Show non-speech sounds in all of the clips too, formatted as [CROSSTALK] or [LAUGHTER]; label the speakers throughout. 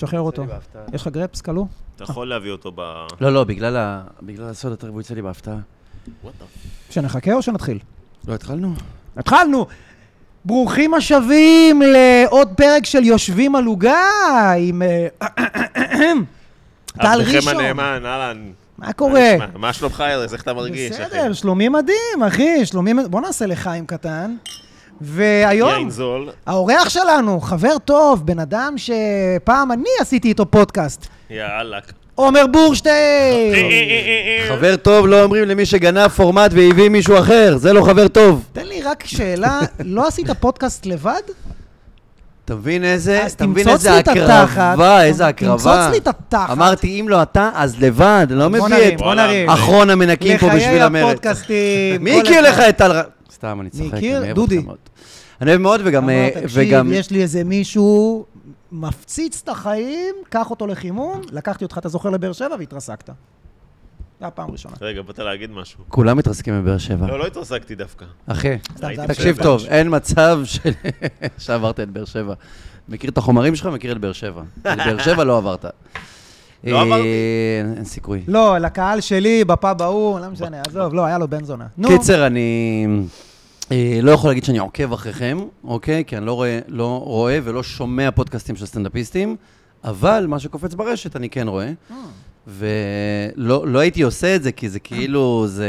Speaker 1: שחרר אותו.
Speaker 2: יוצא לי בהפתעה.
Speaker 1: יש לך גרפס, כלוא?
Speaker 3: אתה יכול להביא אותו ב...
Speaker 2: לא, לא, בגלל ה- בגלל הסוד הטרי, הוא יצא לי בהפתעה.
Speaker 1: שנחכה או שנתחיל?
Speaker 2: לא התחלנו?
Speaker 1: התחלנו! ברוכים השבים לעוד פרק של יושבים על עוגה עם... אה, טל
Speaker 3: עבדכם
Speaker 1: ראשון.
Speaker 3: הנאמן, אהלן.
Speaker 1: מה קורה?
Speaker 3: מה נשמע? מה שלומך, ארז? איך אתה מרגיש? אחי?
Speaker 1: בסדר, שלומי מדהים, אחי, שלומי... מד- בוא נעשה לחיים קטן. והיום,
Speaker 3: יין זול,
Speaker 1: האורח שלנו, חבר טוב, בן אדם שפעם אני עשיתי איתו פודקאסט,
Speaker 3: יאללק.
Speaker 1: עומר
Speaker 3: אה,
Speaker 1: בורשטיין!
Speaker 2: חבר טוב לא אומרים למי שגנב פורמט והביא מישהו אחר, זה לא חבר טוב.
Speaker 1: תן לי רק שאלה, לא עשית פודקאסט לבד?
Speaker 2: אתה מבין איזה,
Speaker 1: אז
Speaker 2: אתה מבין
Speaker 1: אה, תמצוץ
Speaker 2: איזה
Speaker 1: לי את התחת.
Speaker 2: הקרבה, איזה הקרבה.
Speaker 1: תמצוץ לי את התחת.
Speaker 2: אמרתי, אם לא אתה, אז לבד,
Speaker 1: בוא
Speaker 2: לא מביא
Speaker 1: נרים,
Speaker 2: את
Speaker 1: בוא
Speaker 3: וואלה,
Speaker 1: נרים.
Speaker 2: אחרון המנקים פה בשביל
Speaker 1: לחיי
Speaker 2: המרד.
Speaker 1: הפודקאסטים.
Speaker 2: מי
Speaker 1: כל
Speaker 2: הכיר
Speaker 1: אחד.
Speaker 2: לך את טל... ר- סתם, אני צוחק.
Speaker 1: מי
Speaker 2: אני
Speaker 1: הכיר?
Speaker 2: אוהב
Speaker 1: דודי.
Speaker 2: אותך מאוד. אני אוהב מאוד, וגם...
Speaker 1: אמר,
Speaker 2: אה,
Speaker 1: תקשיב,
Speaker 2: וגם...
Speaker 1: יש לי איזה מישהו מפציץ את החיים, קח אותו לחימום, לקחתי אותך, אתה זוכר, לבאר שבע והתרסקת. זה הפעם הראשונה.
Speaker 3: רגע, באת להגיד משהו.
Speaker 2: כולם מתרסקים בבאר שבע.
Speaker 3: לא, לא התרסקתי דווקא.
Speaker 2: אחי,
Speaker 1: סתם,
Speaker 3: הייתי
Speaker 1: זה
Speaker 2: תקשיב
Speaker 1: בסדר.
Speaker 2: טוב, אין מצב ש- שעברת את באר שבע. מכיר את החומרים שלך, מכיר את באר שבע. את באר שבע לא עברת.
Speaker 3: לא עברתי.
Speaker 2: אה, אין- אין סיכוי.
Speaker 1: לא, לקהל שלי, בפאב ההוא, לא משנה, עזוב, לא, היה לו בן זונה. נו,
Speaker 2: קיצר, אני אה, לא יכול להגיד שאני עוקב אחריכם, אוקיי? כי אני לא רואה- לא רואה ולא שומע פודקאסטים של סטנדאפיסטים, אבל מה שקופץ ברשת אני כן רואה.
Speaker 1: אה.
Speaker 2: ולא לא הייתי עושה את זה, כי זה כאילו, זה...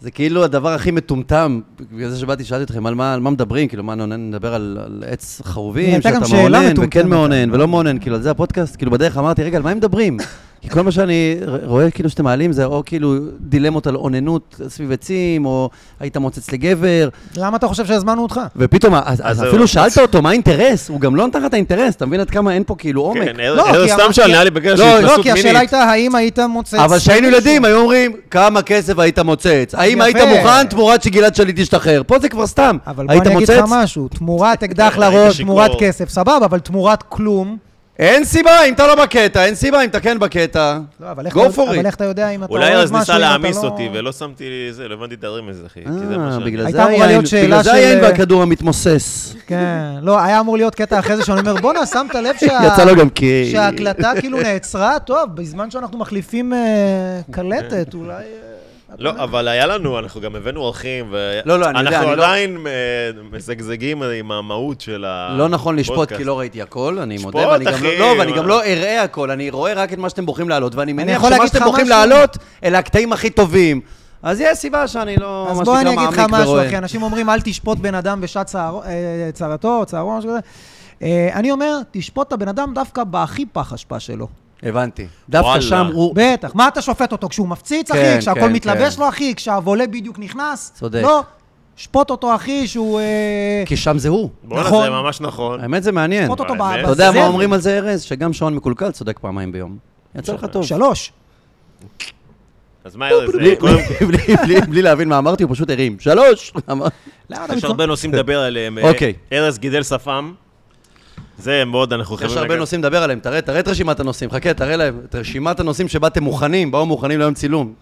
Speaker 2: זה כאילו הדבר הכי מטומטם, בגלל זה שבאתי, שאלתי אתכם על מה, על מה מדברים, כאילו, מה נעונן, נדבר על, על עץ חרובים,
Speaker 1: הייתה
Speaker 2: שאתה
Speaker 1: גם שאלה
Speaker 2: מעונן,
Speaker 1: מטומטמת.
Speaker 2: וכן מעונן, ולא מעונן, כאילו, על זה הפודקאסט, כאילו, בדרך אמרתי, רגע, על מה הם
Speaker 1: [LAUGHS]
Speaker 2: מדברים? כי כל מה שאני ר- רואה, כאילו, שאתם מעלים, זה או כאילו דילמות על אוננות סביב עצים, או היית מוצץ לגבר,
Speaker 1: למה אתה חושב שהזמנו אותך?
Speaker 2: ופתאום, אז, אז
Speaker 3: זהו.
Speaker 2: אפילו שאלת אותו מה האינטרס, הוא גם לא נתן לך את האינטרס, אתה מבין עד כמה אין פה כאילו עומק.
Speaker 3: כן, ארז
Speaker 1: לא,
Speaker 3: ארז
Speaker 1: כי
Speaker 3: סתם
Speaker 1: אמרתי-
Speaker 3: שאל, נראה לי בגלל
Speaker 2: לא,
Speaker 3: של
Speaker 1: לא,
Speaker 3: התנסות
Speaker 1: כי השאלה
Speaker 3: מינית.
Speaker 1: הייתה, האם היית מוצא...
Speaker 2: אבל כשהיינו ילדים, היו אומרים, כמה כסף היית מוצץ? האם
Speaker 1: יפה.
Speaker 2: היית מוכן תמורת שגלעד שליט ישתחרר? פה זה כבר סתם.
Speaker 1: אבל בוא
Speaker 2: היית
Speaker 1: אני אגיד לך
Speaker 2: מוצץ?
Speaker 1: משהו, תמורת
Speaker 3: [LAUGHS]
Speaker 1: אקדח
Speaker 3: היית
Speaker 1: לראש,
Speaker 3: שיכור.
Speaker 1: תמורת כסף, סבבה, אבל תמורת כלום.
Speaker 2: אין סיבה, אם אתה לא בקטע, אין סיבה, אם אתה כן בקטע.
Speaker 1: לא, אבל איך
Speaker 2: Go
Speaker 1: אתה-
Speaker 2: for
Speaker 1: אבל
Speaker 2: it.
Speaker 1: איך אתה יודע אם אתה אוהב
Speaker 3: אולי
Speaker 1: משהו, אם
Speaker 3: ארז
Speaker 1: אתה לא...
Speaker 3: ניסה להעמיס אותי, ולא שמתי לי זה, לא הבנתי את הרמז, אחי. כי זה מה
Speaker 2: אה,
Speaker 3: שאני-
Speaker 2: בגלל
Speaker 1: הייתה
Speaker 2: זה
Speaker 1: אמורה
Speaker 2: היין-
Speaker 1: להיות שאלה
Speaker 2: בגלל זה
Speaker 1: של- אה,
Speaker 2: היין והכדור המתמוסס.
Speaker 1: כן, לא, היה אמור להיות קטע אחרי זה שאני אומר, בואנה, שמת לב שה...
Speaker 2: [LAUGHS] יצא לו גם כי...
Speaker 1: שההקלטה כאילו נעצרה, טוב, בזמן שאנחנו מחליפים אה, קלטת, אולי... אה,
Speaker 3: לא, אבל היה לנו, אנחנו גם הבאנו אורחים, ו...
Speaker 2: לא, לא, אני יודע,
Speaker 3: אנחנו
Speaker 2: אני לא-
Speaker 3: עדיין אה, מזגזגים עם המהות של הפודקאסט.
Speaker 2: לא נכון לשפוט, כי לא ראיתי הכל, אני
Speaker 3: שפוט,
Speaker 2: מודה, ואני גם לא-
Speaker 3: אחי,
Speaker 2: לא, ואני
Speaker 3: מה?
Speaker 2: גם לא אראה הכל, אני רואה רק את מה שאתם בוחרים להעלות, ואני מניח
Speaker 1: יכול
Speaker 2: שמה
Speaker 1: להגיד
Speaker 2: שאתם
Speaker 1: לך
Speaker 2: בוחרים
Speaker 1: משהו?
Speaker 2: להעלות, אלה הקטעים הכי טובים. אז יש סיבה שאני לא,
Speaker 1: אז
Speaker 2: מה
Speaker 1: בוא
Speaker 2: שנקרא,
Speaker 1: אני אגיד לך
Speaker 2: מעמיק
Speaker 1: משהו,
Speaker 2: ורואה.
Speaker 1: אחי, אנשים אומרים, אל תשפוט בן אדם בשעת צער- אה, צרתו, או צערו, משהו כזה. אה, אני אומר, תשפוט את הבן אדם דווקא בהכי פח אשפה שלו.
Speaker 2: הבנתי. דווקא
Speaker 3: וואלה.
Speaker 2: שם הוא...
Speaker 1: בטח. מה אתה שופט אותו? כשהוא מפציץ, אחי?
Speaker 2: כן,
Speaker 1: כשהכל
Speaker 2: כן,
Speaker 1: מתלבש
Speaker 2: כן.
Speaker 1: לו, אחי? כשהוולה בדיוק נכנס?
Speaker 2: צודק.
Speaker 1: לא, שפוט אותו, אחי, שהוא... אה,
Speaker 2: כי שם זה הוא.
Speaker 3: בואנה,
Speaker 1: נכון.
Speaker 3: זה ממש נכון.
Speaker 2: האמת זה מעניין.
Speaker 1: שפוט אותו
Speaker 3: אבל
Speaker 1: ב-
Speaker 3: האמת-
Speaker 2: אתה יודע
Speaker 1: בזבל.
Speaker 2: מה אומרים על זה, ארז? שגם שעון מקולקל צודק פעמיים ביום. יצא לך טוב.
Speaker 1: שלוש.
Speaker 3: אז מה, ארז,
Speaker 2: בלי-
Speaker 3: אה, קודם כל...
Speaker 2: בלי- בלי- בלי להבין מה אמרתי, הוא פשוט הרים. שלוש! אמר-
Speaker 1: למה אתה
Speaker 3: יש
Speaker 1: מתלונן?
Speaker 3: הרבה נושאים לדבר עליהם.
Speaker 2: אוקיי.
Speaker 3: אה, ארז גידל שפם. זה מאוד, אנחנו חייבים...
Speaker 2: יש הרבה
Speaker 3: לגעת.
Speaker 2: נושאים לדבר עליהם, תראה תראה את רשימת הנושאים, חכה, תראה להם את רשימת הנושאים שבה אתם מוכנים, באו מוכנים ליום צילום.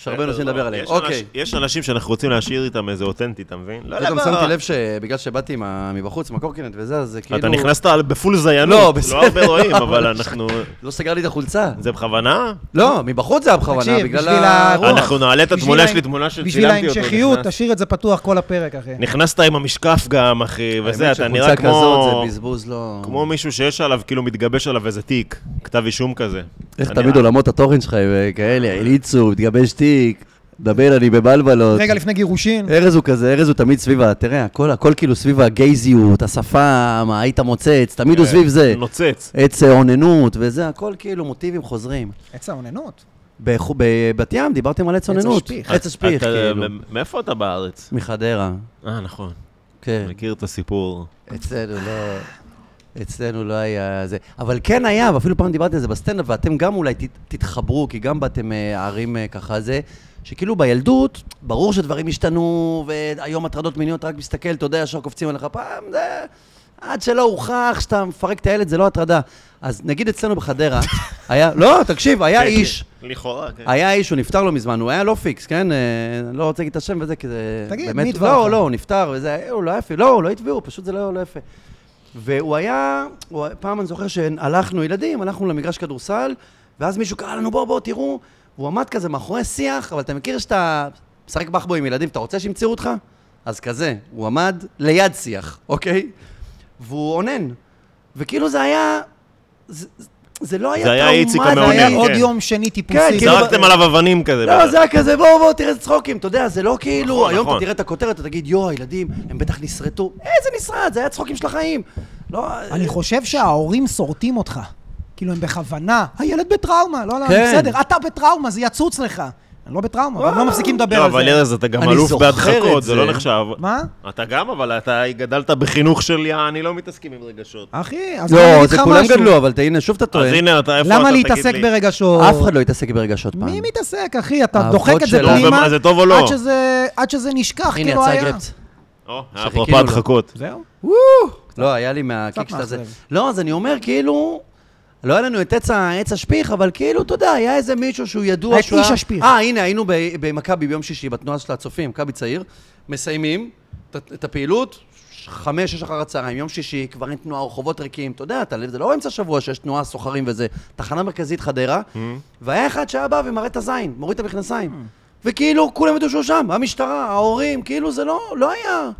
Speaker 2: יש הרבה נושאים לדבר עליהם,
Speaker 3: אה, לא, יש
Speaker 2: אוקיי.
Speaker 3: אנש- יש אנשים שאנחנו רוצים להשאיר איתם איזה אותנטי, אתה מבין? לא
Speaker 2: אתה גם שמתי לב שבגלל שבאתי עם ה- מבחוץ, עם הקורקינט וזה, אז זה כאילו...
Speaker 3: אתה נכנסת על- בפול זיינות.
Speaker 2: לא, בסדר.
Speaker 3: לא הרבה רואים,
Speaker 2: [LAUGHS]
Speaker 3: אבל אנחנו...
Speaker 2: לא סגר לי את החולצה.
Speaker 3: זה בכוונה?
Speaker 2: לא, מבחוץ זה היה בכוונה,
Speaker 1: תקשיב,
Speaker 2: בגלל
Speaker 1: בשביל הרוח.
Speaker 3: אנחנו נעלה את
Speaker 1: בשביל
Speaker 3: התמונה, יש
Speaker 1: ההמ-
Speaker 3: לי תמונה
Speaker 1: בשביל
Speaker 3: שצילמתי אותו.
Speaker 1: ההמשכיות,
Speaker 3: נכנס.
Speaker 1: תשאיר את זה פתוח כל הפרק, אחי.
Speaker 3: נכנסת עם המשקף גם, אחי, וזה,
Speaker 2: האמת
Speaker 3: אתה
Speaker 2: שחולצה
Speaker 3: נראה
Speaker 2: כזאת,
Speaker 3: כמו...
Speaker 2: זה בזבוז לא...
Speaker 3: כמו מישהו שיש עליו, כאילו מתגבש עליו איזה תיק, כתב אישום כזה.
Speaker 2: איך
Speaker 3: אני- אה,
Speaker 2: תמיד עולמות התוכן שלך הם אה, כאלה, הליצו, מתגבש תיק, דבר, אני בבלבלות.
Speaker 1: רגע לפני גירושין.
Speaker 2: ארז הוא כזה, ארז הוא תמיד סביב ה... תראה, הכל, הכל כאילו סביב הגייזיות, השפם, היית מוצץ, תמיד
Speaker 3: כן.
Speaker 2: הוא סביב זה.
Speaker 3: לא. נוצץ.
Speaker 2: עץ אה, אוננות וזה, הכל כאילו מוטיבים חוזרים.
Speaker 1: עץ האוננות.
Speaker 2: בחו- בבת ים דיברתם על עץ אוננות.
Speaker 1: השפיך.
Speaker 2: עץ השפיך,
Speaker 3: אה, אתה-
Speaker 2: כאילו.
Speaker 3: מ- מאיפה אתה בארץ?
Speaker 2: מחדרה,
Speaker 3: אה, נכון.
Speaker 2: כן.
Speaker 3: מכיר את הסיפור.
Speaker 2: אצלנו לא... אצלנו לא היה זה. אבל כן היה, ואפילו פעם דיברתי על זה בסטנדאפ, ואתם גם אולי תת, תתחברו, כי גם באתם אה, ערים אה, ככה זה, שכאילו בילדות, ברור שדברים השתנו, והיום הטרדות מיניות, רק מסתכל, אתה יודע, ישר קופצים עליך פעם, זה... עד שלא הוכח שאתה מפרק את הילד, זה לא הטרדה. אז נגיד אצלנו בחדרה, היה... לא, תקשיב, היה
Speaker 3: כן,
Speaker 2: איש,
Speaker 3: כן. לכאורה, כן.
Speaker 2: היה איש, הוא נפטר לא מזמן, הוא היה לא פיקס, כן? אה, אני לא רוצה להגיד את השם וזה, כי זה...
Speaker 1: תגיד,
Speaker 2: באמת-
Speaker 1: מי יתבע
Speaker 2: לא,
Speaker 1: אותך?
Speaker 2: לא, הוא נפטר, וזה, אה, הוא לא יפה. לא, הוא לא התביעו, פשוט זה לא לא יפה. והוא היה, הוא, פעם אני זוכר שהלכנו ילדים, הלכנו למגרש כדורסל, ואז מישהו קרא לנו בואו בואו תראו, והוא עמד כזה מאחורי שיח, אבל אתה מכיר שאתה משחק בחבו עם ילדים, אתה רוצה שימצאו אותך? אז כזה, הוא עמד ליד שיח, אוקיי? והוא אונן. וכאילו זה היה, זה, זה לא היה
Speaker 3: זה היה
Speaker 2: טראומטי.
Speaker 3: איציק
Speaker 1: זה
Speaker 3: המאונן,
Speaker 1: היה
Speaker 3: כן.
Speaker 1: אה, עוד יום שני טיפוסי.
Speaker 2: כאילו-
Speaker 3: זרקתם עליו אבנים כזה.
Speaker 2: לא, זה היה כזה, בואו, בואו, תראה איזה צחוקים, אתה יודע, זה לא כאילו,
Speaker 3: נכון,
Speaker 2: היום אתה
Speaker 3: נכון.
Speaker 2: תראה את הכותרת, אתה תגיד, יואו, הילדים, הם בטח נסרטו. איזה נסרט, זה היה צחוקים של החיים. לא,
Speaker 1: אני חושב שההורים סורטים אותך. כאילו, הם בכוונה. הילד בטראומה, לא, לא,
Speaker 2: כן.
Speaker 1: בסדר, אתה בטראומה, זה יצוץ לך. אני לא בטראומה, אבל לא מפסיקים לדבר
Speaker 3: לא,
Speaker 1: על
Speaker 3: אבל ארז,
Speaker 1: זה.
Speaker 3: אתה גם
Speaker 2: אני
Speaker 3: אלוף
Speaker 2: זוכר את
Speaker 3: בהדחקות, זה
Speaker 2: זה.
Speaker 3: לא נחשב.
Speaker 1: מה?
Speaker 3: אתה גם, אבל אתה גדלת בחינוך של "יא, אני לא מתעסקים עם רגשות.
Speaker 1: אחי, אז אני
Speaker 2: לא,
Speaker 1: אגיד
Speaker 2: זה
Speaker 1: לך
Speaker 2: כולם
Speaker 1: משהו.
Speaker 2: גדלו, אבל הנה, שוב אתה
Speaker 3: אז
Speaker 2: טוען.
Speaker 3: הנה, אתה איפה אתה,
Speaker 1: למה
Speaker 3: תגיד
Speaker 1: להתעסק
Speaker 3: לי.
Speaker 1: ברגשות?
Speaker 2: אף אחד לא התעסק ברגשות פעם.
Speaker 1: מי מתעסק, אחי? אתה
Speaker 2: האבות
Speaker 1: דוחק את זה
Speaker 2: שלנו.
Speaker 1: פנימה,
Speaker 3: ומה, זה טוב או לא?
Speaker 1: עד שזה- עד שזה נשכח,
Speaker 2: הנה,
Speaker 1: כאילו
Speaker 2: יצא
Speaker 1: היה.
Speaker 2: גרפט.
Speaker 3: או,
Speaker 2: שחיכינו
Speaker 3: אפרופו
Speaker 2: לו.
Speaker 3: הדחקות.
Speaker 1: זהו?
Speaker 2: לא, היה לי מהקיק
Speaker 1: קצת
Speaker 2: של הזה.
Speaker 1: מאכזב.
Speaker 2: לא, אז אני אומר, כאילו... לא היה לנו את עץ ה- עץ השפיך, אבל כאילו, אתה יודע, היה איזה מישהו שהוא ידוע
Speaker 1: את
Speaker 2: שהוא
Speaker 1: איש
Speaker 2: היה-
Speaker 1: השפיך.
Speaker 2: אה, הנה, היינו ב- במכבי ביום שישי, בתנועה של הצופים, מכבי צעיר. מסיימים את- את הפעילות, ש- חמש, שש אחר הצהריים, יום שישי, כבר אין תנועה, רחובות ריקים, אתה יודע, אתה- זה לא אמצע שבוע שיש תנועה, סוחרים וזה. תחנה מרכזית חדרה,
Speaker 1: Mm.
Speaker 2: והיה אחד שהיה בא ומראה את הזין, מוריד את המכנסיים.
Speaker 1: Mm.
Speaker 2: וכאילו, כולם ידעו שהוא שם, המשטרה, ההורים, כאילו, זה לא, לא היה,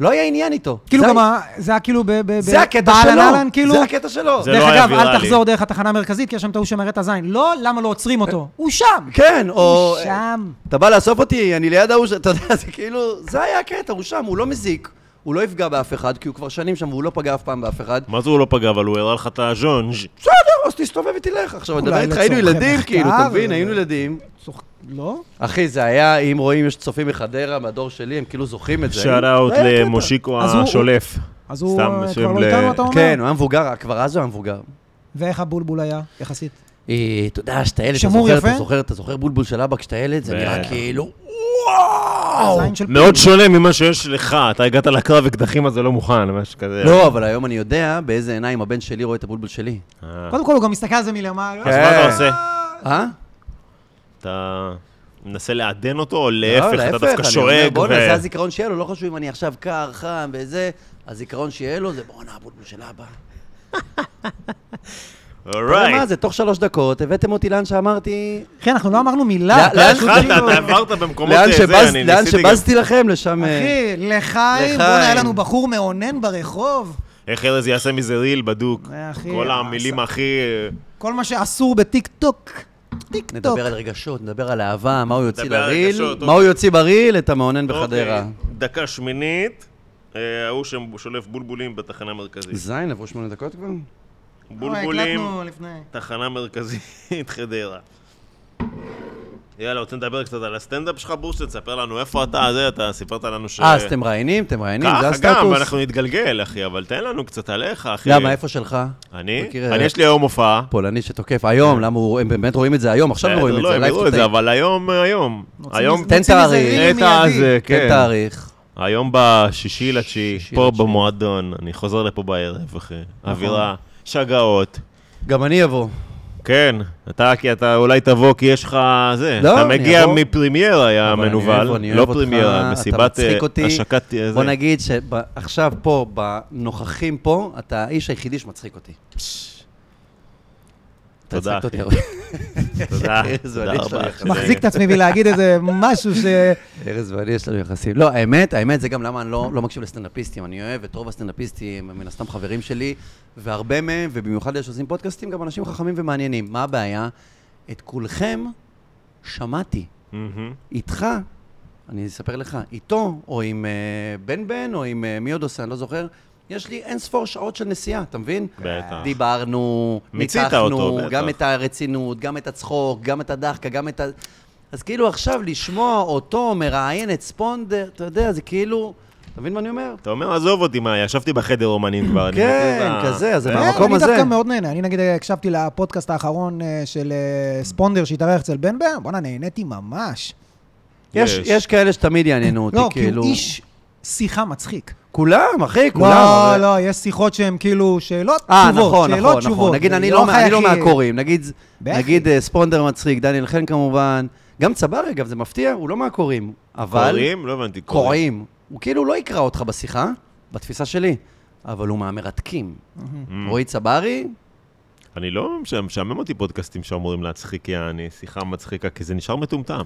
Speaker 2: לא היה עניין איתו.
Speaker 1: כאילו
Speaker 2: זה
Speaker 1: גם
Speaker 2: היה-
Speaker 1: ה- זה היה כאילו ב... ב-
Speaker 2: זה
Speaker 1: ב-
Speaker 2: הקטע
Speaker 1: באהלן אהלן,
Speaker 2: שלו,
Speaker 1: כאילו...
Speaker 2: זה הקטע שלו.
Speaker 3: זה-
Speaker 1: דרך
Speaker 3: לא היה
Speaker 1: אגב, אל
Speaker 3: ויראלי.
Speaker 1: תחזור דרך התחנה המרכזית, כי יש שם את ההוא שמראה את הזין. לא, למה לא עוצרים אותו? הוא שם!
Speaker 2: כן, או...
Speaker 1: הוא שם.
Speaker 2: אתה בא לאסוף אותי, אני ליד ההוא, ש- אתה יודע, זה כאילו... זה היה הקטע, הוא שם, הוא לא מזיק, הוא לא יפגע באף אחד, כי הוא כבר שנים שם והוא לא פגע אף פעם באף אחד.
Speaker 3: מה זה הוא לא פגע, אבל הוא הראה לך את הז'ונג'.
Speaker 2: בסדר, אז תסתובב ותלך. עכשיו, אני
Speaker 1: אולי
Speaker 2: מדבר איתך, היינו
Speaker 1: לצורכי
Speaker 2: ילדים,
Speaker 1: מחקר,
Speaker 2: כאילו, אתה מבין,
Speaker 1: אה,
Speaker 2: היינו ילדים.
Speaker 1: צוחק- לא?
Speaker 2: אחי, זה היה, אם רואים, יש צופים מחדרה, מהדור שלי, הם כאילו זוכרים את זה.
Speaker 3: שאט אאוט
Speaker 2: זה היה הקטע.
Speaker 3: למושיקו
Speaker 1: אז הוא-
Speaker 3: השולף.
Speaker 1: אז הוא
Speaker 3: סתם,
Speaker 1: אה, כבר
Speaker 3: שם
Speaker 1: לא
Speaker 3: ל-
Speaker 1: איתנו, אתה אומר?
Speaker 2: כן, הוא היה מבוגר, כבר אז הוא היה מבוגר.
Speaker 1: ואיך הבולבול היה, יחסית?
Speaker 2: אה, אתה יודע, כשאתה ילד, אתה
Speaker 1: שמור
Speaker 2: זוכר,
Speaker 1: יפה?
Speaker 2: אתה זוכר, אתה זוכר בולבול של אבא כשאתה ילד, זה נראה
Speaker 3: בטח.
Speaker 2: כאילו, וואו!
Speaker 1: הזין של
Speaker 3: מאוד שונה ממה שיש לך, אתה הגעת לקרב אקדחים הזה לא מוכן, משהו כזה.
Speaker 2: לא, אבל היום אני יודע באיזה עיניים הבן שלי רואה את הבולבול שלי.
Speaker 3: אה,
Speaker 1: קודם כל, הוא גם מסתכל על זה מלמעלה.
Speaker 2: כן.
Speaker 3: אז מה אתה עושה?
Speaker 2: אה?
Speaker 3: אתה מנסה לעדן אותו, או להפך, אתה דווקא
Speaker 2: לא, אני אומר,
Speaker 3: שואג.
Speaker 2: בואנה,
Speaker 3: ו-
Speaker 2: זה הזיכרון שיהיה לו, לא חשוב אם אני עכשיו קר, חם וזה, הזיכרון שיהיה לו זה בואנה, הבולבול של אבא. אתה יודע מה
Speaker 3: Alright.
Speaker 2: זה, תוך שלוש דקות הבאתם אותי לאן שאמרתי...
Speaker 1: אחי, אנחנו לא אמרנו מילה.
Speaker 2: לאן-
Speaker 1: אתה
Speaker 2: לאן
Speaker 1: פשוט
Speaker 3: התחלת,
Speaker 1: כאילו-
Speaker 3: אתה עברת במקומות אה,
Speaker 2: לאן
Speaker 3: זה,
Speaker 2: שבז-
Speaker 3: אני
Speaker 2: לאן
Speaker 3: ניסיתי גם.
Speaker 2: שבזתי לכם, לשם... אה,
Speaker 1: אחי, לחיים,
Speaker 2: לחיים.
Speaker 1: בוא'נה, היה לנו בחור מאונן ברחוב.
Speaker 3: איך ארז יעשה מזה ריל בדוק.
Speaker 1: אה, אחי,
Speaker 3: כל
Speaker 1: אה,
Speaker 3: המילים
Speaker 1: עשה.
Speaker 3: הכי... אה,
Speaker 1: כל מה שאסור בטיק טוק. טיק טוק.
Speaker 2: נדבר על רגשות, נדבר על אהבה, מה הוא יוציא
Speaker 3: נדבר על
Speaker 2: לריל,
Speaker 3: רגשות,
Speaker 2: מה הוא יוציא בריל, את המאונן בחדרה.
Speaker 3: אוקיי, דקה שמינית, אה, ההוא ששולף בולבולים בתחנה מרכזית.
Speaker 2: זין, עברו שמונה דקות כבר?
Speaker 3: בולבולים,
Speaker 1: לא, הקלטנו לפני.
Speaker 3: תחנה מרכזית, [LAUGHS] חדרה. יאללה, רוצים לדבר קצת על הסטנדאפ שלך, בוסט? תספר לנו איפה אתה, זה, אתה סיפרת לנו ש...
Speaker 2: אה, אז אתם מראיינים, אתם מראיינים, זה
Speaker 3: ככה
Speaker 2: הסטטוס.
Speaker 3: גם, אנחנו נתגלגל, אחי, אבל תן לנו קצת עליך, אחי.
Speaker 2: למה, איפה שלך?
Speaker 3: אני?
Speaker 2: מכיר,
Speaker 3: אני,
Speaker 2: אה,
Speaker 3: יש לי היום הופעה.
Speaker 2: פולני שתוקף היום, למה הוא- הם באמת רואים את זה היום, עכשיו הם רואים את
Speaker 3: כן. לא,
Speaker 2: זה,
Speaker 3: הם
Speaker 2: לייב
Speaker 3: יראו את זה,
Speaker 2: טו טייק.
Speaker 3: אבל היום, אה, היום.
Speaker 1: רוצים
Speaker 3: היום,
Speaker 1: לזה-
Speaker 2: תן
Speaker 1: רוצים
Speaker 2: תאריך.
Speaker 1: לזה ריל
Speaker 3: את הזה,
Speaker 1: מיידי.
Speaker 2: כן,
Speaker 3: כן.
Speaker 2: תאריך.
Speaker 3: היום בשישי לתשיעי,
Speaker 2: שישי
Speaker 3: פה
Speaker 2: לתשיעי. נכון.
Speaker 3: במועדון, אני חוזר לפה בערב, אחי. אווירה, שגעות.
Speaker 2: גם אני אבוא.
Speaker 3: כן, אתה כי אתה אולי תבוא כי יש לך זה,
Speaker 2: לא,
Speaker 3: אתה
Speaker 2: אני
Speaker 3: מגיע
Speaker 2: אבוא.
Speaker 3: מפרימיירה, היה
Speaker 2: אבל אני אוהב,
Speaker 3: מנוול,
Speaker 2: אני
Speaker 3: לא
Speaker 2: אוהב אותך,
Speaker 3: פרימיירה,
Speaker 2: אתה
Speaker 3: מסיבת אה,
Speaker 2: מצחיק אותי.
Speaker 3: השקת אה,
Speaker 2: בוא
Speaker 3: זה.
Speaker 2: נגיד שעכשיו פה, בנוכחים פה, אתה האיש היחידי שמצחיק אותי. אתה
Speaker 3: תודה,
Speaker 2: הצחקת אותי
Speaker 3: אחי.
Speaker 2: הרבה.
Speaker 3: [LAUGHS]
Speaker 2: [LAUGHS]
Speaker 3: תודה,
Speaker 2: ארז
Speaker 3: תודה
Speaker 2: ואני
Speaker 3: רבה.
Speaker 2: שלך.
Speaker 3: אחי.
Speaker 1: מחזיק את עצמי מלהגיד איזה משהו ש...
Speaker 2: [LAUGHS] ארז ואני יש לנו יחסים. לא, האמת, האמת זה גם למה אני לא, לא מקשיב לסטנדאפיסטים. אני אוהב את רוב הסטנדאפיסטים, הם מן הסתם חברים שלי, והרבה מהם, ובמיוחד אלה שעושים פודקאסטים, גם אנשים חכמים ומעניינים. מה הבעיה? את כולכם שמעתי.
Speaker 3: מהמם.
Speaker 2: איתך, אני אספר לך, איתו, או עם אה, בן בן, או עם אה, מי עוד עושה, אני לא זוכר, יש לי אין ספור שעות של נסיעה, אתה מבין?
Speaker 3: בטח.
Speaker 2: דיברנו,
Speaker 3: מיצית
Speaker 2: ניתחנו,
Speaker 3: אותו, בטח.
Speaker 2: גם את הרצינות, גם את הצחוק, גם את הדחקה, גם את ה... אז כאילו עכשיו לשמוע אותו מראיין את ספונדר, אתה יודע, זה כאילו... אתה מבין מה אני אומר?
Speaker 3: אתה אומר, עזוב אותי, מה, ישבתי בחדר אומנים כבר. אני
Speaker 2: כן,
Speaker 3: מכיר את ה-
Speaker 2: כזה, אז זה
Speaker 3: אה,
Speaker 2: מה-
Speaker 1: כן,
Speaker 2: מהמקום
Speaker 1: אני
Speaker 2: הזה.
Speaker 1: דווקא מאוד נהנה. אני נגיד הקשבתי לפודקאסט האחרון אה, של אה, ספונדר שהתארח אצל בן בן, בואנה, נהניתי ממש.
Speaker 2: יש,
Speaker 3: יש.
Speaker 2: יש כאלה שתמיד יעניינו אותי,
Speaker 1: לא, כי
Speaker 2: כאילו...
Speaker 1: הוא איש שיחה מצחיק.
Speaker 2: כולם, אחי, כולם.
Speaker 1: לא,
Speaker 2: הרי-
Speaker 1: לא, יש שיחות שהן כאילו שאלות,
Speaker 2: אה,
Speaker 1: תשובות,
Speaker 2: נכון,
Speaker 1: שאלות,
Speaker 2: נכון,
Speaker 1: תשובות.
Speaker 2: נכון. נגיד, אני
Speaker 1: זה
Speaker 2: לא, מה- אני לא
Speaker 1: אחי, אחי.
Speaker 2: מהקוראים, נגיד,
Speaker 1: בטח.
Speaker 2: נגיד אה, ספונדר מצחיק, דניאל חן כמובן, גם צברי, אגב, זה מפתיע, הוא לא מהקוראים, אבל...
Speaker 3: קוראים? לא הבנתי.
Speaker 2: קוראים. הוא כאילו לא יקרא אותך בשיחה, בתפיסה שלי. אבל הוא מהמרתקים. רועי צברי,
Speaker 3: אני לא, משעמם אותי פודקאסטים שאמורים להצחיק, יעני, שיחה מצחיקה, כי זה נשאר מטומטם.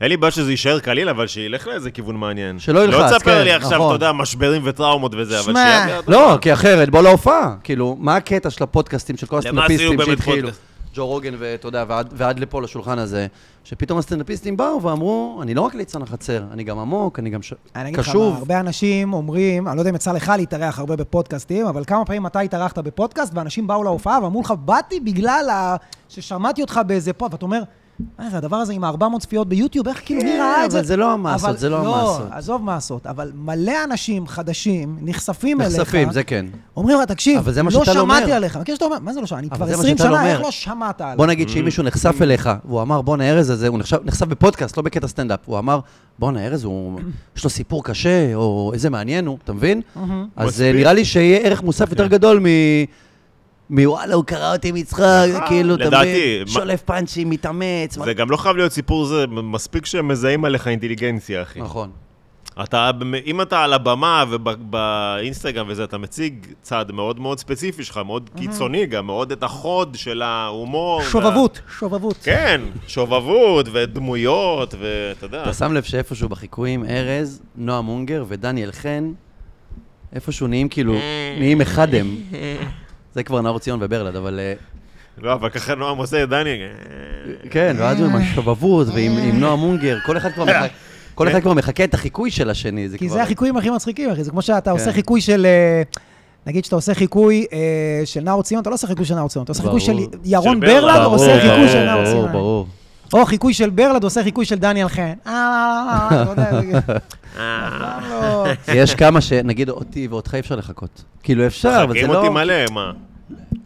Speaker 3: אין לי בעיה שזה יישאר קליל, אבל שילך לאיזה כיוון מעניין.
Speaker 2: שלא ילחץ,
Speaker 3: לא תספר לי
Speaker 2: כן,
Speaker 3: עכשיו,
Speaker 2: נכון.
Speaker 3: אתה יודע, משברים וטראומות וזה, אבל
Speaker 1: שמע,
Speaker 3: שיהיה...
Speaker 2: לא, כי אחרת, בוא להופעה. כאילו, מה הקטע של הפודקאסטים, של כל
Speaker 3: למה
Speaker 2: הסטנדאפיסטים
Speaker 3: עשינו באמת
Speaker 2: שהתחילו?
Speaker 3: פודקאסט?
Speaker 2: ג'ו רוגן ואתה יודע, ועד, ועד לפה לשולחן הזה, שפתאום הסטנדאפיסטים באו ואמרו, אני לא רק ליצן החצר, אני גם עמוק, אני גם ש...
Speaker 1: אני אגיד לך מה,
Speaker 2: קשוב.
Speaker 1: הרבה אנשים אומרים, אני לא יודע אם יצא לך להתארח הרבה בפודקאסטים, אבל כמה פעמים אתה התארחת בפודקאסט, ואנשים באו להופעה ואמרו לך, באתי בגלל ה... ששמעתי אותך באיזה פוד, ואתה אומר, מה זה הדבר הזה עם ה-400 צפיות ביוטיוב, איך כאילו מי
Speaker 2: כן,
Speaker 1: ראה את זה?
Speaker 2: אבל זה לא המעשות,
Speaker 1: אבל-
Speaker 2: זה לא המעשות.
Speaker 1: לא, עזוב מעשות, אבל מלא אנשים חדשים נחשפים אליך.
Speaker 2: נחשפים, זה כן.
Speaker 1: אומרים לך, תקשיב,
Speaker 2: אבל זה מה
Speaker 1: לא
Speaker 2: שאתה לא אומר."
Speaker 1: שמעתי עליך. מכיר שאתה אומר, מה זה לא שמעתי? אני
Speaker 2: אבל
Speaker 1: כבר
Speaker 2: זה מה
Speaker 1: 20
Speaker 2: שאתה לא
Speaker 1: שנה,
Speaker 2: אומר.
Speaker 1: איך לא שמעת עליי?
Speaker 2: בוא נגיד שאם מישהו נחשף אליך, והוא אמר, בואנה ארז הזה, הוא נחשף, נחשף בפודקאסט, לא בקטע סטנדאפ, הוא אמר, בואנה ארז, הוא, [CLEARS THROAT] יש לו סיפור קשה, או איזה מעניין הוא, אתה מבין? אז אה,
Speaker 3: מספיק.
Speaker 2: נראה לי שיהיה ערך מוסף יותר גדול מ... מוואלה, הוא קרא אותי מצחוק, כאילו, אתה
Speaker 3: אה, לדעתי,
Speaker 2: מבין?
Speaker 3: מה-
Speaker 2: שולף פאנצ'ים, מתאמץ. מה-
Speaker 3: זה גם לא חייב להיות סיפור זה, מספיק שהם מזהים עליך אינטליגנציה, אחי.
Speaker 2: נכון.
Speaker 3: אתה, אם אתה על הבמה ובאינסטגרם וזה, אתה מציג צד מאוד מאוד ספציפי שלך, מאוד קיצוני גם, מאוד את החוד של ההומור. וה-
Speaker 1: שובבות, שובבות.
Speaker 3: כן, שובבות ודמויות, ואתה יודע.
Speaker 2: אתה שם לב שאיפשהו בחיקויים, ארז, נועה מונגר ודניאל חן, איפשהו נהיים כאילו,
Speaker 3: אה.
Speaker 2: נהיים אחד הם. זה כבר נאור ציון וברלד, אבל... אה,
Speaker 3: לא, אבל ככה נועם עושה את דני.
Speaker 2: כן, ואז
Speaker 1: אה.
Speaker 2: הוא עם השובבות ועם עם נועה מונגר, כל אחד כבר
Speaker 3: אה.
Speaker 2: מחכה... כל
Speaker 3: כן.
Speaker 2: אחד כבר מחכה את החיקוי של השני, זה כבר...
Speaker 1: כי זה החיקויים הכי מצחיקים, אחי. זה כמו שאתה עושה
Speaker 2: כן.
Speaker 1: חיקוי של... אה, נגיד שאתה עושה חיקוי אה, של נאור ציון, אתה לא עושה חיקוי של נאור ציון, אתה עושה חיקוי של
Speaker 2: ברור.
Speaker 1: ירון
Speaker 3: של ברלד.
Speaker 1: ברלד,
Speaker 2: ברור,
Speaker 1: עושה חיקוי של נאור
Speaker 2: ברור,
Speaker 1: ציון.
Speaker 2: ברור.
Speaker 1: או חיקוי של ברלד, עושה חיקוי של דניאל חן. אה, אה, אה, אתה
Speaker 2: [LAUGHS]
Speaker 1: יודע, זה-
Speaker 3: אה,
Speaker 1: אף פעם לא...
Speaker 2: יש כמה ש... נגיד אותי ואותך אי אפשר לחכות. כאילו אפשר, אבל זה
Speaker 3: חכים
Speaker 2: לא...
Speaker 3: אותי מלא, מה?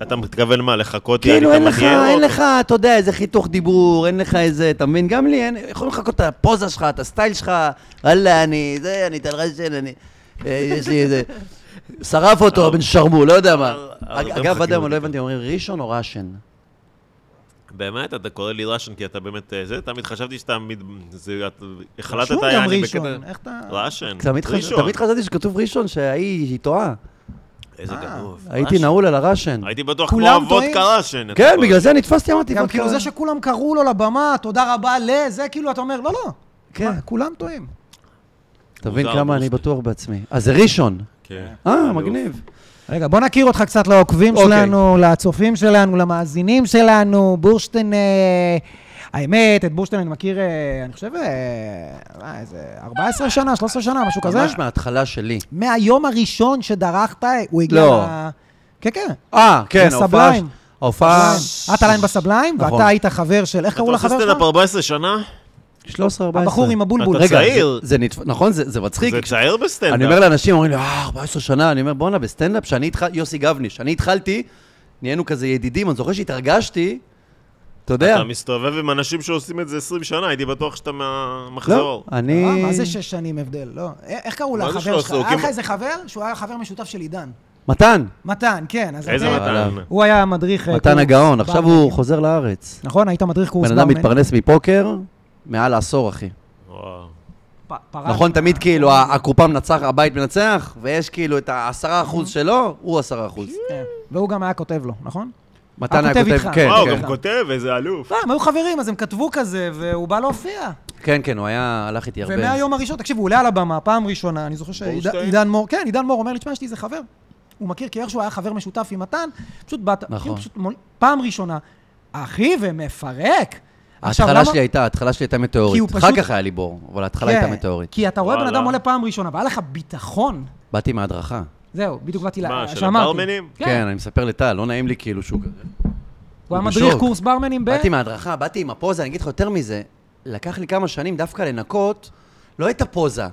Speaker 3: אתה מתכוון מה, לחכות? יעני,
Speaker 2: כאילו
Speaker 3: אתה
Speaker 2: אין לך,
Speaker 3: מגיע
Speaker 2: אין
Speaker 3: לו?
Speaker 2: לך, אתה יודע, איזה חיתוך דיבור, אין לך איזה, אתה מבין? גם לי אין, יכולים לחכות את הפוזה שלך, את הסטייל שלך, וואלה, אני, זה, אני טלרשן, אני, אה, יש לי איזה, שרף
Speaker 3: אה,
Speaker 2: אותו, בן שרמו, לא יודע מה.
Speaker 3: אבל- אבל
Speaker 2: אגב,
Speaker 3: אתם
Speaker 2: עד
Speaker 3: אה, מחכים
Speaker 2: היום
Speaker 3: אותי.
Speaker 2: לא הבנתי, אומרים ראשון או ראשן?
Speaker 3: באמת, אתה קורא לי ראשן כי אתה באמת... אה, זה, תמיד חשבתי שאתה... מת- זה- את- החלטת...
Speaker 1: רשום גם
Speaker 3: יעני,
Speaker 1: ראשון,
Speaker 3: בקטע-
Speaker 1: איך אתה...
Speaker 3: ראשון.
Speaker 2: תמיד חש-
Speaker 3: ראשון.
Speaker 2: תמיד חשבתי שכתוב ראשון, שההיא היא טועה.
Speaker 3: איזה גנוב.
Speaker 2: אה, הייתי
Speaker 3: ראשון.
Speaker 2: נעול על הראשן.
Speaker 3: הייתי בטוח כמו
Speaker 1: כולם טועים?
Speaker 3: הוודקה ראשן. אתה
Speaker 2: כן,
Speaker 3: כבר-
Speaker 2: בגלל זה נתפסתי, אמרתי,
Speaker 1: גם
Speaker 2: "וואלה,
Speaker 1: כאילו זה שכולם קראו לו לבמה, תודה רבה ל... זה כאילו, אתה אומר, לא, לא.
Speaker 2: כן.
Speaker 1: מה, כולם טועים.
Speaker 2: תבין
Speaker 3: מוזר,
Speaker 2: כמה אני
Speaker 3: מוזר.
Speaker 2: בטוח בעצמי. אז זה ראשון.
Speaker 3: כן.
Speaker 2: אה,
Speaker 3: אלוף.
Speaker 2: מגניב.
Speaker 1: רגע, בוא נכיר אותך קצת לעוקבים
Speaker 2: אוקיי.
Speaker 1: שלנו, לצופים שלנו, למאזינים שלנו, בורשטיין... אה, האמת, את בורשטיין אני מכיר, אה, אני חושב, אה, אה, איזה 14 שנה, 13 שנה, משהו כזה.
Speaker 2: ממש מההתחלה שלי.
Speaker 1: מהיום הראשון שדרכת, הוא הגיע...
Speaker 2: לא.
Speaker 1: ל- כן, כן.
Speaker 2: אה, כן, ההופעה...
Speaker 1: בסבליים.
Speaker 2: ההופעה...
Speaker 1: בסבליים. את עליין בסבליים,
Speaker 2: נכון.
Speaker 1: ואתה היית חבר של... איך קראו
Speaker 3: אתה עושה
Speaker 1: לחבר
Speaker 3: סטנדאפ
Speaker 1: שלך?
Speaker 3: 14 שנה?
Speaker 2: 13, 14.
Speaker 1: הבחור עם הבולבול.
Speaker 3: אתה
Speaker 2: רגע,
Speaker 3: צעיר.
Speaker 2: זה- זה נתפ... נכון, זה, זה מצחיק.
Speaker 3: זה כן, צעיר בסטנדאפ.
Speaker 2: אני אומר לאנשים, אומרים לי, אה, 14 שנה, אני אומר, בואנה, בסטנדאפ, שאני התחלתי, יוסי גבני, שאני התחלתי, נהיינו כזה ידידים, אני זוכר שהתרגשתי, אתה יודע.
Speaker 3: אתה מסתובב עם אנשים שעושים את זה 20 שנה, הייתי בטוח שאתה מהמחזור.
Speaker 2: לא, אני...
Speaker 1: אה, מה זה שש שנים הבדל? לא. א- איך קראו
Speaker 3: מה זה
Speaker 1: לחבר
Speaker 3: שלוש
Speaker 1: שלך?
Speaker 3: עשרה?
Speaker 1: היה לך
Speaker 3: כי-
Speaker 1: איזה חבר שהוא היה חבר משותף של עידן.
Speaker 2: מתן,
Speaker 1: מתן, כן.
Speaker 2: אה,
Speaker 1: אז
Speaker 3: איזה
Speaker 1: אתם-
Speaker 3: מתן.
Speaker 2: וואלה.
Speaker 1: הוא היה מדריך... אה,
Speaker 2: מתן
Speaker 1: קורס
Speaker 2: הגאון, עכשיו הוא
Speaker 1: ברמנים.
Speaker 2: חוזר לארץ.
Speaker 1: נכון, היית מדריך קורס
Speaker 2: בן אדם
Speaker 1: ברמן.
Speaker 2: מתפרנס מפוקר מעל העשור, אחי.
Speaker 3: וואו.
Speaker 1: פ- פרש.
Speaker 2: נכון, תמיד כאילו, ה- הקופה מנצח, הבית מנצח, ויש כאילו את העשרה אחוז
Speaker 1: אה.
Speaker 2: שלו, הוא עשרה אחוז.
Speaker 1: כן. והוא גם היה כותב לו, נכון?
Speaker 2: מתן היה
Speaker 1: הכותב
Speaker 2: כותב,
Speaker 1: איתך.
Speaker 2: כן,
Speaker 3: וואו,
Speaker 2: כן.
Speaker 3: גם כותב, איזה אלוף.
Speaker 1: לא, הם היו חברים, אז הם כתבו כזה, והוא בא להופיע.
Speaker 2: כן, כן, הוא היה, הלך איתי הרבה.
Speaker 1: ומהיום הראשון, תקשיב, הוא עולה על הבמה, פעם ראשונה, אני זוכר
Speaker 3: בורשטיין?
Speaker 1: שעידן מור, כן, עידן מור אומר לי, תשמע, יש לי איזה חבר. הוא מכיר, כי איכשהו היה חבר משותף עם מתן, פשוט באת,
Speaker 2: נכון.
Speaker 1: כאילו, פשוט מול- פעם ראשונה, אחי, ומפרק. עכשיו,
Speaker 2: ההתחלה
Speaker 1: למה-
Speaker 2: שלי הייתה, ההתחלה שלי הייתה
Speaker 1: כי הוא
Speaker 2: מטאורית.
Speaker 1: פשוט-
Speaker 2: אחר כך היה לי בור, אבל ההתחלה הייתה
Speaker 1: כן,
Speaker 2: מטאורית.
Speaker 1: כי אתה רואה בן
Speaker 3: וואלה.
Speaker 1: אדם עולה פעם ראשונה, והיה לך ביטחון.
Speaker 2: באתי מההדרכה.
Speaker 1: זהו, בדיוק באתי ל...
Speaker 3: מה, של
Speaker 1: שאמרתי.
Speaker 3: הברמנים?
Speaker 2: כן, אני מספר לטל, לא נעים לי כאילו
Speaker 1: אה.
Speaker 2: שהוא כזה.
Speaker 1: הוא היה
Speaker 2: הוא
Speaker 1: מדריך
Speaker 2: בשוק.
Speaker 1: קורס ברמנים ב...
Speaker 2: באתי מההדרכה, באתי עם הפוזה, אני אגיד לך יותר מזה, לקח לי כמה שנים דווקא לנקות, לא את הפוזה,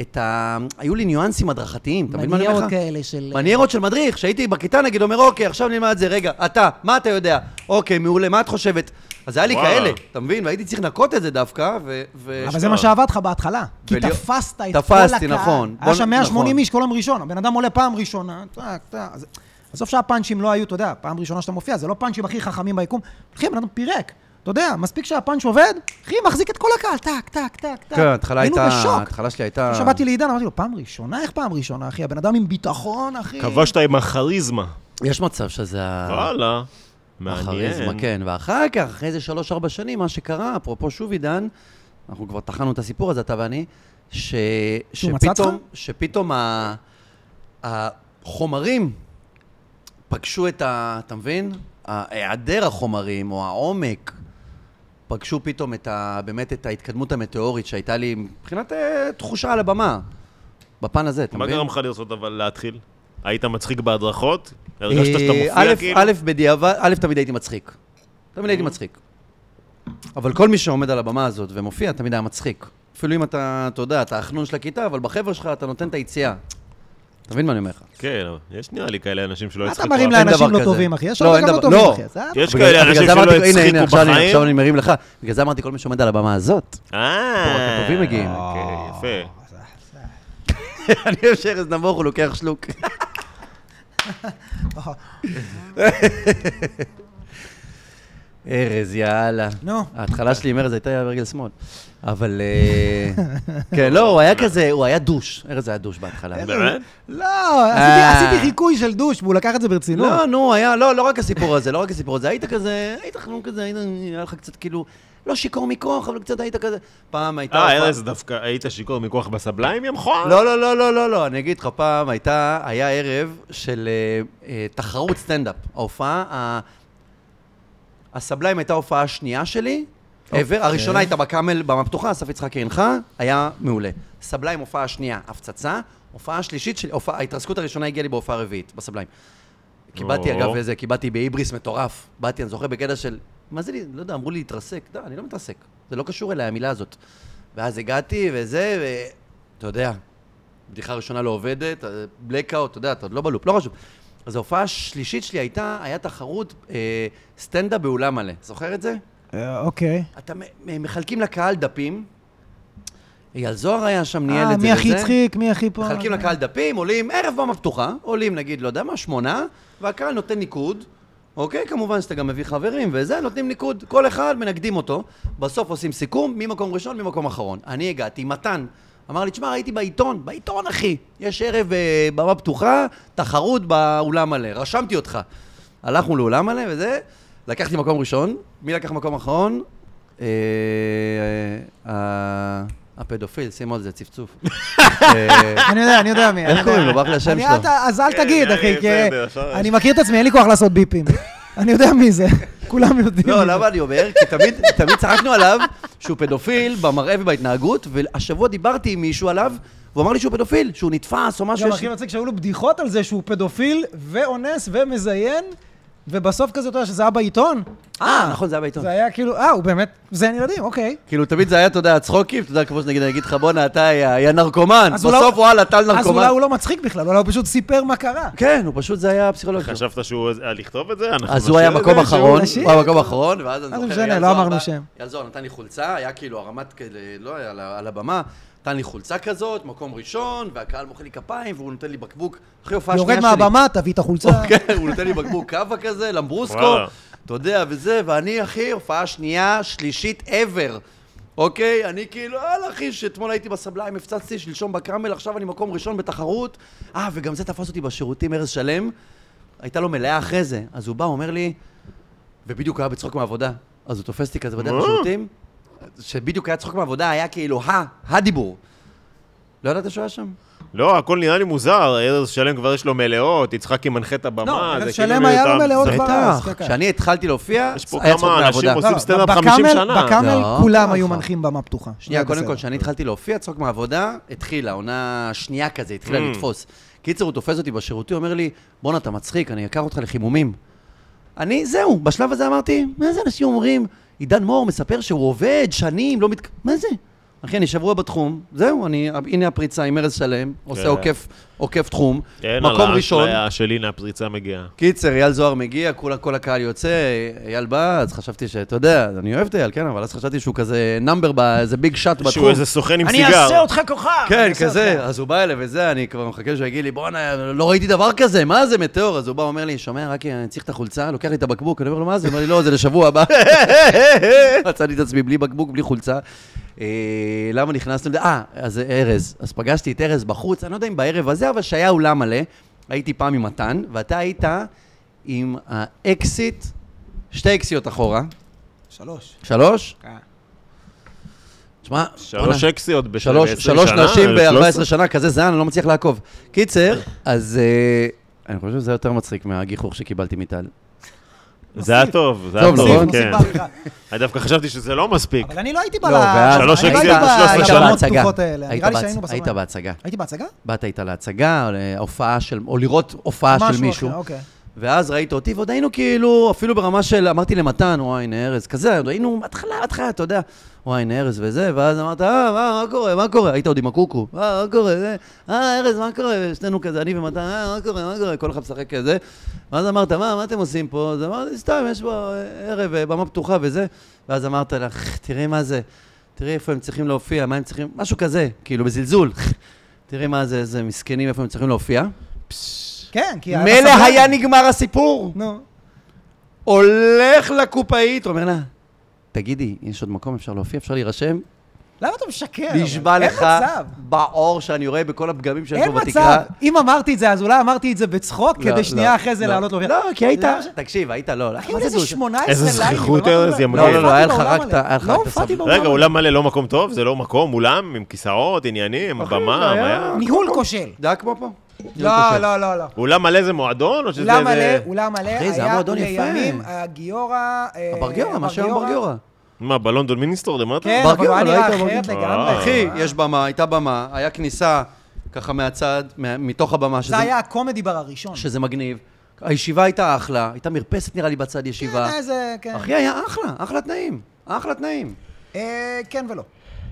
Speaker 2: את ה... היו לי ניואנסים הדרכתיים, אתה מבין מה אני אומר לך?
Speaker 1: מניארות כאלה של...
Speaker 2: מניירות של מדריך, שהייתי בכיתה נגיד, אומר, אוקיי, עכשיו נלמד את זה, רגע, אתה, מה אתה יודע? אוקיי, מעולה, מה את חושבת? אז היה לי
Speaker 3: וואלה.
Speaker 2: כאלה, אתה מבין? והייתי צריך לנקות את זה דווקא, ו... ו-
Speaker 1: אבל זה מה שעבד לך בהתחלה. כי
Speaker 2: ולהיות-
Speaker 1: תפסת את כל
Speaker 2: תפסתי,
Speaker 1: הקהל.
Speaker 2: נכון. בוא
Speaker 1: היה שם
Speaker 2: נ-
Speaker 1: 180
Speaker 2: נכון.
Speaker 1: איש כל יום ראשון. הבן אדם עולה פעם ראשונה, טק, טק. אז- עזוב שהפאנצ'ים לא היו, אתה יודע, פעם ראשונה שאתה מופיע, זה לא פאנצ'ים הכי חכמים ביקום. אחי, הבן אדם פירק. אתה יודע, מספיק שהפאנץ' עובד, אחי, מחזיק את כל הקהל, טק, טק, טק, טק.
Speaker 2: כן, ההתחלה הייתה...
Speaker 1: היינו בשוק.
Speaker 2: ההתחלה שלי הייתה...
Speaker 1: כשבאתי לעידן, אמרתי לו, פעם ראשונה? איך פעם ראשונה, אחי? הבן אדם עם ביטחון, אחי.
Speaker 3: כבשת עם הכריזמה.
Speaker 2: יש מצב שזה... ה-
Speaker 3: אה. וואלה.
Speaker 2: הכריזמה,
Speaker 3: מעניין.
Speaker 2: כן. ואחר כך, אחרי איזה שלוש-ארבע שנים, מה שקרה, אפרופו שוב עידן, אנחנו כבר טחנו את הסיפור הזה, אתה ואני, ש...
Speaker 1: שהוא מצא אותך?
Speaker 2: שפתאום, שפתאום ה... החומרים פגשו את ה... אתה מבין? היעדר החומרים, או העומק, פגשו פתאום את ה... באמת את ההתקדמות המטאורית שהייתה לי מבחינת אה, תחושה על הבמה. בפן הזה, אתה
Speaker 3: מה
Speaker 2: מבין?
Speaker 3: גרם לך לרצות אבל להתחיל? היית מצחיק בהדרכות? הרגשת שאתה
Speaker 2: אה,
Speaker 3: מופיע
Speaker 2: א',
Speaker 3: כאילו? Mm-hmm.
Speaker 2: א', בדיעבד, א', תמיד הייתי מצחיק. תמיד הייתי מצחיק. אבל כל מי שעומד על הבמה הזאת ומופיע, תמיד היה מצחיק. אפילו אם אתה, אתה יודע, אתה החנון של הכיתה, אבל בחבר'ה שלך אתה נותן את היציאה. אתה מבין מה אני אומר לך?
Speaker 3: כן, אבל יש נראה לי כאלה אנשים שלא
Speaker 1: מה אתה
Speaker 3: יצחקו.
Speaker 1: מרים
Speaker 3: אף-
Speaker 2: אין
Speaker 1: לאנשים
Speaker 2: דבר
Speaker 1: לא
Speaker 2: כזה.
Speaker 1: טובים, אחי? יש
Speaker 2: לא,
Speaker 1: לך
Speaker 2: אין
Speaker 1: גם לא
Speaker 2: דבר-
Speaker 1: טובים,
Speaker 2: לא.
Speaker 1: אחי. זה-
Speaker 3: יש
Speaker 2: בגלל-
Speaker 3: כאלה
Speaker 2: בגלל
Speaker 3: אנשים
Speaker 2: זה
Speaker 3: שלא
Speaker 2: אמרתי- הנה, הנה,
Speaker 3: הצחיקו
Speaker 2: עכשיו אני-
Speaker 3: בחיים.
Speaker 2: עכשיו אני מרים לך. בגלל זה אמרתי כל מי שעומד על הבמה הזאת. [LAUGHS]
Speaker 3: אה,
Speaker 2: פה רק הטובים מגיעים. אה.
Speaker 3: אוקיי,
Speaker 1: אה,
Speaker 3: יפה.
Speaker 2: אני חושב שארז נבוך, הוא לוקח שלוק. [LAUGHS] ארז, יאללה.
Speaker 1: נו.
Speaker 2: ההתחלה שלי עם ארז הייתה ברגל שמאל. אבל... אה, כן, לא, הוא היה כזה, הוא היה דוש. ארז היה דוש
Speaker 3: [LAUGHS]
Speaker 2: בהתחלה.
Speaker 3: באמת?
Speaker 1: לא, עשיתי-
Speaker 2: אה.
Speaker 1: עשיתי חיקוי של דוש, והוא לקח את זה ברצינות.
Speaker 2: לא, נו, היה, לא, לא רק הסיפור הזה, לא רק הסיפור הזה. היית כזה, היית חנון כזה, היית, היה לך קצת כאילו, לא שיכור מכוח, אבל קצת היית כזה. פעם הייתה...
Speaker 3: אה,
Speaker 2: הופעה-
Speaker 3: ארז, דווקא היית שיכור מכוח בסבליים, יא מכוער?
Speaker 2: לא, לא, לא, לא, לא, לא, אני אגיד לך, פעם הייתה, היה ערב של אה, אה, תחרות סטנדאפ. ההופעה, ה- הסבליים הייתה ההופעה השנייה שלי,
Speaker 3: אוקיי.
Speaker 2: ever, הראשונה הייתה בקאמל, במה פתוחה, אסף יצחקי הנחה, היה מעולה. סבליים, הופעה שנייה, הפצצה, הופעה שלישית, של, הופעה, ההתרסקות הראשונה הגיעה לי בהופעה רביעית, בסבליים. קיבלתי,
Speaker 3: או.
Speaker 2: אגב, איזה, קיבלתי בהיבריס מטורף. באתי, אני זוכר, בקטע של, מה זה לי, לא יודע, אמרו לי להתרסק. לא, אני לא מתרסק. זה לא קשור אליי, המילה הזאת. ואז הגעתי, וזה, ו... אתה יודע, בדיחה ראשונה לא עובדת, בלקאוט, אתה יודע, אתה עוד לא בלופ, לא חשוב. אז ההופעה השלישית שלי הייתה, היה תחרות אה, סטנדאפ באולם מלא. זוכר את זה?
Speaker 1: אה, אוקיי.
Speaker 2: אתה מ- מ- מחלקים לקהל דפים. אייל זוהר היה שם, ניהל
Speaker 1: אה,
Speaker 2: את זה.
Speaker 1: מי הכי
Speaker 2: וזה.
Speaker 1: הצחיק, מי הכי פה...
Speaker 2: מחלקים לקהל דפים, עולים ערב במה פתוחה, עולים נגיד, לא יודע מה, שמונה, והקהל נותן ניקוד, אוקיי? כמובן שאתה גם מביא חברים וזה, נותנים ניקוד, כל אחד מנקדים אותו, בסוף עושים סיכום, ממקום ראשון, ממקום אחרון. אני הגעתי, מתן, אמר לי, תשמע, ראיתי בעיתון, בעיתון אחי, יש ערב אה, במה פתוחה, תחרות באולם מלא, רשמתי אותך. הלכנו לאולם מלא וזה, לקחתי מקום ראשון, מי לקח מקום אחרון? אה, אה, הפדופיל, שימו על זה צפצוף. אה,
Speaker 1: אני יודע, אני יודע מי. אני
Speaker 2: [LAUGHS] איך
Speaker 1: יודע.
Speaker 2: קוראים לו? ברח לי השם
Speaker 1: אני-
Speaker 2: שלו.
Speaker 1: אל ת- אז אל
Speaker 3: כן,
Speaker 1: תגיד,
Speaker 3: אני
Speaker 1: אחי, כי
Speaker 3: בסדר, אפשר-
Speaker 1: אני מכיר את עצמי, אין לי כוח לעשות
Speaker 2: [LAUGHS]
Speaker 1: ביפים. אני יודע מי זה, כולם יודעים.
Speaker 2: לא,
Speaker 1: מי זה.
Speaker 2: למה אני אומר? כי תמיד, [LAUGHS] תמיד צחקנו עליו שהוא פדופיל במראה ובהתנהגות, והשבוע דיברתי עם מישהו עליו, והוא אמר לי שהוא פדופיל, שהוא נתפס או משהו.
Speaker 1: גם
Speaker 2: יש-
Speaker 1: הכי מצחיק שהיו לו בדיחות על זה שהוא פדופיל ואונס ומזיין, ובסוף כזה, אתה יודע שזה היה בעיתון?
Speaker 2: אה, נכון, זה היה בעיתון.
Speaker 1: זה היה כאילו, אה, הוא באמת מזיין ילדים, אוקיי.
Speaker 2: כאילו, תמיד זה היה, אתה יודע, צחוקים, אתה יודע, כמו שנגיד, אני אגיד לך, בואנה, אתה היה היה נרקומן,
Speaker 1: אז אולי-
Speaker 2: בסוף וואלה, טל
Speaker 1: אז אולי
Speaker 2: נרקומן.
Speaker 1: הוא לא מצחיק בכלל, אולי הוא פשוט סיפר מה קרה.
Speaker 2: כן, הוא פשוט, זה היה הפסיכולוג שלו.
Speaker 3: חשבת שהוא... אה, לכתוב את זה? אנחנו
Speaker 2: אז הוא היה
Speaker 3: נשאיר את
Speaker 2: מקום
Speaker 3: זה, שהוא-
Speaker 2: אחרון,
Speaker 1: נשאיר.
Speaker 2: הוא היה מקום אחרון, ואז אני
Speaker 1: לא
Speaker 2: זוכר,
Speaker 1: משנה,
Speaker 2: אייל
Speaker 1: לא
Speaker 2: זוהר
Speaker 1: אמרנו
Speaker 2: בא-
Speaker 1: שם.
Speaker 2: אייל זוהר נתן לי חולצה, היה כאילו הרמת כאלה, לא היה על ה- על הבמה, נתן לי חולצה כזאת, מקום ראשון, והקהל מוחא לי כפיים, והוא נותן לי בקבוק, אחרי הופעה
Speaker 1: יורד
Speaker 2: שנייה שלי.
Speaker 1: מהבמה, תביא את החולצה.
Speaker 2: [LAUGHS] כן, הוא נותן לי בקבוק קאבה כזה, למברוסקו,
Speaker 3: וואלה.
Speaker 2: אתה יודע, וזה, ואני, אחי, הופעה שנייה, שלישית ever. אוקיי, אני כאילו, יאללה אחי, שאתמול הייתי בסבליים, הפצצתי, שלשום בקרמל, עכשיו אני מקום ראשון בתחרות. אה, וגם זה תפס אותי בשירותים, ארז שלם. הייתה לו מלאה אחרי זה. אז הוא בא, אומר לי, ובדיוק הוא היה בצחוק מהעבודה. אז הוא תופס אותי כזה בדרך
Speaker 3: מה?
Speaker 2: לשירותים, שבדיוק היה צחוק מהעבודה, היה כאילו ה, הדיבור. לא ידעת שהוא היה שם?
Speaker 3: לא, הכל נראה לי מוזר, ארז שלם כבר יש לו מלאות, יצחקי מנחה את הבמה.
Speaker 1: לא, ארז
Speaker 3: זה כאילו
Speaker 1: שלם היה לו
Speaker 3: מיותר.
Speaker 1: מלאות
Speaker 3: זה-
Speaker 1: כבר.
Speaker 2: בטח.
Speaker 1: כן, כן.
Speaker 2: כשאני התחלתי להופע,
Speaker 3: יש פה
Speaker 2: היה צחוק
Speaker 3: כמה אנשים
Speaker 2: מהעבודה.
Speaker 3: עושים סטנדאפ
Speaker 1: לא,
Speaker 3: 50
Speaker 1: בקאמל-
Speaker 3: שנה.
Speaker 1: בקאמל
Speaker 2: לא,
Speaker 1: כולם
Speaker 2: ככה.
Speaker 1: היו מנחים במה פתוחה.
Speaker 2: שנייה,
Speaker 1: זה
Speaker 2: קודם
Speaker 1: אוקיי, בסדר.
Speaker 2: כל, כשאני התחלתי להופיע, צחוק מהעבודה, התחילה, עונה שנייה כזה, התחילה
Speaker 3: Mm.
Speaker 2: לתפוס. קיצר, הוא תופס אותי בשירותי, אומר לי, בואנה, אתה מצחיק, אני אקח אותך לחימומים. אני, זהו, בשלב הזה אמרתי, מה זה אנשים אומרים? עידן מור מספר שהוא עובד שנים, לא מת... מה זה? אחי, אני שבוע בתחום, זהו, אני, הנה הפריצה עם ארז שלם, עושה
Speaker 3: כן.
Speaker 2: עוקף עוקף תחום,
Speaker 3: כן, על
Speaker 2: מקום ראשון.
Speaker 3: האשליה של הנה הפריצה מגיעה.
Speaker 2: קיצר, אייל זוהר מגיע, כולה, כל הקהל יוצא, אייל בא, אז חשבתי שאתה יודע, אני אוהב את אייל, כן, אבל אז חשבתי שהוא כזה נאמבר, ב- איזה ביג שאט בתחום.
Speaker 3: שהוא איזה סוכן עם
Speaker 1: אני
Speaker 3: סיגר.
Speaker 1: אעשה אותך [LAUGHS] כוכב!
Speaker 2: כן,
Speaker 1: אני אעשה
Speaker 2: כזה,
Speaker 1: אותך.
Speaker 2: אז הוא בא אליי וזה, אני כבר מחכה שהוא יגיד לי, בואנה, לא ראיתי דבר כזה, מה זה מטאור? אז הוא בא, אומר לי, שומע, רק אני צריך את החולצה, לוקח לי את הבקבוק, אני אומר לו, מה זה? הוא אומר לי, לא, זה לשבוע הבא. מצאתי את עצמי בלי בקבוק, בלי חולצה. אה, למה נכנסנו? לזה? אה, אז ארז. אז פגשתי את ארז בחוץ, אני לא יודע אם בערב הזה, אבל שהיה אולם מלא. הייתי פעם עם מתן, ואתה היית עם האקסיט, שתי אקסיות אחורה.
Speaker 1: שלוש.
Speaker 2: שלוש?
Speaker 1: כן.
Speaker 2: תשמע,
Speaker 3: שלוש
Speaker 2: בואנה.
Speaker 3: אקסיות בש-
Speaker 2: שלוש,
Speaker 3: ב-עשרים
Speaker 2: שלוש
Speaker 3: שנה,
Speaker 2: נשים
Speaker 3: שלוש-
Speaker 2: ב-14 שנה, כזה זן, אני לא מצליח לעקוב. קיצר, אז אה, אני חושב שזה יותר מצחיק מהגיחוך שקיבלתי מטל.
Speaker 3: זה היה טוב, זה היה
Speaker 2: טוב,
Speaker 1: מוסיף,
Speaker 2: נכון?
Speaker 3: טוב,
Speaker 1: מוסיף
Speaker 3: כן.
Speaker 1: בעריכה.
Speaker 3: אני דווקא חשבתי שזה לא מספיק.
Speaker 1: אבל אני לא הייתי
Speaker 2: לא,
Speaker 1: בלה...
Speaker 2: ואז
Speaker 3: שלוש
Speaker 1: אני לא
Speaker 3: אקזיט
Speaker 1: הייתי
Speaker 3: ב-
Speaker 1: ב-
Speaker 2: היית
Speaker 3: שלוש
Speaker 1: לבמות
Speaker 2: בהצגה.
Speaker 1: פתוחות האלה.
Speaker 2: היית
Speaker 1: נראה לי
Speaker 2: בהצ-
Speaker 1: שהיינו בסרט.
Speaker 2: היית בהצגה.
Speaker 1: הייתי בהצגה?
Speaker 2: באת איתה להצגה, או להופעה של, או לראות הופעה אה, של
Speaker 1: משהו
Speaker 2: מישהו.
Speaker 1: אחר, אוקיי.
Speaker 2: ואז ראית אותי, ועוד היינו כאילו, אפילו ברמה של, אמרתי למתן, וואי, הנה ארז, כזה, עוד היינו, התחלה, התחלה, אתה יודע, וואי, הנה ארז וזה, ואז אמרת, אה, מה, מה קורה, מה קורה? היית עוד עם הקוקו, אה, מה קורה, זה, אה, ארז, מה קורה? שנינו כזה, אני ומתן, אה, מה קורה, מה קורה? כל אחד משחק כזה. ואז אמרת, מה, מה אתם עושים פה? אז אמרתי, סתם, יש פה אה, ערב, אה, במה פתוחה וזה. ואז אמרת לך, תראי מה זה, תראי איפה הם צריכים להופיע, מה הם צריכים, משהו כזה, כאילו, בזלזול. [LAUGHS] תראי מה זה, איזה מסכנים, איפה הם צריכים להופיע.
Speaker 1: כן, כי... היה בסבלן.
Speaker 2: מילא היה נגמר הסיפור.
Speaker 1: נו.
Speaker 2: הולך לקופאית, אומר לה, תגידי, יש עוד מקום, אפשר להופיע, אפשר להירשם?
Speaker 1: למה אתה משקר? כן, אבל?
Speaker 2: נשבע לך
Speaker 1: אין מצב.
Speaker 2: בעור שאני רואה בכל הפגמים שיש
Speaker 1: אין
Speaker 2: פה בתקרה.
Speaker 1: מצב. אם אמרתי את זה, אז אולי אמרתי את זה בצחוק,
Speaker 2: לא,
Speaker 1: כדי שנייה
Speaker 2: לא,
Speaker 1: אחרי זה
Speaker 2: לא.
Speaker 1: לעלות לו...
Speaker 2: לא, כי היית...
Speaker 1: למה ש-
Speaker 2: תקשיב, היית לא.
Speaker 1: אחי,
Speaker 2: מה
Speaker 1: אולי
Speaker 2: זה
Speaker 1: איזה
Speaker 2: דוש?
Speaker 1: 18 ליינים.
Speaker 3: איזה זכיחות,
Speaker 1: אבל
Speaker 3: ארז, יא
Speaker 1: לא הופעתי
Speaker 2: לא,
Speaker 3: מגעיל.
Speaker 2: לא, לא, היה לך
Speaker 1: בעולם
Speaker 2: רק
Speaker 1: הזה.
Speaker 2: את ה- היה לך
Speaker 1: לא
Speaker 2: רק את
Speaker 1: הופעתי
Speaker 2: הסבלן.
Speaker 1: בעולם
Speaker 3: רגע,
Speaker 1: הזה.
Speaker 3: אולם מלא לא מקום טוב, זה לא מקום, אולם עם כיסאות, עניינים,
Speaker 2: אחי,
Speaker 3: הבמה,
Speaker 2: זה
Speaker 3: היה...
Speaker 1: ניהול כושל.
Speaker 2: זה היה כמו פה.
Speaker 1: לא, לא, לא, לא.
Speaker 3: אולם מלא זה מועדון, או שזה...
Speaker 1: אולם מלא,
Speaker 3: איזה-
Speaker 1: אולם מלא,
Speaker 2: אחי, זה
Speaker 1: היה
Speaker 2: המועדון יפה.
Speaker 1: לימים הגיורא... אה,
Speaker 2: הבר גיורא, מה שהיה בר גיורא.
Speaker 3: מה, בלונדון מיניסטור למטה?
Speaker 1: כן,
Speaker 2: בר
Speaker 1: אבל הוא
Speaker 2: גיורא,
Speaker 1: היה
Speaker 2: לא
Speaker 1: נראה
Speaker 2: היית בר
Speaker 1: אחרת
Speaker 3: גיורא.
Speaker 1: לגמרי.
Speaker 3: אה.
Speaker 2: אחי, יש במה, הייתה במה, היה כניסה ככה מהצד, מה- מתוך הבמה, שזה-
Speaker 1: זה היה הקומדי בר הראשון.
Speaker 2: שזה מגניב. הישיבה הייתה אחלה, הייתה מרפסת נראה לי בצד
Speaker 1: כן,
Speaker 2: ישיבה.
Speaker 1: היה זה, כן.
Speaker 2: אחי, היה אחלה, אחלה תנאים. אחלה תנאים.
Speaker 1: אה, כן ולא.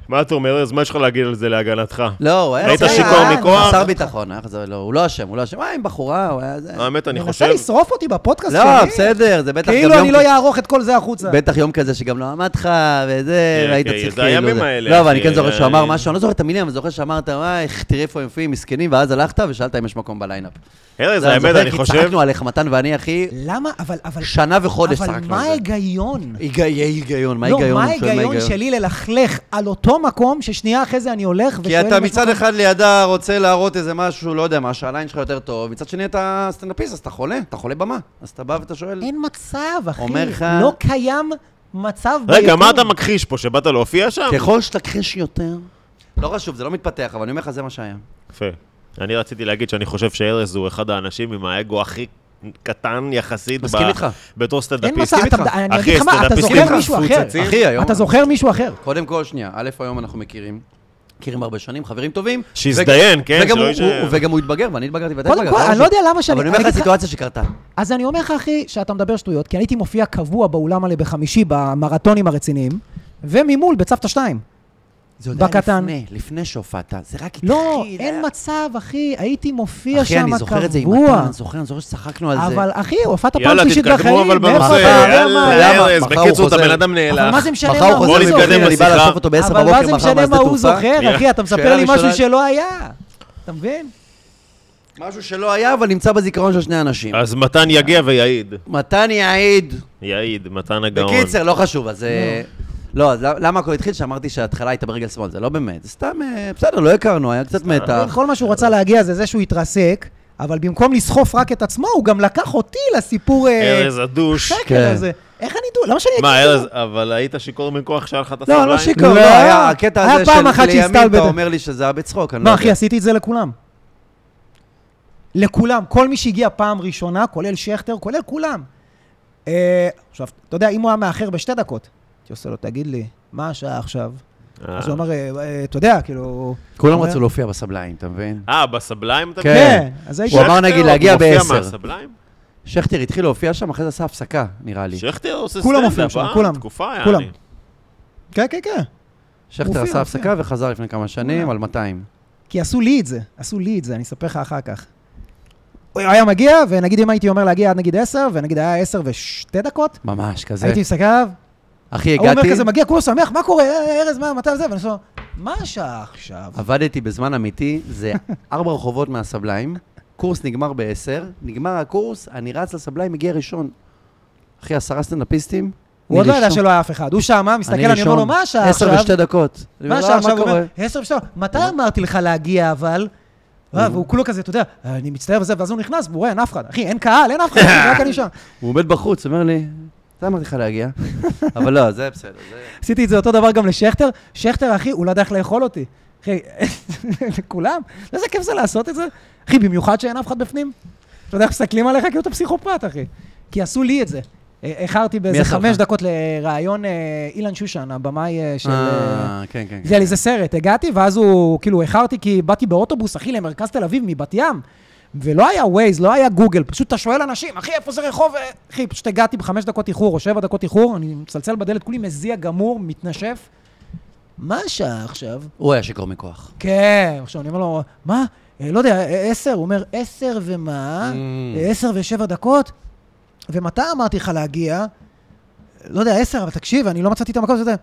Speaker 3: מה אתה אומר, אז מה יש לך להגיד על זה להגנתך?
Speaker 2: לא, הוא היה...
Speaker 3: היית
Speaker 2: צעיר.
Speaker 1: שיכור
Speaker 2: אה,
Speaker 3: מכוח?
Speaker 2: חסר ביטחון, אה, חזר- לא, הוא לא אשם, הוא לא אשם. אה, עם בחורה, הוא היה זה.
Speaker 3: האמת, אני
Speaker 1: הוא
Speaker 3: חושב...
Speaker 1: מנסה לשרוף אותי בפודקאסט שלי.
Speaker 2: לא, בסדר, זה בטח גם יום...
Speaker 1: כאילו אני לא אערוך את כל זה החוצה.
Speaker 2: בטח יום כזה שגם לא עמד לך, וזה,
Speaker 3: כן,
Speaker 2: והיית
Speaker 3: כן,
Speaker 2: צריך כאילו...
Speaker 3: זה הימים האלה,
Speaker 2: לא, אבל אני
Speaker 3: אחי,
Speaker 2: כן זוכר שהוא אמר
Speaker 3: אה,
Speaker 2: משהו, אני לא זוכר את המילים, אבל זוכר שאמרת, וואי, איך- תראה איפה הם מופיעים, מסכנים, ואז הלכת ושאלת אם יש מקום בליינאפ.
Speaker 3: ארז,
Speaker 2: לא, זה,
Speaker 3: האמת,
Speaker 2: זוכר,
Speaker 3: אני
Speaker 2: כי
Speaker 3: חושב...
Speaker 2: צחקנו עליך, מתן ואני, אחי,
Speaker 1: למה? אבל... אבל-
Speaker 2: שנה וחודש צחקנו
Speaker 1: אבל
Speaker 2: על זה.
Speaker 1: מה ההיגיון?
Speaker 2: היג- היגיון, מה
Speaker 1: לא,
Speaker 2: ההיגיון?
Speaker 1: מה
Speaker 2: אני שואל,
Speaker 1: ההיגיון שלי ללכך על אותו מקום ששנייה אחרי זה אני הולך ושואל...
Speaker 2: כי אתה
Speaker 1: אם יש
Speaker 2: מצד
Speaker 1: מקום?
Speaker 2: אחד לידה רוצה להראות איזה משהו, לא יודע מה, שהליין שלך יותר טוב, מצד שני אתה סטנדאפיסט, אז אתה חולה, אתה חולה במה. אז אתה בא ואתה שואל...
Speaker 1: אין מצב, אחי.
Speaker 2: אומר לך-
Speaker 1: לא קיים מצב
Speaker 3: רגע, מה אתה מכחיש פה, שבאת להופיע שם?
Speaker 2: ככל שתכחיש יותר... לא חשוב, זה לא מתפתח, אבל אני אומר לך, זה מה שהיה.
Speaker 3: יפה. אני רציתי להגיד שאני חושב שארז הוא אחד האנשים עם האגו הכי קטן יחסית.
Speaker 2: מסכים
Speaker 3: ב-
Speaker 2: איתך.
Speaker 3: בתור
Speaker 1: אין
Speaker 3: סטנדאפיסט.
Speaker 1: מצב,
Speaker 2: איתך.
Speaker 1: אתה- אני
Speaker 3: אחי,
Speaker 1: אגיד לך מה, אתה
Speaker 3: הסטנדאפיסטים
Speaker 1: זוכר מישהו אחר.
Speaker 2: מפוצצים. אחי, היום-
Speaker 1: אתה זוכר מישהו אחר.
Speaker 2: קודם כל, שנייה, א', היום אנחנו מכירים. מכירים הרבה שנים, חברים טובים.
Speaker 3: שיזדיין,
Speaker 2: וג-
Speaker 3: כן,
Speaker 2: וגם
Speaker 3: שלא
Speaker 2: הוא-
Speaker 3: יישאר.
Speaker 2: הוא- וגם הוא התבגר, ואני התבגרתי ואתה
Speaker 1: קודם
Speaker 2: התבגרת.
Speaker 1: כל,
Speaker 2: זה
Speaker 1: אני לא יודע
Speaker 2: משהו.
Speaker 1: למה שאני-
Speaker 2: אבל אני אומר
Speaker 1: אני
Speaker 2: לך
Speaker 1: אגיד לך-
Speaker 2: סיטואציה שקרתה.
Speaker 1: אז אני אומר לך, אחי, שאתה מדבר שטויות, כי אני הייתי מופיע קבוע באולם מלא בחמישי, במרתונים הרציניים, וממול, בצוותא שתיים.
Speaker 2: זה עוד היה
Speaker 1: בקטן.
Speaker 2: לפני, לפני שהופעת. זה רק התחיל.
Speaker 1: לא,
Speaker 2: היה-
Speaker 1: אין מצב, אחי, הייתי מופיע
Speaker 2: אחי,
Speaker 1: שם
Speaker 2: אני
Speaker 1: קבוע.
Speaker 2: זוכר את זה עם מתן, אני זוכר, אני זוכר שצחקנו על זה.
Speaker 1: אבל אחי, הופעת פעם
Speaker 3: יאללה,
Speaker 1: שלישית בחיים,
Speaker 3: תתקדמו אבל
Speaker 1: מאיפה
Speaker 3: בנושא.
Speaker 1: אתה יודע מה?
Speaker 2: למה?
Speaker 3: יאללה, ארז,
Speaker 2: מחר הוא
Speaker 3: בקיצור, אתה
Speaker 2: חוזר.
Speaker 3: בן אדם
Speaker 1: אבל מה
Speaker 3: נאלח.
Speaker 1: זה משנה
Speaker 2: מחר
Speaker 1: מה
Speaker 2: הוא
Speaker 1: הוא
Speaker 2: חוזר
Speaker 3: בוא
Speaker 1: זוכר?
Speaker 3: נתקדם
Speaker 2: מבחינתי, אני בא
Speaker 3: לשיחה.
Speaker 2: לאסוף אותו ב-10
Speaker 1: אבל מה זה אוקיי?
Speaker 2: בבוקר, מחר
Speaker 1: משנה
Speaker 2: מהשדה
Speaker 1: מה הוא
Speaker 2: תעופה.
Speaker 1: זוכר, אחי? אתה מספר
Speaker 2: שאלה
Speaker 1: לי משהו
Speaker 2: ראשונה-
Speaker 1: שלא היה. אתה מבין?
Speaker 2: משהו שלא היה, אבל נמצא בזיכרון של שני אנשים.
Speaker 3: אז מתן יגיע ויעיד.
Speaker 2: מתן יעיד.
Speaker 3: יעיד, מתן הגאון.
Speaker 2: בקיצר, לא חשוב, אז... אה, לא, אז למ- למה הכל התחיל? שאמרתי שההתחלה הייתה ברגל שמאל, זה לא באמת, זה סתם, אה, בסדר, לא הכרנו, היה קצת מתח.
Speaker 1: כל מה שהוא רצה להגיע זה זה שהוא התרסק, אבל במקום לסחוף רק את עצמו, הוא גם לקח אותי לסיפור... אה,
Speaker 3: ארז הדוש.
Speaker 1: שקל
Speaker 2: כן.
Speaker 1: הזה. איך אני דו... למה שאני אגיד... את
Speaker 3: מה,
Speaker 1: זה?
Speaker 3: ארז, אבל היית שיכור מכוח שהיה לך את
Speaker 2: לא,
Speaker 3: הסבליים?
Speaker 2: לא שיכור,
Speaker 1: לא.
Speaker 2: לא, היה הקטע
Speaker 1: היה
Speaker 2: הזה
Speaker 1: פעם אחת
Speaker 2: של לימים
Speaker 1: שהסתלבט.
Speaker 2: אתה אומר לי שזה היה בצחוק, אני לא
Speaker 1: מה, אחי,
Speaker 2: יודע.
Speaker 1: עשיתי את זה לכולם. לכולם. כל מי שהגיע פעם ראשונה, כולל שכטר, כולל כולם. אה, עכשיו, אתה יודע, אם הוא היה מאחר בשתי דקות, הייתי עושה לו, תגיד לי, מה השעה עכשיו?
Speaker 3: אה.
Speaker 1: אז הוא אמר, "אה, אה, אתה יודע, כאילו...
Speaker 2: כולם
Speaker 1: אומר,
Speaker 2: רצו להופיע בסבליים, אתה מבין?
Speaker 3: אה, בסבליים אתה...
Speaker 2: כן.
Speaker 1: כן, אז הייתי...
Speaker 2: הוא אמר, נגיד, להגיע
Speaker 3: מופיע
Speaker 2: בעשר.
Speaker 3: מהסבליים?
Speaker 2: שכטר התחיל להופיע שם, אחרי זה עשה הפסקה, נראה לי.
Speaker 3: שכטר עושה
Speaker 1: כולם
Speaker 3: סטנדאפ,
Speaker 1: מופיעים שם,
Speaker 3: אה?
Speaker 1: כולם.
Speaker 3: תקופה היה
Speaker 1: כולם.
Speaker 3: אני.
Speaker 1: כן, כן, כן.
Speaker 2: שכטר
Speaker 1: מופיע,
Speaker 2: עשה
Speaker 1: מופיע.
Speaker 2: הפסקה וחזר לפני כמה שנים על 200.
Speaker 1: כי עשו לי את זה, עשו לי את זה, אני אספר לך אחר כך. הוא היה מגיע, ונגיד אם הייתי אומר להגיע עד נגיד 10, ונגיד היה 10 ושתי דקות,
Speaker 2: ממש, כזה.
Speaker 1: הייתי מסתכל עליו,
Speaker 2: אחי,
Speaker 1: הוא אומר
Speaker 2: הגעתי,
Speaker 1: כזה, מגיע כולו שמח, מה קורה, אה, ארז, מה, מתי זה? ואני אומר, מה השעה עכשיו?
Speaker 2: עבדתי בזמן אמיתי,
Speaker 1: [LAUGHS]
Speaker 2: זה ארבע רחובות מהסבליים, קורס נגמר ב-10, נגמר הקורס, אני רץ לסבליים, מגיע ראשון. אחי, עשרה סטנדאפיסטים,
Speaker 1: הוא עוד
Speaker 2: אני
Speaker 1: לא ידע
Speaker 2: ראשון.
Speaker 1: שלא היה אף אחד, הוא שמה, מסתכל, אני אומר לו, מה השעה
Speaker 2: עשר
Speaker 1: עכשיו?
Speaker 2: ושתי דקות. אני
Speaker 1: מה
Speaker 2: אומר,
Speaker 1: השעה
Speaker 2: "אה,
Speaker 1: עכשיו? הוא
Speaker 2: קורה?"
Speaker 1: אומר, עשר ושתיים, מתי אמרתי לך להגיע אבל? אה, והוא כולו כזה, אתה יודע, אני מצטער וזה, ואז הוא נכנס, והוא רואה, אין אף אחד. אחי, אין קהל, אין אף אחד, רק אני שם.
Speaker 2: הוא עומד בחוץ, אומר לי, אתה אמרתי לך [LAUGHS] להגיע. אבל לא, זה בסדר. זה-
Speaker 1: עשיתי את זה אותו דבר גם לשכטר. שכטר, אחי, הוא לא יודע איך לאכול אותי. אחי, [LAUGHS] לכולם? לא איזה כיף זה לעשות את זה? אחי, במיוחד שאין אף אחד בפנים. אתה יודע איך מסתכלים עליך כאילו אתה פסיכופת, אחי. כי עשו לי את זה. אה, איחרתי באיזה
Speaker 2: עשה
Speaker 1: חמש
Speaker 2: לך?
Speaker 1: דקות לראיון אה, אילן שושן, הבמאי אה, של... אה,
Speaker 2: אה, כן, כן.
Speaker 1: זה היה לי איזה סרט, הגעתי, ואז הוא, כאילו, איחרתי כי באתי באוטובוס, אחי, למרכז תל אביב, מבת ים. ולא היה ווייז, לא היה גוגל, פשוט אתה שואל אנשים, אחי, איפה זה רחוב? אה, אחי, פשוט הגעתי בחמש דקות איחור או שבע דקות איחור, אני מצלצל בדלת, כולי מזיע גמור, מתנשף. מה השעה עכשיו?
Speaker 2: הוא היה שיכור מכוח.
Speaker 1: כן, עכשיו אני אומר לו, מה? אה, לא יודע, אה, עשר? הוא אומר, עשר ומה?
Speaker 2: Mm.
Speaker 1: אה, עשר ושבע דקות? ומתי אמרתי לך להגיע? לא יודע, עשר, אבל תקשיב, אני לא מצאתי את המקום הזה.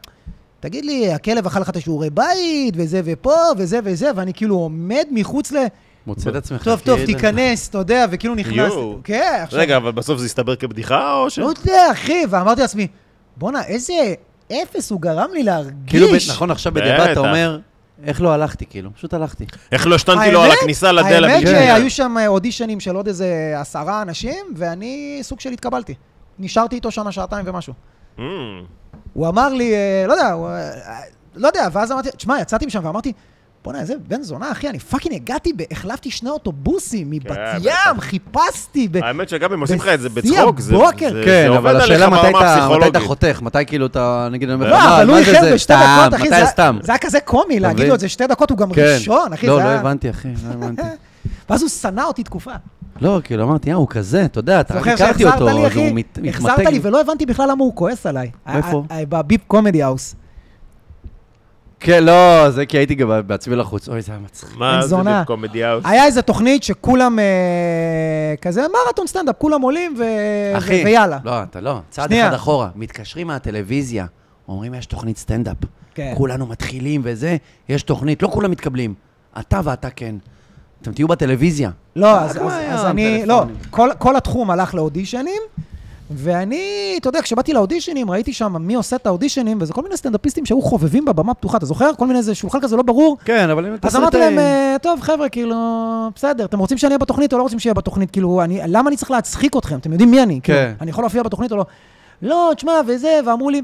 Speaker 1: תגיד לי, הכלב אכל לך את השיעורי בית, וזה ופה, וזה וזה, ואני כאילו עומד מחוץ ל...
Speaker 2: מוצא את עצמך.
Speaker 1: טוב, טוב,
Speaker 2: כאילו-
Speaker 1: תיכנס, אתה יודע, וכאילו נכנס...
Speaker 3: יואו.
Speaker 1: כן, עכשיו...
Speaker 3: רגע, אבל בסוף זה הסתבר כבדיחה, או ש...
Speaker 1: לא יודע, אחי, ואמרתי לעצמי, בואנה, איזה אפס הוא גרם לי להרגיש.
Speaker 2: כאילו, ב- נכון, עכשיו בדיעבד אתה
Speaker 3: בטח.
Speaker 2: אומר, איך לא הלכתי, כאילו? פשוט הלכתי.
Speaker 3: איך לא השתנתי לו על
Speaker 1: האמת-
Speaker 3: הכניסה לדלת כן.
Speaker 1: האמת
Speaker 2: הבניין.
Speaker 1: שהיו שם אה, אודישנים של עוד איזה עשרה אנשים, ואני סוג של התקבלתי. נשארתי איתו שנה, שעתיים ומשהו.
Speaker 3: Mm.
Speaker 1: הוא אמר לי, אה, לא יודע, הוא, אה, לא יודע, ואז אמרתי, תשמע, יצאתי משם ואמרתי, בואנה, איזה בן זונה, אחי, אני פאקינג הגעתי, ב- החלפתי שני אוטובוסים מבת
Speaker 3: כן,
Speaker 1: ים, חיפשתי, ב-
Speaker 3: האמת שגם אם עושים לך את זה
Speaker 1: בשיא
Speaker 3: בצחוק, זה
Speaker 1: הבוקר.
Speaker 3: זה-
Speaker 2: כן, אבל
Speaker 3: זה עובד
Speaker 2: השאלה
Speaker 3: עליך
Speaker 2: מתי
Speaker 3: ברמה
Speaker 2: אתה מתי אתה
Speaker 3: הפסיכולוגית.
Speaker 2: חותך, מתי כאילו אתה, נגיד, אני אומר, לך,
Speaker 1: לא, אבל הוא
Speaker 2: מה זה
Speaker 1: איחר
Speaker 2: זה?
Speaker 1: בשתי
Speaker 2: סתם,
Speaker 1: דקות, אחי,
Speaker 2: מתי
Speaker 1: זה-
Speaker 2: סתם?
Speaker 1: זה היה כזה קומי להגיד
Speaker 2: מבין?
Speaker 1: לו את זה שתי דקות, הוא גם
Speaker 2: כן.
Speaker 1: ראשון, אחי,
Speaker 2: לא,
Speaker 1: זה
Speaker 2: לא
Speaker 1: היה...
Speaker 2: הבנתי, אחי, לא הבנתי.
Speaker 1: ואז הוא שנא אותי תקופה.
Speaker 2: [LAUGHS] לא, כאילו, אמרתי, אה, הוא כזה, אתה יודע, אתה
Speaker 1: זוכר
Speaker 2: הכרתי
Speaker 1: שהחזרת
Speaker 2: אותו,
Speaker 1: לי,
Speaker 2: אז הוא
Speaker 1: אחי?
Speaker 2: מת- מתמתק.
Speaker 1: החזרת לי, ולא הבנתי בכלל למה הוא כועס עליי.
Speaker 2: איפה?
Speaker 1: ה- ה- ה- בביפ קומדי האוס.
Speaker 2: כן, לא, זה כי הייתי גם בעצמי לחוץ. אוי, זה היה מצחיק.
Speaker 1: בן
Speaker 3: מה זה
Speaker 1: זונה.
Speaker 3: בקומדיה?
Speaker 1: היה איזו תוכנית שכולם אה, כזה מרתון סטנדאפ, כולם עולים ו-
Speaker 2: אחי,
Speaker 1: ו- ויאללה.
Speaker 2: לא, אתה לא. צעד
Speaker 1: שנייה.
Speaker 2: אחד אחורה. מתקשרים מהטלוויזיה, אומרים, יש תוכנית סטנדאפ.
Speaker 1: כן.
Speaker 2: כולנו מתחילים וזה, יש תוכנית, לא כולם מתקבלים. אתה ואתה כן. אתם תהיו בטלוויזיה.
Speaker 1: לא, אז-
Speaker 2: מה
Speaker 1: אז
Speaker 2: היה
Speaker 1: אז אני, לא,
Speaker 2: הטלפונים?
Speaker 1: כל- כל התחום הלך לאודישנים, ואני, אתה יודע, כשבאתי לאודישנים, ראיתי שם מי עושה את האודישנים, וזה כל מיני סטנדאפיסטים שהיו חובבים בבמה פתוחה, אתה זוכר? כל מיני איזה שולחן כזה לא ברור.
Speaker 2: כן, אבל אם
Speaker 1: אז אמרתי להם, "אה, טוב, חבר'ה, כאילו, בסדר, אתם רוצים שאני אהיה בתוכנית או לא רוצים שאני אהיה בתוכנית? כאילו, אני, למה אני צריך להצחיק אתכם? אתם יודעים מי אני? כאילו,
Speaker 2: כן.
Speaker 1: אני יכול להופיע בתוכנית או לא? לא, תשמע, וזה, ואמרו לי,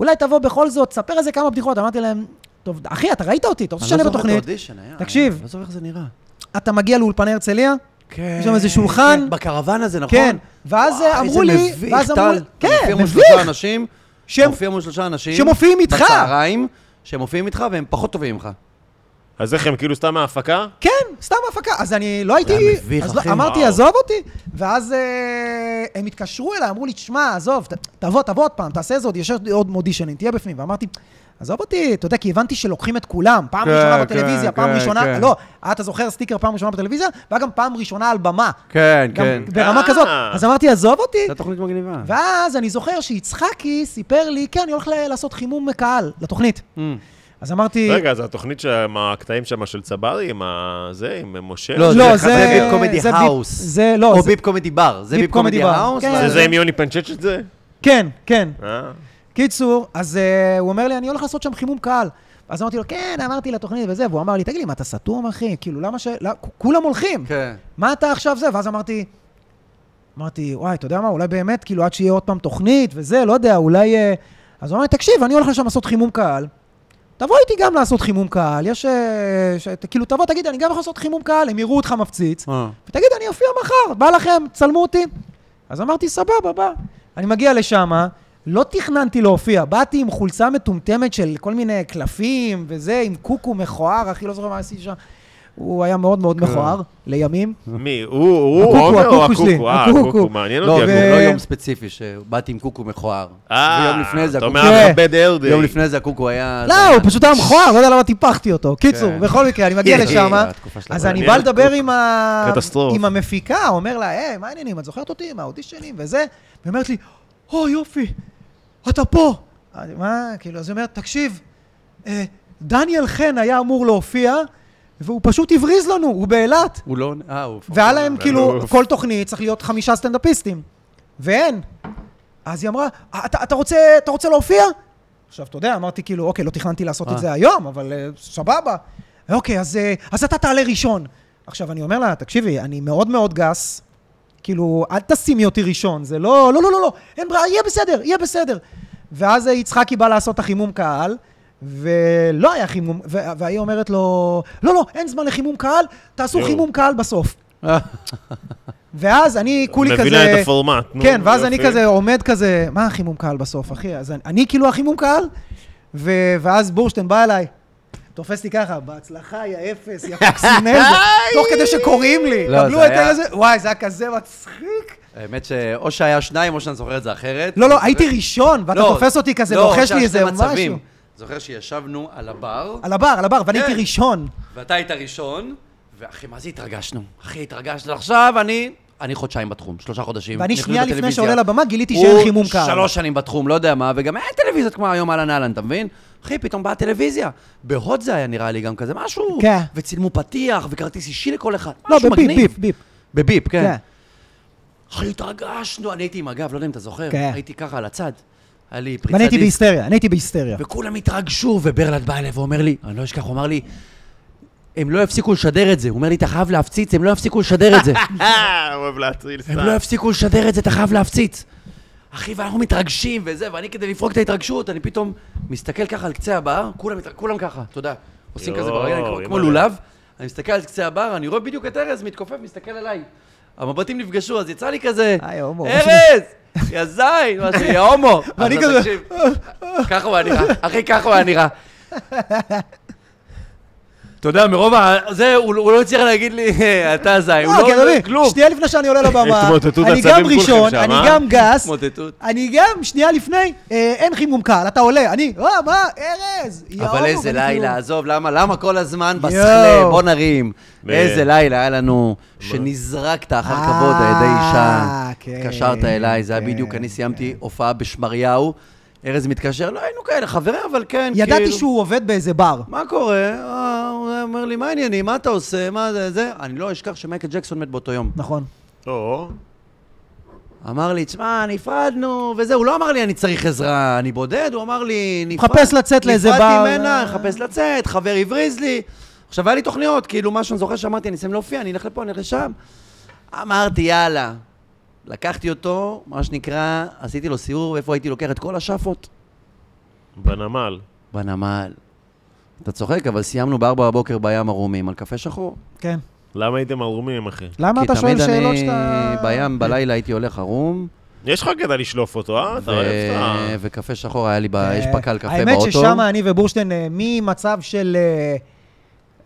Speaker 1: אולי תבוא בכל זאת, תספר איזה כמה בדיחות. אמרתי להם, טוב, אחי, אתה ראית אותי, לא אתה רוצה שאני אהיה בתוכנית? תקשיב.
Speaker 2: לא זוכר איך זה נראה.
Speaker 1: אתה מגיע לאולפני הרצליה,
Speaker 2: כן.
Speaker 1: יש שם איזה שולחן.
Speaker 2: כן, בקרוון הזה, נכון?
Speaker 1: כן. ואז
Speaker 2: וואי,
Speaker 1: אמרו
Speaker 2: איזה
Speaker 1: לי,
Speaker 2: מביך,
Speaker 1: ואז אמרו לי,
Speaker 2: טל.
Speaker 1: כן,
Speaker 2: מופיע מול
Speaker 1: מביך.
Speaker 2: שלושה אנשים,
Speaker 1: שהם-
Speaker 2: מופיע מול שלושה אנשים.
Speaker 1: שמופיעים איתך.
Speaker 2: בצהריים, שמופיעים איתך והם פחות טובים ממך.
Speaker 3: אז איך הם כאילו סתם מההפקה?
Speaker 1: כן, סתם הפקה. אז אני לא הייתי...
Speaker 2: היה מביך,
Speaker 1: אז לא-
Speaker 2: אחי.
Speaker 1: אמרתי,
Speaker 3: וואו.
Speaker 1: עזוב אותי. ואז אה, הם התקשרו אליי, אמרו לי, תשמע, עזוב, ת- תבוא, תבוא עוד פעם, תעשה איזה עוד, יש עוד מודישנים, תהיה בפנים. ואמרתי, עזוב אותי, אתה יודע, כי הבנתי שלוקחים את כולם. פעם
Speaker 2: כן,
Speaker 1: ראשונה
Speaker 2: כן,
Speaker 1: בטלוויזיה, פעם
Speaker 2: כן,
Speaker 1: ראשונה...
Speaker 2: כן.
Speaker 1: לא, אתה זוכר סטיקר פעם ראשונה בטלוויזיה, והיה גם פעם ראשונה על במה.
Speaker 2: כן,
Speaker 1: גם ברמה
Speaker 3: אה.
Speaker 1: כזאת. אז אמרתי, עזוב אותי.
Speaker 2: זו תוכנית מגניבה.
Speaker 1: ואז אני זוכר שיצחקי סיפר לי, כן, אני הולך ל- לעשות חימום קהל לתוכנית.
Speaker 2: Mm.
Speaker 1: אז אמרתי...
Speaker 3: רגע, זה התוכנית עם הקטעים שם של צברי, עם ה- זה, עם משה?
Speaker 2: לא,
Speaker 1: לא,
Speaker 2: זה- זה ביפ קומדי
Speaker 1: זה ביפ-
Speaker 2: האוס.
Speaker 1: זה לא,
Speaker 2: או
Speaker 1: זה-
Speaker 2: ביפ קומדי בר. זה
Speaker 1: ביפ
Speaker 2: ביפ קומדי
Speaker 1: קומדי בר.
Speaker 2: האוס.
Speaker 1: כן.
Speaker 3: זה
Speaker 2: ואז-
Speaker 3: זה עם יוני פנצ'ץ' את זה?
Speaker 1: כן, כן.
Speaker 3: אה?
Speaker 1: קיצור, אז uh, הוא אומר לי, אני הולך לעשות שם חימום קהל. אז אמרתי לו, כן, אמרתי לתוכנית וזה, והוא אמר לי, תגיד לי, מה, אתה סתום, אחי? כאילו, למה ש... לא, כ- כולם הולכים.
Speaker 2: כן.
Speaker 1: מה אתה עכשיו זה? ואז אמרתי, אמרתי, וואי, אתה יודע מה, אולי באמת, כאילו, עד שיהיה עוד פעם תוכנית וזה, לא יודע, אולי... אה... אז הוא אמר לי, תקשיב, אני הולך לשם לעשות חימום קהל. תבוא איתי גם לעשות חימום קהל, יש... אה, ש... כאילו, תבוא, תגיד, אני גם הולך לעשות חימום קהל, הם יראו אותך מפציץ.
Speaker 2: אה.
Speaker 1: ותגיד, אני אופיע מחר, בא לכם, צלמו אותי. אז אמרתי, סבבה, בא. אני מגיע לשם, לא תכננתי להופיע, באתי עם חולצה מטומטמת של כל מיני קלפים וזה, עם קוקו מכוער, אחי, לא זוכר מה עשיתי שם. הוא היה מאוד מאוד מכוער, לימים.
Speaker 3: מי, הוא, הוא,
Speaker 1: הקוקו,
Speaker 3: עומר או
Speaker 1: הקוקו שלי,
Speaker 3: הקוקו? אה,
Speaker 1: הקוקו.
Speaker 3: הקוקו, מעניין
Speaker 2: לא,
Speaker 3: אותי.
Speaker 2: זה
Speaker 1: ו-
Speaker 3: הקוקו.
Speaker 2: לא יום ספציפי שבאתי עם קוקו מכוער.
Speaker 3: אה,
Speaker 2: ויום לפני זה
Speaker 3: אתה
Speaker 2: הקוקו...
Speaker 3: אומר,
Speaker 1: כן.
Speaker 3: מכבד ארדי.
Speaker 2: יום לפני זה הקוקו היה...
Speaker 1: לא,
Speaker 2: זה היה-
Speaker 1: הוא פשוט היה מכוער, לא יודע למה טיפחתי אותו. קיצור,
Speaker 2: כן.
Speaker 1: בכל מקרה, אני מגיע
Speaker 2: אה,
Speaker 1: לשם,
Speaker 2: התקופה של
Speaker 1: אז
Speaker 2: הבעל.
Speaker 1: אני
Speaker 3: מעניין.
Speaker 1: בא לדבר עם ה-
Speaker 3: קטסטרופה.
Speaker 1: עם המפיקה, אומר לה, היי, מה העניינים, את זוכרת אותי מהאודישנים וזה? והיא אומרת לי, או, יופי, אתה פה. אני, מה, כאילו, אז היא אומרת, תקשיב, אה, דניאל חן היה אמור להופיע, והוא פשוט הבריז לנו, הוא באילת.
Speaker 2: הוא לא... עונה- אה, הוא...
Speaker 1: והיה להם כאילו,
Speaker 3: אלוף.
Speaker 1: כל תוכנית צריך להיות חמישה סטנדאפיסטים. ואין. אז היא אמרה, "אה, אתה, אתה, רוצה, אתה רוצה להופיע? עכשיו, אתה יודע, אמרתי כאילו, אוקיי, לא תכננתי לעשות
Speaker 2: אה.
Speaker 1: את זה היום, אבל אה, סבבה. אוקיי, אז, אה, אז אתה תעלה ראשון. עכשיו, אני אומר לה, תקשיבי, אני מאוד מאוד גס, כאילו, אל תשימי אותי ראשון, זה לא, לא, לא, לא, לא, אין ברירה, יהיה בסדר, יהיה בסדר. ואז אה, יצחקי בא לעשות את החימום קהל, ולא היה חימום, ו- והיא אומרת לו, לא, לא, אין זמן לחימום קהל, תעשו
Speaker 3: יואו.
Speaker 1: חימום קהל בסוף.
Speaker 2: אה,
Speaker 1: ואז אני כולי כזה...
Speaker 3: מבין להם את הפורמט. נו,
Speaker 1: כן, ואז אני
Speaker 3: יופי.
Speaker 1: כזה עומד כזה, מה החימום קהל בסוף, אחי? אז אני- אני כאילו החימום קהל, ו- ואז בורשטיין בא אליי, תופס לי ככה, בהצלחה, יא אפס, יא
Speaker 3: [LAUGHS]
Speaker 1: קוקסינל, תוך כדי שקוראים לי,
Speaker 2: לא,
Speaker 1: קבלו
Speaker 2: זה
Speaker 1: את
Speaker 2: היה-
Speaker 1: זה, וואי, זה היה כזה מצחיק.
Speaker 2: האמת שאו שהיה שניים, או שאני זוכר את זה אחרת.
Speaker 1: לא, לא,
Speaker 2: זה-
Speaker 1: הייתי ראשון, ואתה
Speaker 2: לא,
Speaker 1: תופס אותי כזה,
Speaker 2: לא,
Speaker 1: לוחש לי
Speaker 2: שהיה
Speaker 1: איזה
Speaker 2: שני מצבים.
Speaker 1: משהו. אה.
Speaker 2: זוכר שישבנו על הבר,
Speaker 1: על הבר, על הבר, ואני
Speaker 2: כן.
Speaker 1: הייתי ראשון.
Speaker 2: ואתה היית ראשון, ואחי, מה זה התרגשנו? אחי, התרגשנו. עכשיו אני... אני חודשיים בתחום, שלושה חודשים.
Speaker 1: ואני
Speaker 2: נכנסו
Speaker 1: שנייה לפני
Speaker 2: לטלוויזיה.
Speaker 1: שעולה לבמה גיליתי שאין חימום
Speaker 2: הוא
Speaker 1: קהל.
Speaker 2: שלוש שנים בתחום, לא יודע מה, וגם אין טלוויזיות כמו היום אהלן אהלן, אתה מבין? אחי, פתאום באה טלוויזיה. בהוט זה היה נראה לי גם כזה משהו.
Speaker 1: כן.
Speaker 2: וצילמו פתיח, וכרטיס אישי לכל אחד.
Speaker 1: לא,
Speaker 2: משהו
Speaker 1: בביפ,
Speaker 2: מגניב.
Speaker 1: ביפ, ביפ.
Speaker 2: בביפ, כן.
Speaker 1: כן.
Speaker 2: אחי, התרגשנו, אני הייתי עם הגב, לא יודע אם אתה זוכר.
Speaker 1: כן.
Speaker 2: הייתי ככה על הצד. היה לי פריצת
Speaker 1: ואני הייתי
Speaker 2: דיסק.
Speaker 1: בהיסטריה, אני הייתי בהיסטריה.
Speaker 2: וכולם התרגשו, וברלנד בא אליי ואומר לי, אני לא אשכח, הוא אמר לי, הם לא יפסיקו לשדר את זה. הוא אומר לי, אתה חייב להפציץ, הם לא יפסיקו לשדר את זה.
Speaker 3: אה, אוהב להטריל סתם.
Speaker 2: הם לא יפסיקו לשדר את זה, אתה חייב להפציץ. אחי, ואנחנו מתרגשים וזה, ואני כדי לפרוק את ההתרגשות, אני פתאום מסתכל ככה על קצה הבר, כולם, מתרג- כולם ככה, אתה יודע, עושים כזה
Speaker 3: יואו,
Speaker 2: ברגליים כמו-
Speaker 3: אימא'לה.
Speaker 2: כמו לולב, אני מסתכל על קצה הבר, אני רואה בדיוק את ארז מתכופף, מסתכל עליי. המבטים נפגשו, אז יצא לי כזה,
Speaker 1: היי, הומו.
Speaker 2: ארז, יא זין, משהו, יא הומו.
Speaker 1: [LAUGHS] ואני
Speaker 2: אז אתה
Speaker 1: כזה-
Speaker 2: תקשיב, ככה הוא היה נראה, אחי, ככה הוא היה
Speaker 1: [LAUGHS]
Speaker 2: נראה. אתה יודע, מרוב ה... זה, הוא הוא לא הצליח להגיד לי, אתה זין, הוא
Speaker 1: לא, כי אתה
Speaker 2: לא...
Speaker 1: מבין,
Speaker 2: כלום.
Speaker 1: שנייה לפני שאני עולה לבמה,
Speaker 3: התמוטטות
Speaker 1: אני
Speaker 3: עצבים
Speaker 1: גם
Speaker 3: כולכם
Speaker 1: ראשון,
Speaker 3: שם,
Speaker 1: אני
Speaker 3: אה?
Speaker 1: גם גס,
Speaker 2: התמוטטות.
Speaker 1: אני גם שנייה לפני, אה, אין חימום קהל, אתה עולה, אני, אה, מה, ארז, יאו,
Speaker 2: אבל איזה
Speaker 1: ואני
Speaker 2: לילה,
Speaker 1: כאילו-
Speaker 2: עזוב, למה, למה כל הזמן בסכלה, בוא נרים.
Speaker 3: ב-
Speaker 2: איזה לילה היה לנו, שנזרקת אחר
Speaker 1: אה,
Speaker 2: כבוד על ידי אישה.
Speaker 1: כן,
Speaker 2: התקשרת אליי, זה היה
Speaker 1: כן,
Speaker 2: בדיוק, אני סיימתי הופעה בשמריהו, ארז מתקשר, לא היינו כאלה, חברים, אבל כן, כאילו.
Speaker 1: ידעתי שהוא עובד באיזה בר.
Speaker 2: מה קורה? אה, הוא אומר לי, מה העניינים, מה אתה עושה, מה זה, זה? אני לא אשכח שמייקל ג'קסון מת באותו יום.
Speaker 1: נכון.
Speaker 3: או,
Speaker 2: אמר לי, תשמע, נפרדנו, וזה, הוא לא אמר לי, אני צריך עזרה, אני בודד, הוא אמר לי, נפרד...
Speaker 1: מחפש לצאת לאיזה בר."
Speaker 2: נפרדתי ממנה, מחפש לצאת, חבר הבריז לי. עכשיו, היה לי תוכניות, כאילו, מה שאני זוכר שאמרתי, אני אסיים להופיע, אני אלך לפה, אני אלך לשם. אמרתי, יאללה. לקחתי אותו, מה שנקרא, עשיתי לו סיור, איפה הייתי לוקח את כל השאפות?
Speaker 3: בנמל.
Speaker 2: בנמל. אתה צוחק, אבל סיימנו בארבע בבוקר בים ערומים על קפה שחור.
Speaker 1: כן.
Speaker 3: למה הייתם ערומים, אחי?
Speaker 1: למה אתה שואל
Speaker 2: כי
Speaker 1: שאלות
Speaker 2: תמיד אני
Speaker 1: שאתה...
Speaker 2: בים בלילה הייתי הולך ערום,
Speaker 3: יש לך קטע לשלוף אותו, אה? אתה
Speaker 2: ו-
Speaker 3: אוהב אותה.
Speaker 2: וקפה שחור היה לי, ב-
Speaker 1: אה,
Speaker 2: יש פקל קפה באוטו.
Speaker 1: האמת ששם אני ובורשטיין, אה, ממצב של אה,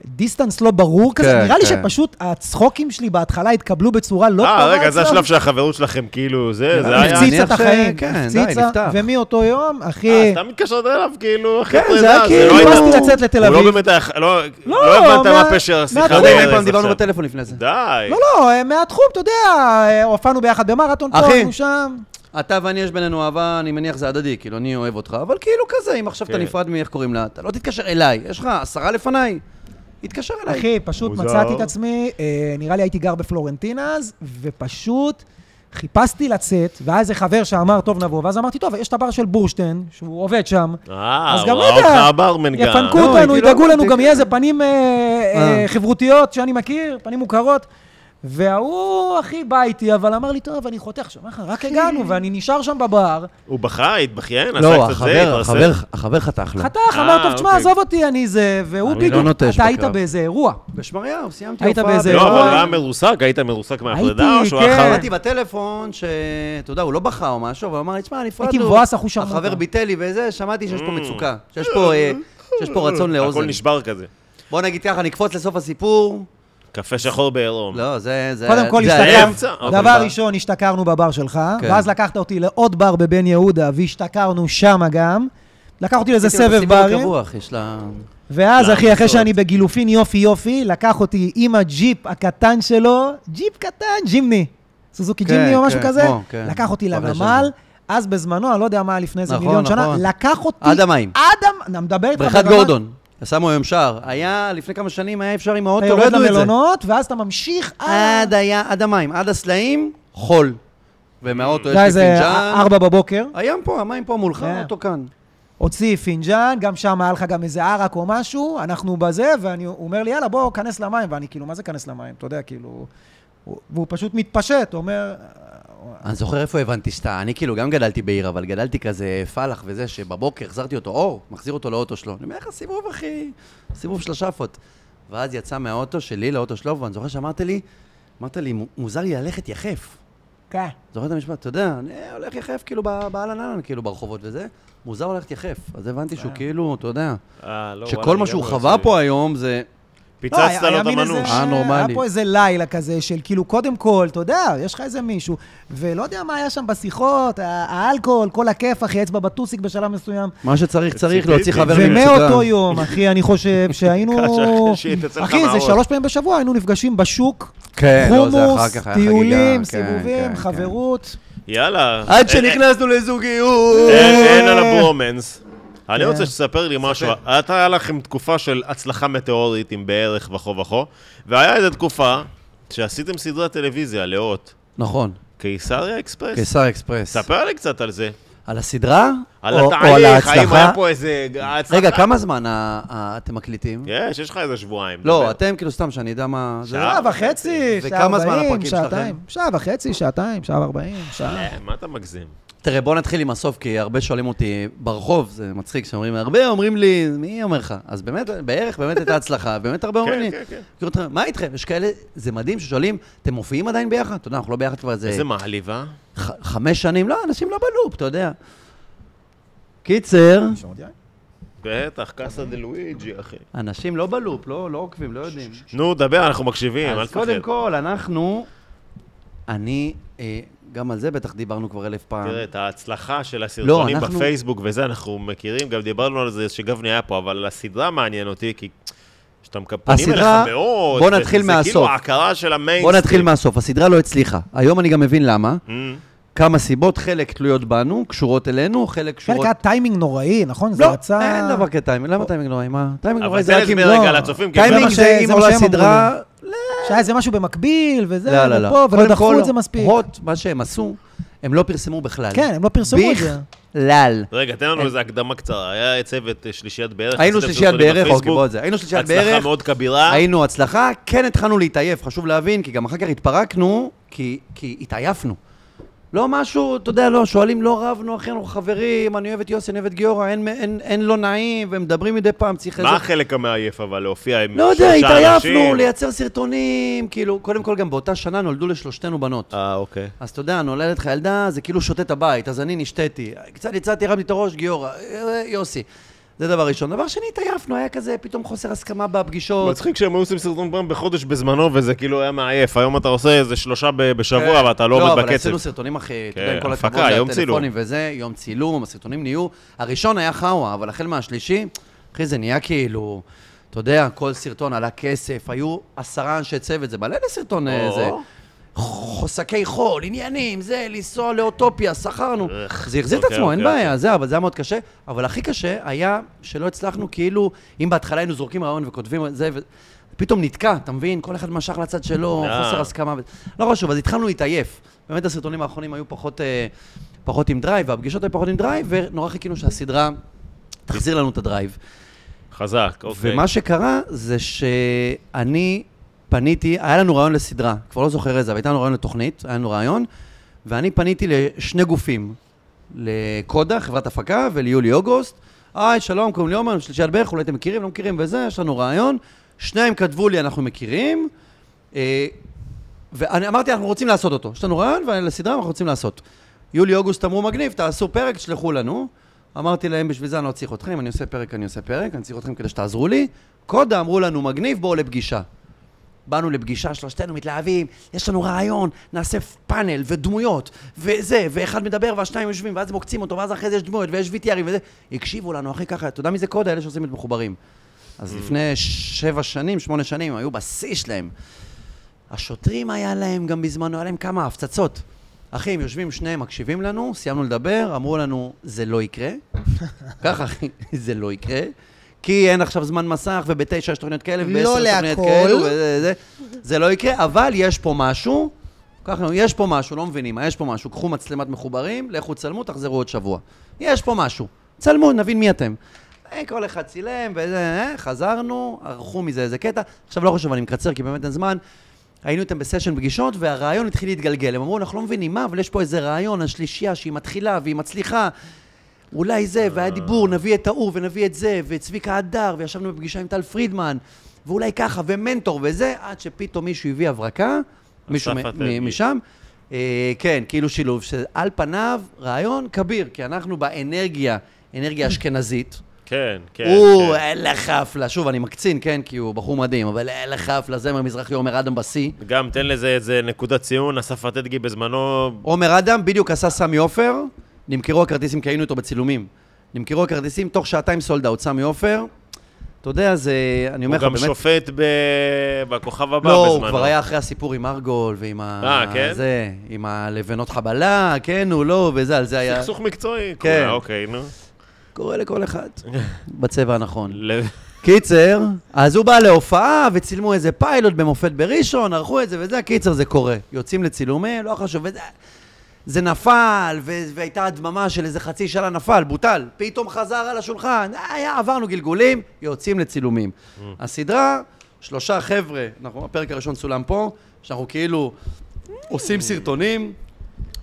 Speaker 1: דיסטנס לא ברור כזה,
Speaker 2: כן,
Speaker 1: נראה לי
Speaker 2: כן.
Speaker 1: שפשוט הצחוקים שלי בהתחלה התקבלו בצורה לא טובה.
Speaker 3: אה, רגע, זה
Speaker 1: אצלם.
Speaker 3: השלב שהחברות שלכם, כאילו, זה, זה היה...
Speaker 2: אני
Speaker 1: הפציצה את
Speaker 2: מניח ש-
Speaker 1: החיים,
Speaker 2: כן, די,
Speaker 1: הפציצה,
Speaker 2: נפתח.
Speaker 1: ומאותו יום,
Speaker 3: אה,
Speaker 1: אחי,
Speaker 3: סתם מתקשרת אליו, כאילו, אחי,
Speaker 1: כן,
Speaker 3: אתה
Speaker 1: זה
Speaker 3: יודע,
Speaker 1: היה כאילו,
Speaker 3: לא
Speaker 1: "באתי
Speaker 3: הייתה-
Speaker 1: לצאת לתל
Speaker 3: הוא
Speaker 1: אביב".
Speaker 3: לא באמת היה... לא
Speaker 1: לא,
Speaker 3: לא הבנת
Speaker 1: מה-
Speaker 3: מה פשר
Speaker 1: מה-
Speaker 3: השיחה.
Speaker 2: לא יודע אם
Speaker 3: בארץ
Speaker 2: אי פעם דיברנו
Speaker 3: עכשיו.
Speaker 2: בטלפון לפני זה.
Speaker 3: די.
Speaker 1: לא, לא, אה, מהתחום, אתה יודע, אה, הופענו ביחד במרתון פה,
Speaker 2: אחי.
Speaker 1: היינו שם.
Speaker 2: אתה ואני יש בינינו אהבה, אני מניח זה הדדי, כאילו, אני אוהב אותך, אבל כאילו כזה, אם עכשיו אתה
Speaker 3: כן.
Speaker 2: נפרד מאיך קוראים לה, אתה לא תתקשר אליי, יש לך עשרה לפניי, התקשר אליי.
Speaker 1: אחי, פשוט
Speaker 3: מוזר.
Speaker 1: מצאתי את עצמי, אה, נראה לי הייתי גר בפלורנטינה אז, ופשוט חיפשתי לצאת, והיה איזה חבר שאמר, טוב, נבוא, ואז אמרתי, טוב, יש את הבר של בורשטיין, שהוא עובד שם.
Speaker 3: אה,
Speaker 1: אז
Speaker 3: הוא
Speaker 1: גם
Speaker 3: ראה
Speaker 1: לא יודע.
Speaker 3: אותך הברמן גם.
Speaker 1: יפנקו
Speaker 2: לא,
Speaker 1: אותנו,
Speaker 2: הייתי לא
Speaker 1: ידאגו לנו,
Speaker 2: אמרתי,
Speaker 1: גם יהיה
Speaker 2: כן.
Speaker 1: איזה פנים אה, אה,
Speaker 2: אה.
Speaker 1: חברותיות שאני מכיר, פנים מוכרות. וההוא, אחי, בא איתי, אבל אמר לי, טוב, אני חותך שם, אחי, רק הגענו, ואני נשאר שם בבר.
Speaker 3: הוא בכה, התבכיין, עשה
Speaker 2: לא,
Speaker 3: קצת זה,
Speaker 2: החבר,
Speaker 3: התפרסם.
Speaker 2: החבר, החבר חתך לו.
Speaker 1: חתך,
Speaker 3: אה,
Speaker 1: אמר, טוב, תשמע,
Speaker 3: אוקיי.
Speaker 1: עזוב אותי, אני זה, והוא
Speaker 2: לא. אני לא
Speaker 1: בדיוק,
Speaker 2: נוטש
Speaker 1: אתה היית
Speaker 2: בקרב.
Speaker 1: באיזה אירוע.
Speaker 2: בשמריהו, סיימתי
Speaker 1: היית
Speaker 2: הופעה.
Speaker 1: באיזה
Speaker 2: ב-
Speaker 3: לא, אבל
Speaker 1: אירוע.
Speaker 3: היה מרוסק, היית מרוסק מהחרדה,
Speaker 1: אה, הייתי,
Speaker 3: או שהוא
Speaker 1: כן.
Speaker 3: היה חרדה?
Speaker 2: אמרתי בטלפון, שאתה יודע, הוא לא בכה או משהו, אבל הוא אמר לי, תשמע, נפרדנו.
Speaker 1: הייתי מבואס, אחו שרמוטה.
Speaker 2: החבר ביטל לי וזה, שמעתי שיש פה מצוקה, שיש פה, אה, שיש פה רצון לאוזן.
Speaker 3: הכל Mm. נשבר כזה.
Speaker 2: בוא נגיד ככה, נקפוץ לסוף הסיפור.
Speaker 3: קפה שחור בעירום.
Speaker 2: לא, זה... זה-
Speaker 1: קודם כל,
Speaker 2: זה
Speaker 3: אה, היה
Speaker 1: השתכר-
Speaker 2: היה-
Speaker 3: אמצע, אוקיי, אבל
Speaker 1: דבר
Speaker 2: ב-
Speaker 1: ראשון, השתכרנו בבר שלך,
Speaker 2: כן.
Speaker 1: ואז לקחת אותי לעוד בר בבן יהודה, והשתכרנו שמה גם. לקח אותי לאיזה
Speaker 2: עשיתי אותו
Speaker 1: סבב
Speaker 2: סיבוב
Speaker 1: ברים,
Speaker 2: רווח, יש לה...
Speaker 1: ואז, אחי, אחרי
Speaker 3: לעשות.
Speaker 1: שאני בגילופין יופי יופי, לקח אותי עם הג'יפ הקטן שלו, ג'יפ קטן, ג'ימני, סוזוקי
Speaker 2: כן,
Speaker 1: ג'ימני או
Speaker 2: כן,
Speaker 1: משהו כזה,
Speaker 2: כמו, כן.
Speaker 1: לקח אותי
Speaker 2: אבל יש
Speaker 1: לנמל,
Speaker 2: לנו.
Speaker 1: אז בזמנו, אני לא יודע מה היה לפני איזה
Speaker 2: נכון,
Speaker 1: מיליון שנה,
Speaker 2: נכון.
Speaker 1: לקח אותי...
Speaker 2: עד המים.
Speaker 1: עד המים, אני מדבר איתך
Speaker 2: בריכת
Speaker 1: ברמה-
Speaker 2: גורדון. שמו היום שער. היה, לפני כמה שנים היה אפשר עם
Speaker 1: אתה
Speaker 2: האוטו, לא
Speaker 1: יורד
Speaker 2: ידעו את זה. אה,
Speaker 1: למלונות, ואז אתה ממשיך
Speaker 2: עד היה, עד המים, עד הסלעים, חול. ומהאוטו יש
Speaker 1: אתה
Speaker 2: לי
Speaker 1: איזה
Speaker 2: פינג'אן.
Speaker 1: אה, ארבע בבוקר,
Speaker 2: הים פה, המים פה מולך,
Speaker 1: כן.
Speaker 2: האוטו כאן.
Speaker 1: הוציא פינג'אן, גם שם היה לך גם איזה ערק או משהו, אנחנו בזה, ואני, הוא אומר לי, יאללה, בוא, כנס למים, ואני כאילו, מה זה כנס למים? אתה יודע, כאילו... הוא- והוא פשוט מתפשט, הוא אומר...
Speaker 2: אני זוכר איפה הבנתי שאתה, אני כאילו גם גדלתי בעיר, אבל גדלתי כזה פלח וזה, שבבוקר החזרתי אותו אור, מחזיר אותו לאוטו שלו. אני אומר לך, סיבוב אחי, סיבוב של השאפות. ואז יצא מהאוטו שלי לאוטו שלו, ואני זוכר שאמרת לי, אמרת לי, "מו- מוזר לי ללכת יחף.
Speaker 1: כן.
Speaker 2: זוכר את המשפט, אתה יודע, אני הולך יחף כאילו ב- באהלן אהלן, כאילו ברחובות וזה, מוזר ללכת יחף. אז הבנתי שהוא כאילו, אתה יודע,
Speaker 3: אה, לא,
Speaker 2: שכל
Speaker 3: וואלה,
Speaker 2: מה שהוא
Speaker 3: לגמרי,
Speaker 2: חווה
Speaker 3: זה-
Speaker 2: פה היום זה...
Speaker 1: לא, היה-
Speaker 3: פיצצת לו
Speaker 1: היה
Speaker 3: את
Speaker 1: מין
Speaker 3: המנוש.
Speaker 1: איזה-
Speaker 2: אה, נורמלי.
Speaker 1: היה פה איזה לילה כזה של כאילו, קודם כל, אתה יודע, יש לך איזה מישהו, ולא יודע מה היה שם בשיחות, ה- האלכוהול, כל הכיף, אחי, אצבע בטוסיק בשלב מסוים.
Speaker 2: מה שצריך, צריך
Speaker 3: ציפיתי.
Speaker 2: להוציא חבר
Speaker 1: ומאותו יום, אחי, אני
Speaker 2: [LAUGHS]
Speaker 1: חושב שהיינו...
Speaker 3: ככה שיתצא לך
Speaker 1: אחי, זה
Speaker 3: מהראש.
Speaker 1: שלוש פעמים בשבוע, היינו נפגשים בשוק,
Speaker 2: כן, לא, זה אחר
Speaker 1: חומוס,
Speaker 2: כך, היה חגיגה, כן,
Speaker 1: טיולים,
Speaker 2: כן,
Speaker 1: סיבובים,
Speaker 2: כן.
Speaker 1: חברות.
Speaker 3: יאללה.
Speaker 2: עד
Speaker 3: אה, אה,
Speaker 2: שנכנסנו לזוגיות.
Speaker 3: אין אין על הברומנס. אני
Speaker 1: כן.
Speaker 3: רוצה שתספר לי משהו. אתה היה לכם תקופה של הצלחה מטאורית עם בערך וכו וכו, והיה איזו תקופה שעשיתם סדרת טלוויזיה, לאות,
Speaker 2: נכון,
Speaker 3: קיסריה אקספרס.
Speaker 2: קיסר אקספרס.
Speaker 3: ספר לי קצת על זה.
Speaker 2: על הסדרה?
Speaker 3: על
Speaker 2: או- או
Speaker 3: התהליך, האם
Speaker 2: ההצלחה?
Speaker 3: היה פה איזה... הצלחה? כן,
Speaker 2: רגע, כמה זמן ה- ה- אתם מקליטים?
Speaker 3: יש, יש לך איזה שבועיים. דבר.
Speaker 2: לא, אתם כאילו סתם, שאני יודע מה... זה-
Speaker 3: שעה?
Speaker 1: שעה וחצי, שעה
Speaker 2: וכמה זמן
Speaker 1: ארבעים,
Speaker 2: הפרקים שלכם?
Speaker 1: שעתיים. שעה וחצי, שעתיים, שעה ארבעים, שעה.
Speaker 3: אה, מה אתה מגזים?
Speaker 2: תראה, בוא נתחיל עם הסוף, כי הרבה שואלים אותי ברחוב, זה מצחיק, שאומרים, הרבה אומרים לי, מי אומר לך? אז באמת, בערך באמת הייתה הצלחה, [LAUGHS] באמת הרבה אומרים לי.
Speaker 3: כן, כן.
Speaker 2: כאילו, "אתה- מה איתכם? יש כאלה, זה מדהים ששואלים, אתם מופיעים עדיין ביחד? אתה יודע, אנחנו לא ביחד כבר איזה
Speaker 3: איזה מעליבה.
Speaker 2: ח- חמש שנים, לא, אנשים לא בלופ, אתה יודע. קיצר,
Speaker 3: בטח, קאסה דה לואיג'י, אחי.
Speaker 2: אנשים לא בלופ, לא לא עוקבים, לא יודעים.
Speaker 3: נו, דבר, אנחנו מקשיבים, אל
Speaker 2: אז
Speaker 3: תפחד.
Speaker 2: קודם כל, אנחנו, אני, אה, גם על זה בטח דיברנו כבר אלף פעם.
Speaker 3: תראה, את ההצלחה של הסרטונים
Speaker 2: לא, אנחנו-
Speaker 3: בפייסבוק וזה, אנחנו מכירים, גם דיברנו על זה שגבני היה פה, אבל הסדרה מעניין אותי, כי כשאתם פונים אליך
Speaker 2: הסדרה-
Speaker 3: מאוד,
Speaker 2: בוא
Speaker 3: וזה-
Speaker 2: נתחיל
Speaker 3: זה
Speaker 2: מהסוף.
Speaker 3: כאילו ההכרה של המיינסטרים.
Speaker 2: בוא נתחיל מהסוף, הסדרה לא הצליחה. היום אני גם מבין למה.
Speaker 3: Mm-hmm.
Speaker 2: כמה סיבות, חלק תלויות בנו, קשורות אלינו, חלק
Speaker 1: חלק
Speaker 2: קשורות...
Speaker 1: היה טיימינג נוראי, נכון? זה
Speaker 2: לא,
Speaker 1: רצה...
Speaker 2: אין דבר כזה טיימינג, למה טיימינג נוראי? מה? טיימינג
Speaker 3: אבל
Speaker 2: נוראי
Speaker 3: תן
Speaker 2: זה רק אם...
Speaker 3: הסבר
Speaker 2: לא.
Speaker 3: רגע לצופים, כי זה
Speaker 2: טיימינג
Speaker 1: מה ש-
Speaker 2: זה אם
Speaker 1: זה
Speaker 2: עולה
Speaker 1: מה שהם
Speaker 2: סדרה...
Speaker 1: שהיה איזה משהו במקביל, וזה,
Speaker 2: לא, לא, לא.
Speaker 1: ופה, ולא
Speaker 2: קודם
Speaker 1: דחפו
Speaker 2: כל,
Speaker 1: את זה מספיק.
Speaker 2: הוט, מה שהם עשו, הם לא פרסמו בכלל.
Speaker 1: כן, הם לא פרסמו את זה.
Speaker 2: בכלל.
Speaker 3: רגע, תן לנו איזו הקדמה קצרה. היה צוות אה, שלישיית בערך.
Speaker 2: היינו
Speaker 3: עשיתם
Speaker 2: שלישיית
Speaker 3: סרטונים
Speaker 2: בערך, אוקיי,
Speaker 3: בפייסבוק.
Speaker 2: בוא את זה. היינו שלישיית בערך.
Speaker 3: הצלחה מאוד כבירה.
Speaker 2: היינו הצלחה, כן התחלנו להתעייף, חשוב להבין, כי גם אחר כך התפרקנו, כי, כי התעייפנו. לא משהו, אתה יודע, לא, שואלים, לא רבנו, אחי, אנחנו חברים, אני אוהב את יוסי, אני אוהב את גיורא, אין, אין, אין לא נעים, ומדברים מדי פעם, צריך
Speaker 3: מה החלק המעייף אבל להופיע עם
Speaker 2: לא יודע,
Speaker 3: שלושה
Speaker 2: התעייפנו,
Speaker 3: אנשים?
Speaker 2: לייצר סרטונים, כאילו, קודם כל גם באותה שנה נולדו לשלושתנו בנות.
Speaker 3: אה, אוקיי.
Speaker 2: אז אתה יודע, נולדת לך ילדה, זה כאילו שותה את הבית, אז אני נשתיתי. קצת יצאתי, הרמתי את הראש, גיורא, אה, יוסי. זה דבר ראשון. דבר שני, התעייפנו, היה כזה פתאום חוסר הסכמה בפגישות.
Speaker 3: מצחיק שהם היו עושים סרטון פעם בחודש בזמנו, וזה כאילו היה מעייף. היום אתה עושה איזה שלושה ב- בשבוע, ואתה לא
Speaker 2: לא,
Speaker 3: עומד
Speaker 2: אבל
Speaker 3: בקצב.
Speaker 2: עשינו סרטונים אחרי, אתה יודע, עם
Speaker 3: כן,
Speaker 2: כל
Speaker 3: הפקה,
Speaker 2: הכבוד,
Speaker 3: יום
Speaker 2: הטלפונים וזה, יום צילום, הסרטונים נהיו, הראשון היה חאווה, אבל החל מהשלישי, אחי, זה נהיה כאילו, אתה יודע, כל סרטון עלה כסף, היו עשרה אנשי צוות, זה מלא לסרטון
Speaker 3: או.
Speaker 2: איזה. חוסקי חול, עניינים, זה, לנסוע לאוטופיה, שכרנו.
Speaker 3: איך,
Speaker 2: זה החזיר את
Speaker 3: אוקיי,
Speaker 2: עצמו, אין
Speaker 3: אוקיי,
Speaker 2: בעיה, זה, אבל זה היה מאוד קשה. אבל הכי קשה היה שלא הצלחנו, כאילו, אם בהתחלה היינו זורקים רעיון וכותבים את זה, ו- פתאום נתקע, אתה מבין? כל אחד משך לצד שלו,
Speaker 3: אה.
Speaker 2: חוסר הסכמה. ו- לא חשוב, אז התחלנו להתעייף. באמת הסרטונים האחרונים היו פחות, אה, פחות עם דרייב, והפגישות היו פחות עם דרייב, ונורא חיכינו שהסדרה תחזיר לנו את הדרייב.
Speaker 3: חזק, אוקיי.
Speaker 2: ומה שקרה זה שאני פניתי, היה לנו רעיון לסדרה, כבר לא זוכר איזה, אבל הייתה לנו רעיון לתוכנית, היה לנו רעיון, ואני פניתי לשני גופים, לקודה, חברת הפקה, וליולי אוגוסט. היי, שלום, קוראים לי עומר, שלישיית ברך, אולי אתם מכירים, לא מכירים וזה, יש לנו רעיון. שניהם כתבו לי, אנחנו מכירים. אה, ואני אמרתי, אנחנו רוצים לעשות אותו. יש לנו רעיון, ולסדרה אנחנו רוצים לעשות. יולי-אוגוסט אמרו, מגניב, תעשו פרק, תשלחו לנו. אמרתי להם, בשביל זה אני לא צריך אתכם, אני עושה פרק, אני עושה פרק, אני צריך אתכם כדי שתעזרו לי. קודה אמרו לנו, מגניב, בואו לפגישה. באנו לפגישה, שלושתנו מתלהבים, יש לנו רעיון, נעשה פאנל ודמויות, וזה, ואחד מדבר והשניים יושבים, ואז מוקצים אותו, ואז אחרי זה יש דמויות, ויש VTRים וזה. הקשיבו לנו, אחי, ככה, אתה יודע מי זה קודה? אלה שעושים את מחוברים. אז
Speaker 4: Mm.
Speaker 2: לפני שבע שנים, שמונה שנים, היו בשיא שלהם. השוטרים היה להם, גם בזמנו היה להם כמה הפצצות. אחי, הם יושבים שניהם, מקשיבים לנו, סיימנו לדבר, אמרו לנו, זה
Speaker 4: [LAUGHS]
Speaker 2: לא יקרה. ככה, אחי, זה לא יקרה. כי אין עכשיו זמן מסך, ובתשע יש תוכניות כאלה, ובעשר
Speaker 4: לא
Speaker 2: יש תוכניות
Speaker 4: להכל.
Speaker 2: כאלו, וזה, זה, זה לא יקרה, אבל יש פה משהו, ככה, יש פה משהו, לא מבינים מה, יש פה משהו, קחו מצלמת מחוברים, לכו צלמו, תחזרו עוד שבוע. יש פה משהו, צלמו, נבין מי אתם. אה, כל אחד צילם, וזה, אה, חזרנו, ערכו מזה איזה קטע. עכשיו לא חשוב, אני מקצר, כי באמת אין זמן. היינו איתם בסשן פגישות, והרעיון התחיל להתגלגל. הם אמרו, אנחנו לא מבינים מה, אבל יש פה איזה רעיון, השלישייה, שהיא מתחילה והיא מצליחה. אולי
Speaker 3: אה.
Speaker 2: זה, והיה דיבור, נביא את ההוא, ונביא את זה, וצביקה הדר, וישבנו בפגישה עם טל פרידמן, ואולי ככה, ומנטור וזה, עד שפתאום מישהו הביא הברקה, מישהו מ-
Speaker 3: אסף
Speaker 2: מ-
Speaker 3: עטרי.
Speaker 2: משם. אה, כן, כאילו שילוב, שעל פניו רעיון כביר, כי אנחנו באנרגיה,
Speaker 3: [LAUGHS]
Speaker 2: אנרגיה אשכנזית.
Speaker 3: כן, כן.
Speaker 2: הוא,
Speaker 3: כן.
Speaker 2: אין לך חפלה, שוב, אני מקצין, כן, כי הוא בחור מדהים, אבל אין לך חפלה, זמר מזרחי, עומר אדם בשיא.
Speaker 3: גם תן לזה איזה נקודת ציון, אסף עתדגי בזמנו...
Speaker 2: עומר אדם בדיוק עשה סמי עופר, נמכרו הכרטיסים כי היינו איתו בצילומים. נמכרו הכרטיסים, תוך שעתיים סולד אאוט, סמי עופר. אתה יודע, זה, אני אומר
Speaker 3: הוא
Speaker 2: לך,
Speaker 3: גם
Speaker 2: באמת...
Speaker 3: שופט ב... בכוכב הבא
Speaker 2: לא,
Speaker 3: בזמנו.
Speaker 2: הוא כבר היה אחרי הסיפור עם ארגול ועם ה...
Speaker 3: אה, כן?
Speaker 2: זה, עם הלבנות חבלה, כן, הוא לא, וזה, על זה היה...
Speaker 3: סכסוך מקצועי.
Speaker 2: כן.
Speaker 3: כן. אוקיי, נו.
Speaker 2: קורה לכל
Speaker 3: [LAUGHS]
Speaker 2: אחד. בצבע הנכון.
Speaker 3: ל-
Speaker 2: קיצר, אז הוא בא להופעה וצילמו איזה פיילוט במופת בראשון, ערכו את זה וזה, קיצר זה קורה. יוצאים לצילומים, לא חשוב, וזה... זה נפל, ו- והייתה הדממה של איזה חצי שנה נפל, בוטל. פתאום חזר על השולחן, היה, עברנו גלגולים, יוצאים לצילומים. הסדרה, שלושה חבר'ה, אנחנו, הפרק הראשון צולם פה, שאנחנו כאילו עושים סרטונים,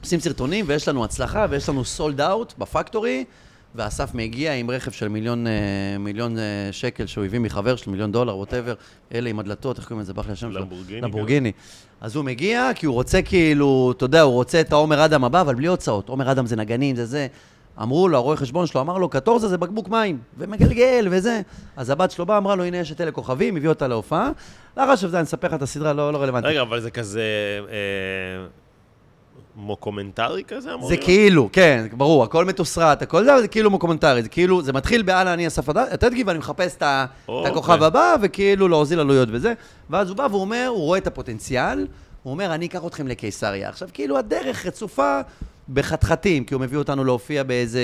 Speaker 2: עושים סרטונים ויש לנו הצלחה ויש לנו סולד אאוט בפקטורי ואסף מגיע עם רכב של מיליון, אה, מיליון אה, שקל שהוא הביא מחבר שלו, מיליון דולר, ווטאבר, אלה עם הדלתות, איך קוראים לזה, ברח לי השם שלו?
Speaker 3: למבורגיני,
Speaker 2: למבורגיני. אז הוא מגיע כי הוא רוצה כאילו, אתה יודע, הוא רוצה את העומר אדם הבא, אבל בלי הוצאות. עומר אדם זה נגנים, זה זה. אמרו לו, הרואה חשבון שלו, אמר לו, קטורזה זה בקבוק מים, ומגלגל וזה. אז הבת שלו באה, אמרה לו, הנה יש את אלה כוכבים, הביא אותה להופעה. לא חשוב, זה, אני אספר לך את הסדרה, לא, לא רלוונטית.
Speaker 3: רגע, אבל זה כזה... אה, מוקומנטרי כזה אמור
Speaker 2: זה כאילו, כן, ברור, הכל מתוסרט, הכל זה, אבל זה כאילו מוקומנטרי, זה כאילו, זה מתחיל באללה, אני אסף התדגי ואני מחפש את ה- את
Speaker 3: אוקיי.
Speaker 2: הכוכב הבא, וכאילו להוזיל עלויות וזה, ואז הוא בא והוא אומר, הוא רואה את הפוטנציאל, הוא אומר, אני אקח אתכם לקיסריה. עכשיו, כאילו, הדרך רצופה בחתחתים, כי הוא מביא אותנו להופיע באיזה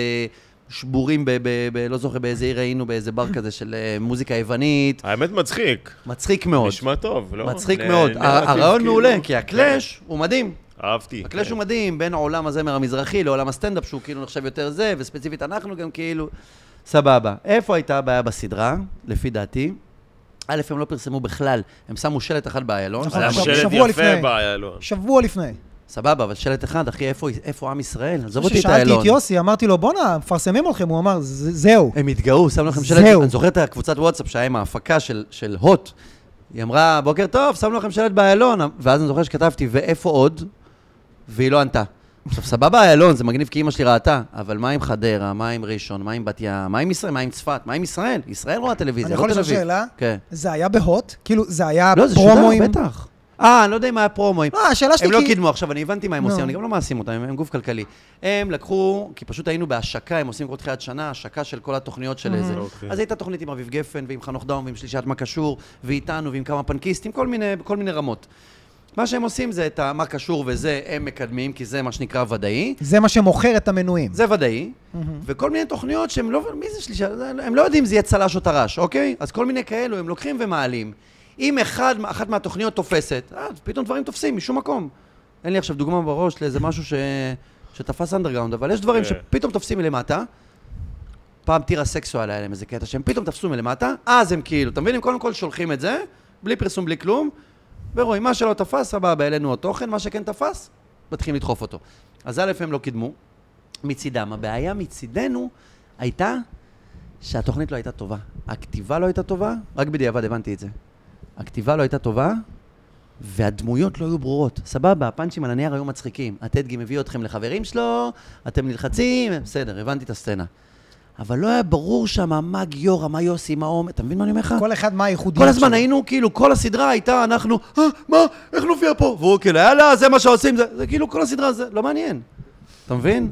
Speaker 2: שבורים, ב- ב- ב- לא זוכר באיזה עיר היינו, באיזה בר כזה של אה, מוזיקה יוונית,
Speaker 3: האמת מצחיק.
Speaker 2: מצחיק מאוד.
Speaker 3: נשמע טוב, לא?
Speaker 2: מצחיק
Speaker 3: נ-
Speaker 2: מאוד.
Speaker 3: נרטיב
Speaker 2: ה- הרעיון
Speaker 3: כאילו-
Speaker 2: מעולה, כי הקלאש הוא מדהים.
Speaker 3: כן, אהבתי.
Speaker 2: הקלאש
Speaker 3: כן.
Speaker 2: הוא מדהים בין עולם הזמר המזרחי לעולם הסטנדאפ, שהוא כאילו נחשב יותר זה, וספציפית אנחנו גם כאילו... סבבה. איפה הייתה הבעיה בסדרה, לפי דעתי? א', הם לא פרסמו בכלל, הם שמו שלט אחד באיילון.
Speaker 1: נכון,
Speaker 2: זה היה
Speaker 3: היה
Speaker 1: עכשיו-
Speaker 2: מדהים.
Speaker 3: שלט
Speaker 1: שבוע
Speaker 3: יפה לא,
Speaker 1: לפני.
Speaker 3: באיילון.
Speaker 1: שבוע לפני.
Speaker 2: סבבה, אבל שלט אחד, אחי, איפה- איפה עם ישראל? עזוב אותי את
Speaker 1: כששאלתי
Speaker 2: איילון.
Speaker 1: את יוסי, אמרתי לו, בואנה, מפרסמים אתכם, הוא אמר, "זה- זהו.
Speaker 2: הם התגאו, שמנו לכם שלט.
Speaker 1: זהו.
Speaker 2: אני זוכר את הקבוצת וואטסאפ שהיה עם ההפקה של, של הוט. היא אמרה, בוקר טוב, שמנו לכם שלט באיילון. ואז אני זוכר שכתבתי, ואיפה עוד? והיא לא ענתה. עכשיו, סבבה, איילון, זה מגניב כי אימא שלי ראתה, אבל מה עם חדרה, מה עם ראשון, מה עם בת ים, מה עם ישראל, מה עם צפת, מה עם ישראל? ישראל רואה טלוויזיה,
Speaker 1: אני
Speaker 2: לא
Speaker 1: יכול
Speaker 2: תל
Speaker 1: לשאול
Speaker 2: אביב.
Speaker 1: שאלה?
Speaker 2: כן.
Speaker 1: זה היה בהוט? כאילו, זה היה
Speaker 2: לא, זה
Speaker 1: פרומואים?
Speaker 2: שודר, בטח. אה, אני לא יודע אם היה פרומואים.
Speaker 1: לא, השאלה שלי
Speaker 2: הם לא
Speaker 1: כי-
Speaker 2: קידמו, עכשיו אני הבנתי מה הם
Speaker 1: נו.
Speaker 2: עושים, אני גם לא מאשים אותם, הם הם גוף כלכלי. הם לקחו, כי פשוט היינו בהשקה, הם עושים כל תחילת שנה, השקה של כל התוכניות של איזה.
Speaker 3: אוקיי.
Speaker 2: אז הייתה תוכנית עם אביב גפן, ועם חנוך דאום, ועם שלישת מה קשור, ואיתנו, ועם כמה פנקיסטים, כל מיני, כל מיני רמות. מה שהם עושים זה את המה קשור וזה, הם מקדמים, כי זה מה שנקרא ודאי.
Speaker 1: זה מה שמוכר את המנויים.
Speaker 2: זה ודאי, וכל מיני תוכניות שהם לא, מי זה שלישה? הם לא יודעים אם זה יהיה צל"ש או טר"ש, אוקיי? אז כל מיני כאלו הם לוקחים ומעלים. אם אחד, אחת מהתוכניות תופסת, אה, פתאום דברים תופסים משום מקום. אין לי עכשיו דוגמה בראש לאיזה משהו ש... שתפס אנדרגאונד, אבל יש דברים
Speaker 3: כן.
Speaker 2: שפתאום תופסים מלמטה. פעם טירה סקסואל היה להם איזה קטע שהם פתאום תפסו מלמטה, אז הם כאילו, אתה מבין? הם קודם כל שולחים את זה, בלי פרסום, בלי כלום, ורואים, מה שלא תפס, סבבה, העלינו התוכן, מה שכן תפס, מתחילים לדחוף אותו. אז א', הם לא קידמו, מצידם. הבעיה מצידנו הייתה שהתוכנית לא הייתה טובה. הכתיבה לא הייתה טובה, רק בדיעבד הבנתי את זה. הכתיבה לא הייתה טובה, והדמויות לא היו ברורות. סבבה, הפאנצ'ים על הנייר היו מצחיקים. הטדגי מביא אתכם לחברים שלו, אתם נלחצים, בסדר, הבנתי את הסצנה. אבל לא היה ברור שם מה גיורא, מה יוסי, מה עומר, אתה מבין מה אני אומר לך?
Speaker 1: כל אחד מה הייחודיות
Speaker 2: כל הזמן
Speaker 1: שלו.
Speaker 2: היינו, כאילו, כל הסדרה הייתה, אנחנו, אה, מה, איך נופיע פה? והוא כאילו, יאללה, זה מה שעושים, זה, זה כאילו, כל הסדרה, זה לא מעניין. אתה מבין?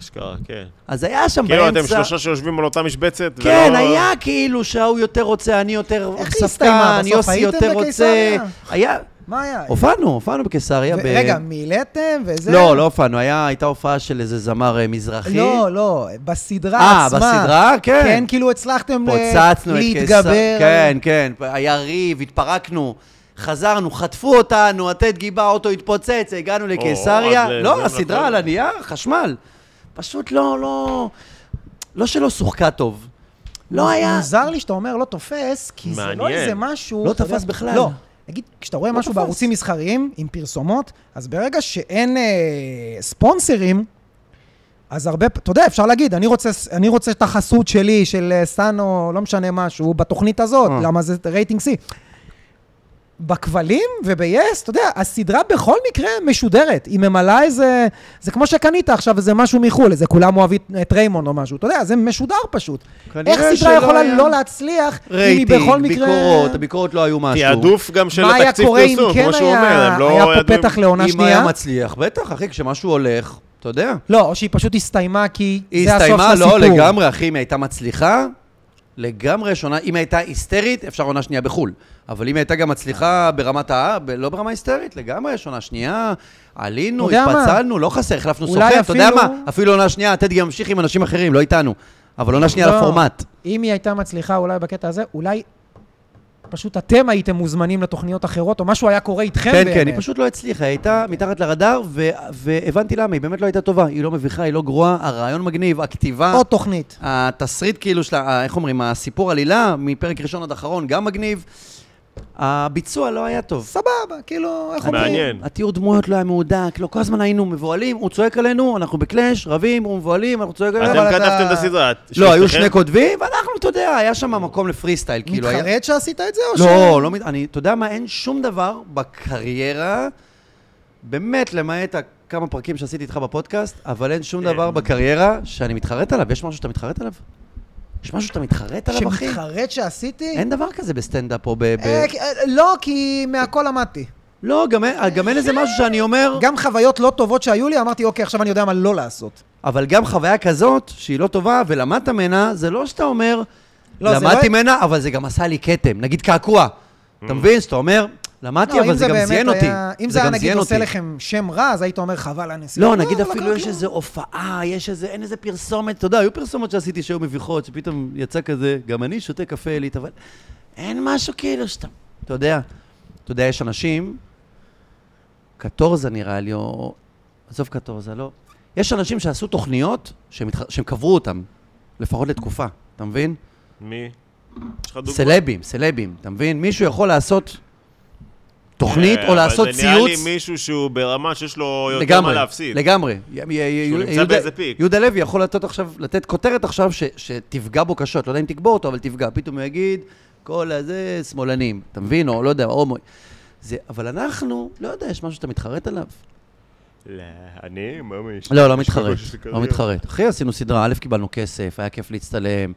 Speaker 3: אשכרה, כן.
Speaker 2: אז היה שם
Speaker 3: כאילו,
Speaker 2: באמצע...
Speaker 3: אתם שלושה שיושבים על אותה משבצת,
Speaker 2: כן,
Speaker 3: ולא-
Speaker 2: היה כאילו שההוא יותר רוצה, אני יותר
Speaker 1: איך היא הסתיימה?
Speaker 2: ספקן,
Speaker 1: בסוף
Speaker 2: יוסי
Speaker 1: הייתם
Speaker 2: יותר רוצה...
Speaker 1: בקיסריה?
Speaker 2: היה...
Speaker 1: מה היה?
Speaker 2: הופענו, הופענו בקיסריה.
Speaker 1: ו-
Speaker 2: ב-
Speaker 1: רגע, מילאתם וזה?
Speaker 2: לא, לא הופענו, היה- הייתה הופעה של איזה זמר אה, מזרחי.
Speaker 1: לא, לא, בסדרה
Speaker 2: אה,
Speaker 1: עצמה.
Speaker 2: בסדרה? כן.
Speaker 1: כן, כאילו הצלחתם ל-
Speaker 2: פוצצנו את קיסר...
Speaker 1: להתגבר.
Speaker 2: כן, כן, היה ריב, התפרקנו. חזרנו, חטפו אותנו, הטט גיבה, האוטו התפוצץ, הגענו לקיסריה.
Speaker 3: אז זה-
Speaker 2: לא,
Speaker 3: זה
Speaker 2: הסדרה
Speaker 3: נכון.
Speaker 2: על הנייר, חשמל. פשוט לא, לא... לא שלא שוחקה טוב. לא היה...
Speaker 1: מוזר לי שאתה אומר לא תופס, כי זה לא
Speaker 3: מעניין.
Speaker 1: איזה משהו...
Speaker 2: לא
Speaker 1: אתה יודע-
Speaker 2: תפס בכלל. לא
Speaker 1: לא. נגיד, כשאתה רואה משהו
Speaker 2: תפס.
Speaker 1: בערוצים מסחריים עם פרסומות, אז ברגע שאין אה, ספונסרים, אז הרבה, פ- אתה יודע, אפשר להגיד, אני רוצה, אני רוצה את החסות שלי, של אה, סאנו, לא משנה משהו, בתוכנית הזאת,
Speaker 2: אה.
Speaker 1: למה זה רייטינג C. בכבלים וביס, אתה יודע, הסדרה בכל מקרה משודרת. היא ממלאה איזה... זה כמו שקנית עכשיו איזה משהו מחו"ל, איזה כולם אוהבים את ריימון או משהו. אתה יודע, זה משודר פשוט.
Speaker 2: כנראה
Speaker 1: איך סדרה
Speaker 2: שלא
Speaker 1: יכולה
Speaker 2: היה.
Speaker 1: לא להצליח, אם היא
Speaker 2: רייטינג,
Speaker 1: בכל מקרה...
Speaker 2: ביקורות, הביקורות לא היו משהו.
Speaker 3: תעדוף גם של
Speaker 1: מה היה
Speaker 3: התקציב
Speaker 1: קורה אם
Speaker 3: פרסום,
Speaker 1: כן
Speaker 3: כמו שהוא
Speaker 1: היה-
Speaker 3: אומר, הם לא
Speaker 1: היה פה
Speaker 3: ידעו-
Speaker 1: פתח לעונה
Speaker 2: אם היה
Speaker 1: שנייה?
Speaker 2: מצליח, בטח, אחי, כשמשהו הולך, אתה יודע.
Speaker 1: לא, או שהיא פשוט הסתיימה כי
Speaker 2: היא
Speaker 1: זה הסוף של
Speaker 2: הסתיימה,
Speaker 1: הסיפור.
Speaker 2: לא, לגמרי, אחי, אם היא הייתה מצליחה, לגמרי יש עונה, אם היא הייתה היסטרית, אפשר עונה שנייה בחו"ל. אבל אם היא הייתה גם מצליחה ברמת ה... ב- לא ברמה היסטרית, לגמרי יש עונה שנייה, עלינו,
Speaker 1: אתה יודע מה?
Speaker 2: התפצלנו, לא חסר, החלפנו
Speaker 1: אולי
Speaker 2: סוכן, אתה יודע
Speaker 1: אפילו-
Speaker 2: מה? אפילו עונה שנייה, הטד גם ימשיך עם אנשים אחרים, לא איתנו. אבל עונה שנייה
Speaker 1: לא.
Speaker 2: לפורמט.
Speaker 1: אם היא הייתה מצליחה אולי בקטע הזה, אולי פשוט אתם הייתם מוזמנים לתוכניות אחרות, או משהו היה קורה איתכם
Speaker 2: כן,
Speaker 1: באמת.
Speaker 2: כן, היא פשוט לא הצליחה, היא הייתה מתחת לרדאר, ו- והבנתי למה, היא באמת לא הייתה טובה, היא לא מביכה, היא לא גרועה, הרעיון מגניב, הכתיבה...
Speaker 1: עוד תוכנית.
Speaker 2: התסריט כאילו של, ה- איך אומרים, הסיפור עלילה, מפרק ראשון עד אחרון, גם מגניב. הביצוע לא היה טוב.
Speaker 1: סבבה, כאילו, איך אומרים?
Speaker 3: מעניין.
Speaker 2: התיאור דמויות לא היה מהודק, לא, כל הזמן היינו מבוהלים, הוא צועק עלינו, אנחנו בקלאש, רבים, הוא מבוהלים, אנחנו צועק עלינו.
Speaker 3: אתם
Speaker 2: אבל אתה-
Speaker 3: כתבתם את אה, הסדרה.
Speaker 2: לא, היו
Speaker 3: שלושתכם?
Speaker 2: שני כותבים, ואנחנו, אתה יודע, היה שם מקום לפרי סטייל, כאילו. היה-
Speaker 1: מתחרט שעשית את זה, או
Speaker 2: לא, לא, מת- אני, אתה יודע מה, אין שום דבר בקריירה, באמת, למעט כמה פרקים שעשיתי איתך בפודקאסט, אבל אין
Speaker 1: כן.
Speaker 2: שום דבר בקריירה שאני מתחרט עליו. יש משהו שאתה מתחרט עליו? יש משהו שאתה מתחרט עליו, אחי?
Speaker 1: שמתחרט שעשיתי?
Speaker 2: אין דבר כזה בסטנדאפ או ב... ב-
Speaker 1: אה, כי- אה, לא, כי מהכל למדתי.
Speaker 2: לא, גם אין- גם אין איזה משהו שאני אומר,
Speaker 1: אה, גם חוויות לא טובות שהיו לי, אמרתי, אוקיי, עכשיו אני יודע מה לא לעשות.
Speaker 2: אבל גם חוויה כזאת, שהיא לא טובה, ולמדת ממנה, זה לא שאתה אומר,
Speaker 1: לא, זה
Speaker 2: למדתי
Speaker 1: לא- Mm.
Speaker 2: ממנה, אבל זה גם עשה לי כתם, נגיד קעקוע. אתה מבין? שאתה אומר, למדתי,
Speaker 1: לא,
Speaker 2: אבל
Speaker 1: אם
Speaker 2: זה גם
Speaker 1: באמת
Speaker 2: זיין אותי.
Speaker 1: היה- אם זה היה
Speaker 2: גם
Speaker 1: נגיד
Speaker 2: זיין
Speaker 1: עושה
Speaker 2: אותי.
Speaker 1: לכם שם רע, אז היית אומר, חבל, אני אעשה...
Speaker 3: אה,
Speaker 2: לא, נגיד אפילו יש איזו הופעה, יש איזה, אין איזה פרסומת, אתה יודע, היו פרסומות שעשיתי שהיו מביכות, שפתאום יצא כזה, גם אני שותה קפה עילית, אבל אין משהו כאילו שאתה, אתה יודע, אתה יודע, יש אנשים, קטורזה נראה לי, או... עזוב קטורזה, לא. יש אנשים שעשו תוכניות שהם, התח... שהם קברו אותם, לפחות לתקופה, אתה מבין?
Speaker 3: מי? יש לך דוגמא?
Speaker 2: סלבים, סלבים, אתה מבין? מישהו יכול לעשות תוכנית
Speaker 3: אה,
Speaker 2: או לעשות
Speaker 3: אבל זה נראה
Speaker 2: ציוץ.
Speaker 3: לי מישהו שהוא ברמה שיש לו יותר מה
Speaker 2: לגמרי,
Speaker 3: להפסיד.
Speaker 2: לגמרי. י- י- י-
Speaker 3: שהוא נמצא
Speaker 2: יהודה-
Speaker 3: באיזה פיק.
Speaker 2: יהודה לוי יכול לתת עכשיו, לתת כותרת עכשיו ש- שתפגע בו קשות, לא יודע אם תקבור אותו, אבל תפגע. פתאום הוא יגיד, כל הזה שמאלנים, אתה מבין? או לא יודע, הומו. זה, אבל אנחנו, לא יודע, יש משהו שאתה מתחרט עליו?
Speaker 3: לא, אני ממש.
Speaker 2: לא, לא
Speaker 3: יש לי
Speaker 2: מתחרט,
Speaker 3: קושי של
Speaker 2: לא
Speaker 3: קריירה.
Speaker 2: מתחרט. אחי, עשינו סדרה, א', קיבלנו כסף, היה כיף להצטלם.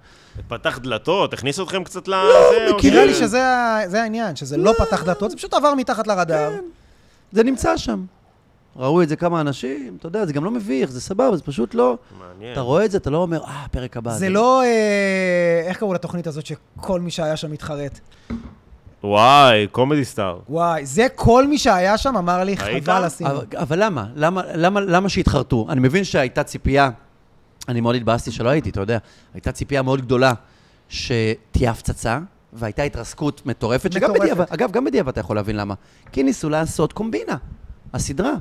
Speaker 3: פתח דלתות, הכניס אתכם קצת
Speaker 1: לא,
Speaker 3: לזה. או
Speaker 2: מכירה
Speaker 1: נראה
Speaker 3: ש-
Speaker 1: כאילו לי שזה ה- זה העניין, שזה לא פתח דלתות, זה פשוט עבר מתחת לרדאר.
Speaker 2: כן. זה נמצא שם. ראו את זה כמה אנשים, אתה יודע, זה גם לא מביך, זה סבבה, זה פשוט לא...
Speaker 3: מעניין.
Speaker 2: אתה רואה את זה, אתה לא אומר, אה, פרק הבא.
Speaker 1: זה לא... אה, איך קראו לתוכנית הזאת שכל מי שהיה שם התחרט?
Speaker 3: וואי, קומדי סטאר.
Speaker 1: וואי, זה כל מי שהיה שם אמר לי,
Speaker 3: ראית?
Speaker 1: חבל עשינו.
Speaker 2: אבל, אבל למה? למה, למה, למה שהתחרטו? אני מבין שהייתה ציפייה, אני מאוד התבאסתי שלא הייתי, אתה יודע, הייתה ציפייה מאוד גדולה שתהיה הפצצה, והייתה התרסקות מטורפת, שגם
Speaker 1: מטורפת.
Speaker 2: בדיעבד, אגב, גם בדיעבד אתה יכול להבין למה. כי ניסו לעשות קומבינה, הסדרה.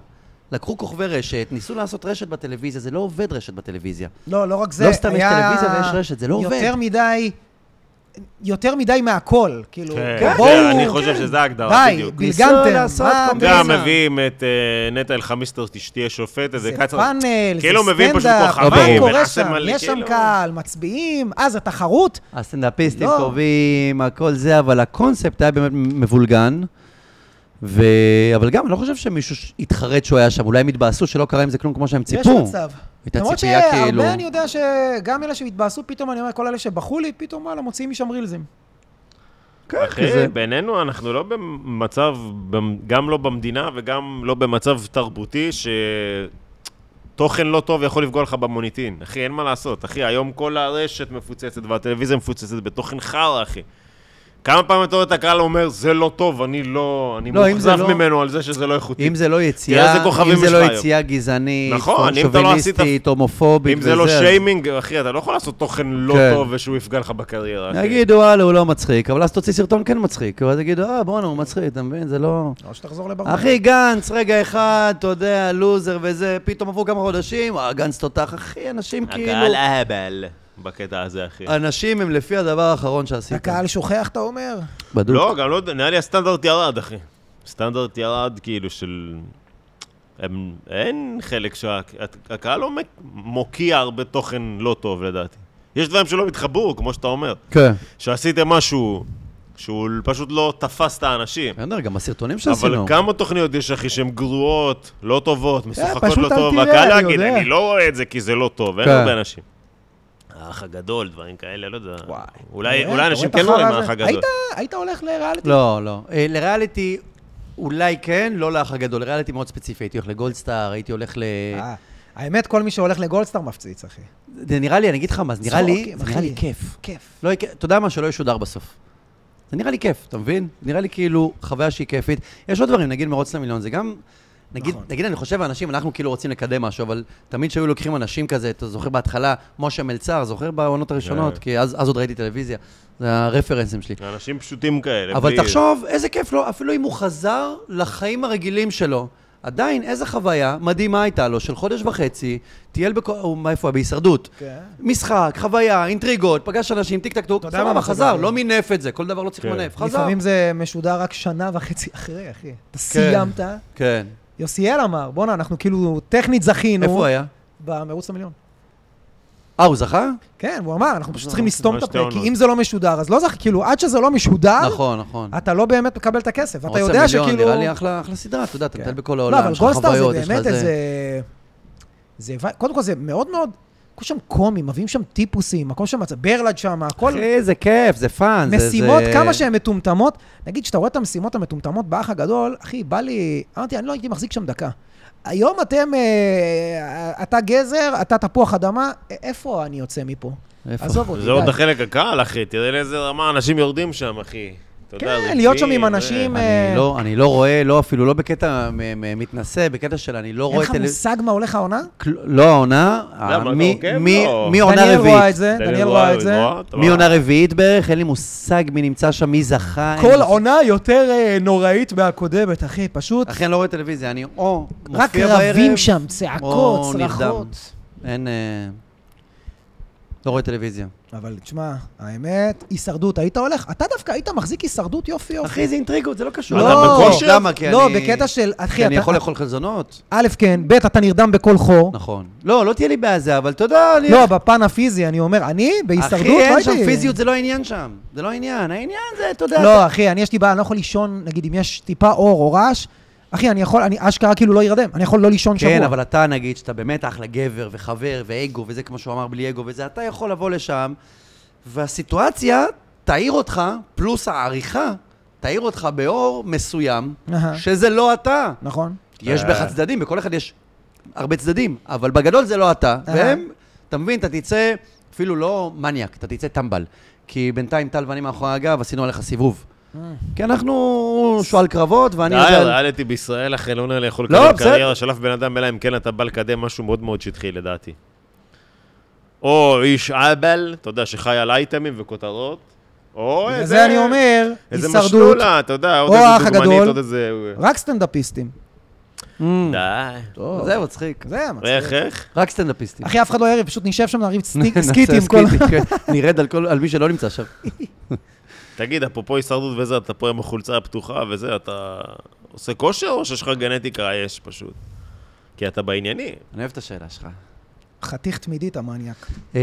Speaker 2: לקחו כוכבי רשת, ניסו לעשות רשת בטלוויזיה, זה לא עובד רשת בטלוויזיה.
Speaker 1: לא, לא רק זה.
Speaker 2: לא סתם יש
Speaker 1: היה
Speaker 2: טלוויזיה ויש רשת, זה לא עובד.
Speaker 1: יותר מדי, יותר מדי מהכל, כאילו.
Speaker 3: כן,
Speaker 1: בואו,
Speaker 3: זה- אני חושב שזה ההגדרה,
Speaker 1: די,
Speaker 3: בדיוק.
Speaker 2: ניסו
Speaker 1: בלגנתם.
Speaker 2: לעשות
Speaker 1: מה-
Speaker 2: קומבינה.
Speaker 3: גם
Speaker 2: בסדר.
Speaker 3: מביאים את אה, נטע אלחמיסטר, שתהיה שופטת,
Speaker 1: זה
Speaker 3: זה קצר.
Speaker 1: פאנל, זה
Speaker 3: כאילו מביאים פשוט
Speaker 1: סטנדאפ,
Speaker 2: לא,
Speaker 1: מה
Speaker 3: כוכבים,
Speaker 1: קורה
Speaker 3: ונעשה
Speaker 1: שם?
Speaker 3: מלא,
Speaker 1: יש שם
Speaker 3: כאילו.
Speaker 1: קהל, מצביעים, אה, זה תחרות?
Speaker 2: הסטנדאפיסטים
Speaker 1: לא.
Speaker 2: קובעים, הכל זה, אבל הקונספט היה באמת מבולגן. ו... אבל גם, אני לא חושב שמישהו ש- התחרט שהוא היה שם, אולי הם התבאסו שלא קרה עם זה כלום כמו שהם ציפו.
Speaker 1: יש מצב.
Speaker 2: הייתה
Speaker 1: למרות
Speaker 2: ציפייה כאילו...
Speaker 1: שהרבה אני יודע שגם אלה שהתבאסו, פתאום אני אומר, כל אלה שבכו לי, פתאום וואלה, מוציאים משם רילזים.
Speaker 2: כזה.
Speaker 3: אחי, בינינו אנחנו לא במצב, במ- גם לא במדינה וגם לא במצב תרבותי ש... תוכן לא טוב יכול לפגוע לך במוניטין. אחי, אין מה לעשות. אחי, היום כל הרשת מפוצצת והטלוויזיה מפוצצת בתוכן חרא, אחי. כמה פעמים אתה רואה את הקהל אומר, זה לא טוב, אני לא... אני
Speaker 2: לא, אם זה
Speaker 3: מאוכזב
Speaker 2: לא-
Speaker 3: ממנו על זה שזה לא איכותי.
Speaker 2: אם זה לא
Speaker 3: תראה
Speaker 2: יציאה,
Speaker 3: איזה כוכבים
Speaker 2: אם זה
Speaker 3: יש
Speaker 2: לא
Speaker 3: לך היום.
Speaker 2: יציאה גזענית,
Speaker 3: נכון, אם אתה לא עשית-
Speaker 2: שוביניסטית, הומופובית
Speaker 3: אם זה לא
Speaker 2: וזה, אז-
Speaker 3: שיימינג, אחי, אתה לא יכול לעשות תוכן לא
Speaker 2: כן.
Speaker 3: טוב ושהוא יפגע לך בקריירה, אחי.
Speaker 2: יגידו, וואלה, הוא לא מצחיק, אבל אז תוציא סרטון כן מצחיק, ואז יגידו, אה, בואנה, הוא מצחיק, אתה מבין? זה לא...
Speaker 1: או שתחזור לברמן.
Speaker 2: אחי, גנץ, רגע אחד, אתה יודע, לוזר וזה, פתאום עברו כמה חודשים, אה, גנץ תותח, אחי, אנשים כאילו...
Speaker 3: אהבל. בקטע הזה, אחי.
Speaker 2: אנשים הם לפי הדבר האחרון שעשית.
Speaker 1: הקהל שוכח, אתה אומר?
Speaker 2: בדוק.
Speaker 3: לא,
Speaker 1: אוקיי.
Speaker 3: גם לא יודע, נראה לי הסטנדרט ירד, אחי. סטנדרט ירד, כאילו, של... הם, אין חלק שה... הקהל לא מק- מוקיע הרבה תוכן לא טוב, לדעתי. יש דברים שלא התחברו, כמו שאתה אומר.
Speaker 2: כן.
Speaker 3: שעשיתם משהו שהוא פשוט לא תפס את האנשים.
Speaker 1: כן.
Speaker 2: בסדר, גם הסרטונים
Speaker 3: אבל
Speaker 2: שעשינו.
Speaker 3: כמה תוכניות יש, אחי, שהן גרועות, לא טובות, משוחקות
Speaker 1: אה, פשוט
Speaker 3: לא
Speaker 1: אל
Speaker 3: טוב,
Speaker 1: תראה,
Speaker 3: והקהל
Speaker 1: אני
Speaker 3: יגיד,
Speaker 1: יודע.
Speaker 3: אני לא רואה את זה כי זה לא טוב, אין
Speaker 2: כן.
Speaker 3: הרבה אנשים. האח הגדול, דברים כאלה, לא יודע.
Speaker 1: וואי.
Speaker 3: אולי
Speaker 1: אה,
Speaker 3: אולי
Speaker 1: אתה
Speaker 3: אנשים
Speaker 1: רואה
Speaker 3: כן
Speaker 1: את
Speaker 3: רואים
Speaker 1: החרא
Speaker 3: האח
Speaker 1: הזה?
Speaker 3: הגדול.
Speaker 1: היית- היית הולך לריאליטי?
Speaker 2: לא, לא. אה, לריאליטי, אולי כן, לא לאח הגדול. לריאליטי מאוד ספציפי, הייתי הולך לגולדסטאר, הייתי הולך ל...
Speaker 1: אה, האמת, כל מי שהולך לגולדסטאר מפציץ, אחי.
Speaker 2: זה נראה לי, אני אגיד לך מה, זה נראה לי,
Speaker 1: צחוקים,
Speaker 2: זה נראה לי
Speaker 1: אחי.
Speaker 2: כיף.
Speaker 1: כיף.
Speaker 2: לא, יק- אתה יודע מה? שלא ישודר בסוף. זה נראה לי כיף, אתה מבין? נראה לי כאילו חוויה שהיא כיפית. יש עוד דברים, נגיד מרוץ למיליון, זה גם... נגיד,
Speaker 1: נכון.
Speaker 2: נגיד, אני חושב, האנשים, אנחנו כאילו רוצים לקדם משהו, אבל תמיד שהיו לוקחים אנשים כזה, אתה זוכר בהתחלה, משה מלצר, זוכר בעונות הראשונות?
Speaker 3: כן.
Speaker 2: כי אז, אז עוד ראיתי טלוויזיה, זה הרפרנסים שלי.
Speaker 3: אנשים פשוטים כאלה.
Speaker 2: אבל
Speaker 3: בלי-
Speaker 2: תחשוב, איזה כיף לו, אפילו אם הוא חזר לחיים הרגילים שלו, עדיין איזה חוויה מדהימה הייתה לו, של חודש וחצי, טייל בכל... הוא, מה, איפה? הוא? בהישרדות.
Speaker 1: כן.
Speaker 2: משחק, חוויה, אינטריגות, פגש אנשים, טיק טק טוק,
Speaker 1: אתה יודע מה
Speaker 2: סבבה,
Speaker 1: מצחיק,
Speaker 2: חזר,
Speaker 1: אבל-
Speaker 2: לא מינף את זה, כל דבר לא צריך
Speaker 3: כן.
Speaker 2: למנף, חזר.
Speaker 1: לפעמים זה משודר רק שנה וחצי אחרי, אחי. אתה סיימת,
Speaker 2: כן.
Speaker 1: יוסיאל אמר, בואנה, אנחנו כאילו טכנית זכינו.
Speaker 2: איפה הוא היה?
Speaker 1: במרוץ למיליון.
Speaker 2: אה, הוא זכה?
Speaker 1: כן, הוא אמר, אנחנו פשוט צריכים לסתום את
Speaker 3: ממש
Speaker 1: הפה,
Speaker 3: טעונות.
Speaker 1: כי אם זה לא משודר, אז לא זכי, כאילו, עד שזה לא משודר,
Speaker 2: נכון, נכון.
Speaker 1: אתה לא באמת מקבל את הכסף. אתה
Speaker 2: מרוץ
Speaker 1: יודע
Speaker 2: המיליון,
Speaker 1: שכאילו...
Speaker 2: נראה לי אחלה אחלה סדרה, אתה יודע, אתה
Speaker 1: כן.
Speaker 2: מטייל בכל
Speaker 1: לא,
Speaker 2: העולם,
Speaker 1: אבל
Speaker 2: יש לך
Speaker 1: גולדסטאר
Speaker 2: חוויות,
Speaker 1: זה
Speaker 2: יש לך
Speaker 1: באמת
Speaker 2: זה.
Speaker 1: איזה... זה... קודם כל, זה מאוד מאוד... הכל שם קומי, מביאים שם טיפוסים, הכל שם... ברלד שם, הכל...
Speaker 2: אחי, זה כיף, זה פאן. זה-
Speaker 1: משימות,
Speaker 2: זה-
Speaker 1: כמה שהן מטומטמות. נגיד, כשאתה רואה את המשימות המטומטמות באח הגדול, אחי, בא לי... אמרתי, אני לא הייתי מחזיק שם דקה. היום אתם... אה, אתה גזר, אתה תפוח אדמה, א- איפה אני יוצא מפה?
Speaker 2: איפה?
Speaker 1: עזוב אותי,
Speaker 3: זה עוד החלק הקל, אחי, תראה לאיזה רמה אנשים יורדים שם, אחי. אתה יודע,
Speaker 1: כן,
Speaker 3: רגשי,
Speaker 1: להיות שם עם
Speaker 3: זה-
Speaker 1: אנשים... אה,
Speaker 2: אני לא, אני לא רואה, לא אפילו לא בקטע מ- מ- מתנשא, בקטע של אני לא
Speaker 1: אין
Speaker 2: רואה
Speaker 1: לך מושג מה הולך העונה?
Speaker 2: כל- לא העונה,
Speaker 3: למה, אתה
Speaker 2: מי-
Speaker 3: עוקב?
Speaker 2: מי-
Speaker 3: לא.
Speaker 2: מי עונה
Speaker 1: דניאל רואה את
Speaker 2: רביעית?
Speaker 1: זה, דניאל רואה את זה.
Speaker 3: רואה, אתה
Speaker 2: מי
Speaker 3: רואה.
Speaker 2: עונה רביעית בערך? אין לי מושג מי נמצא שם, מי זכה. אין לי
Speaker 1: כל
Speaker 2: מושג.
Speaker 1: עונה יותר אה, נוראית מהקודמת, אחי, פשוט.
Speaker 2: אחי, אני לא רואה טלוויזיה, אני או מופיע
Speaker 1: רק
Speaker 2: בערב,
Speaker 1: רבים שם, צעקות,
Speaker 2: או נרדם.
Speaker 1: צרחות.
Speaker 2: אין... אה, לא רואה טלוויזיה.
Speaker 1: אבל תשמע, האמת, הישרדות, היית הולך? אתה דווקא היית מחזיק הישרדות יופי יופי.
Speaker 2: אחי, זה אינטריגות, זה לא קשור.
Speaker 1: לא,
Speaker 2: אתה בכושר?
Speaker 3: לא,
Speaker 2: למה? כי
Speaker 1: לא,
Speaker 2: אני-
Speaker 1: בקטע של, אחי,
Speaker 2: כי אני
Speaker 1: אתה-
Speaker 2: יכול לאכול חלזונות?
Speaker 1: א', כן, ב', אתה נרדם בכל חור.
Speaker 2: נכון. לא, לא תהיה לי בעיה, אבל אתה יודע, אני...
Speaker 1: לא, בפן הפיזי, אני אומר, אני בהישרדות לא
Speaker 2: אחי, אין
Speaker 1: הייתי...
Speaker 2: שם פיזיות, זה לא העניין שם. זה לא העניין. העניין זה, אתה יודע...
Speaker 1: לא, אחי, אני יש לי בעיה, אני לא יכול לישון, נגיד, אם יש טיפה אור או רעש, אחי, אני יכול, אני אשכרה כאילו לא ירדם, אני יכול לא לישון שבוע.
Speaker 2: כן, אבל אתה נגיד שאתה באמת אחלה גבר וחבר ואגו וזה כמו שהוא אמר בלי אגו וזה, אתה יכול לבוא לשם והסיטואציה תעיר אותך, פלוס העריכה, תעיר אותך באור מסוים,
Speaker 1: אהה.
Speaker 2: שזה לא אתה.
Speaker 1: נכון.
Speaker 2: יש בך צדדים, בכל אחד יש הרבה צדדים, אבל בגדול זה לא אתה.
Speaker 1: אהה.
Speaker 2: והם, אתה מבין, אתה תצא אפילו לא מניאק, אתה תצא טמבל. כי בינתיים טל ואני מאחורי הגב עשינו עליך סיבוב. כי אנחנו שועל קרבות, ואני
Speaker 3: די,
Speaker 2: יודע...
Speaker 3: ריאליטי בישראל, אחי, לא נראה לי יכול
Speaker 2: לא,
Speaker 3: לקדם
Speaker 2: בסדר.
Speaker 3: קריירה של אף בן אדם, אלא אם כן אתה בא לקדם משהו מאוד מאוד שטחי, לדעתי. או איש אהבל, אתה יודע, שחי על אייטמים וכותרות, או
Speaker 1: בגלל
Speaker 3: איזה...
Speaker 1: זה אני אומר,
Speaker 3: אה, איזה
Speaker 1: הישרדות,
Speaker 3: משלולה, אתה יודע, עוד
Speaker 1: או האח
Speaker 3: איזה דוגמנית,
Speaker 1: הגדול.
Speaker 3: עוד איזה...
Speaker 1: רק סטנדאפיסטים.
Speaker 2: Mm.
Speaker 3: די.
Speaker 1: טוב.
Speaker 2: זה מצחיק.
Speaker 1: זה היה מצחיק.
Speaker 3: איך, איך?
Speaker 2: רק סטנדאפיסטים. [LAUGHS]
Speaker 1: אחי, אף אחד לא יריב, פשוט נשב שם, נריב סטיק-
Speaker 2: נעשה
Speaker 1: סקיטים. כל-
Speaker 2: סקיטים, כן. נרד על כל- על מי שלא נמצא שם.
Speaker 3: תגיד, אפרופו הישרדות וזה, אתה פה עם החולצה הפתוחה וזה, אתה עושה כושר או שיש לך גנטיקה יש פשוט? כי אתה בענייני.
Speaker 2: אני אוהב את השאלה שלך.
Speaker 1: [LAUGHS] חתיך תמידית, המניאק.
Speaker 2: אה,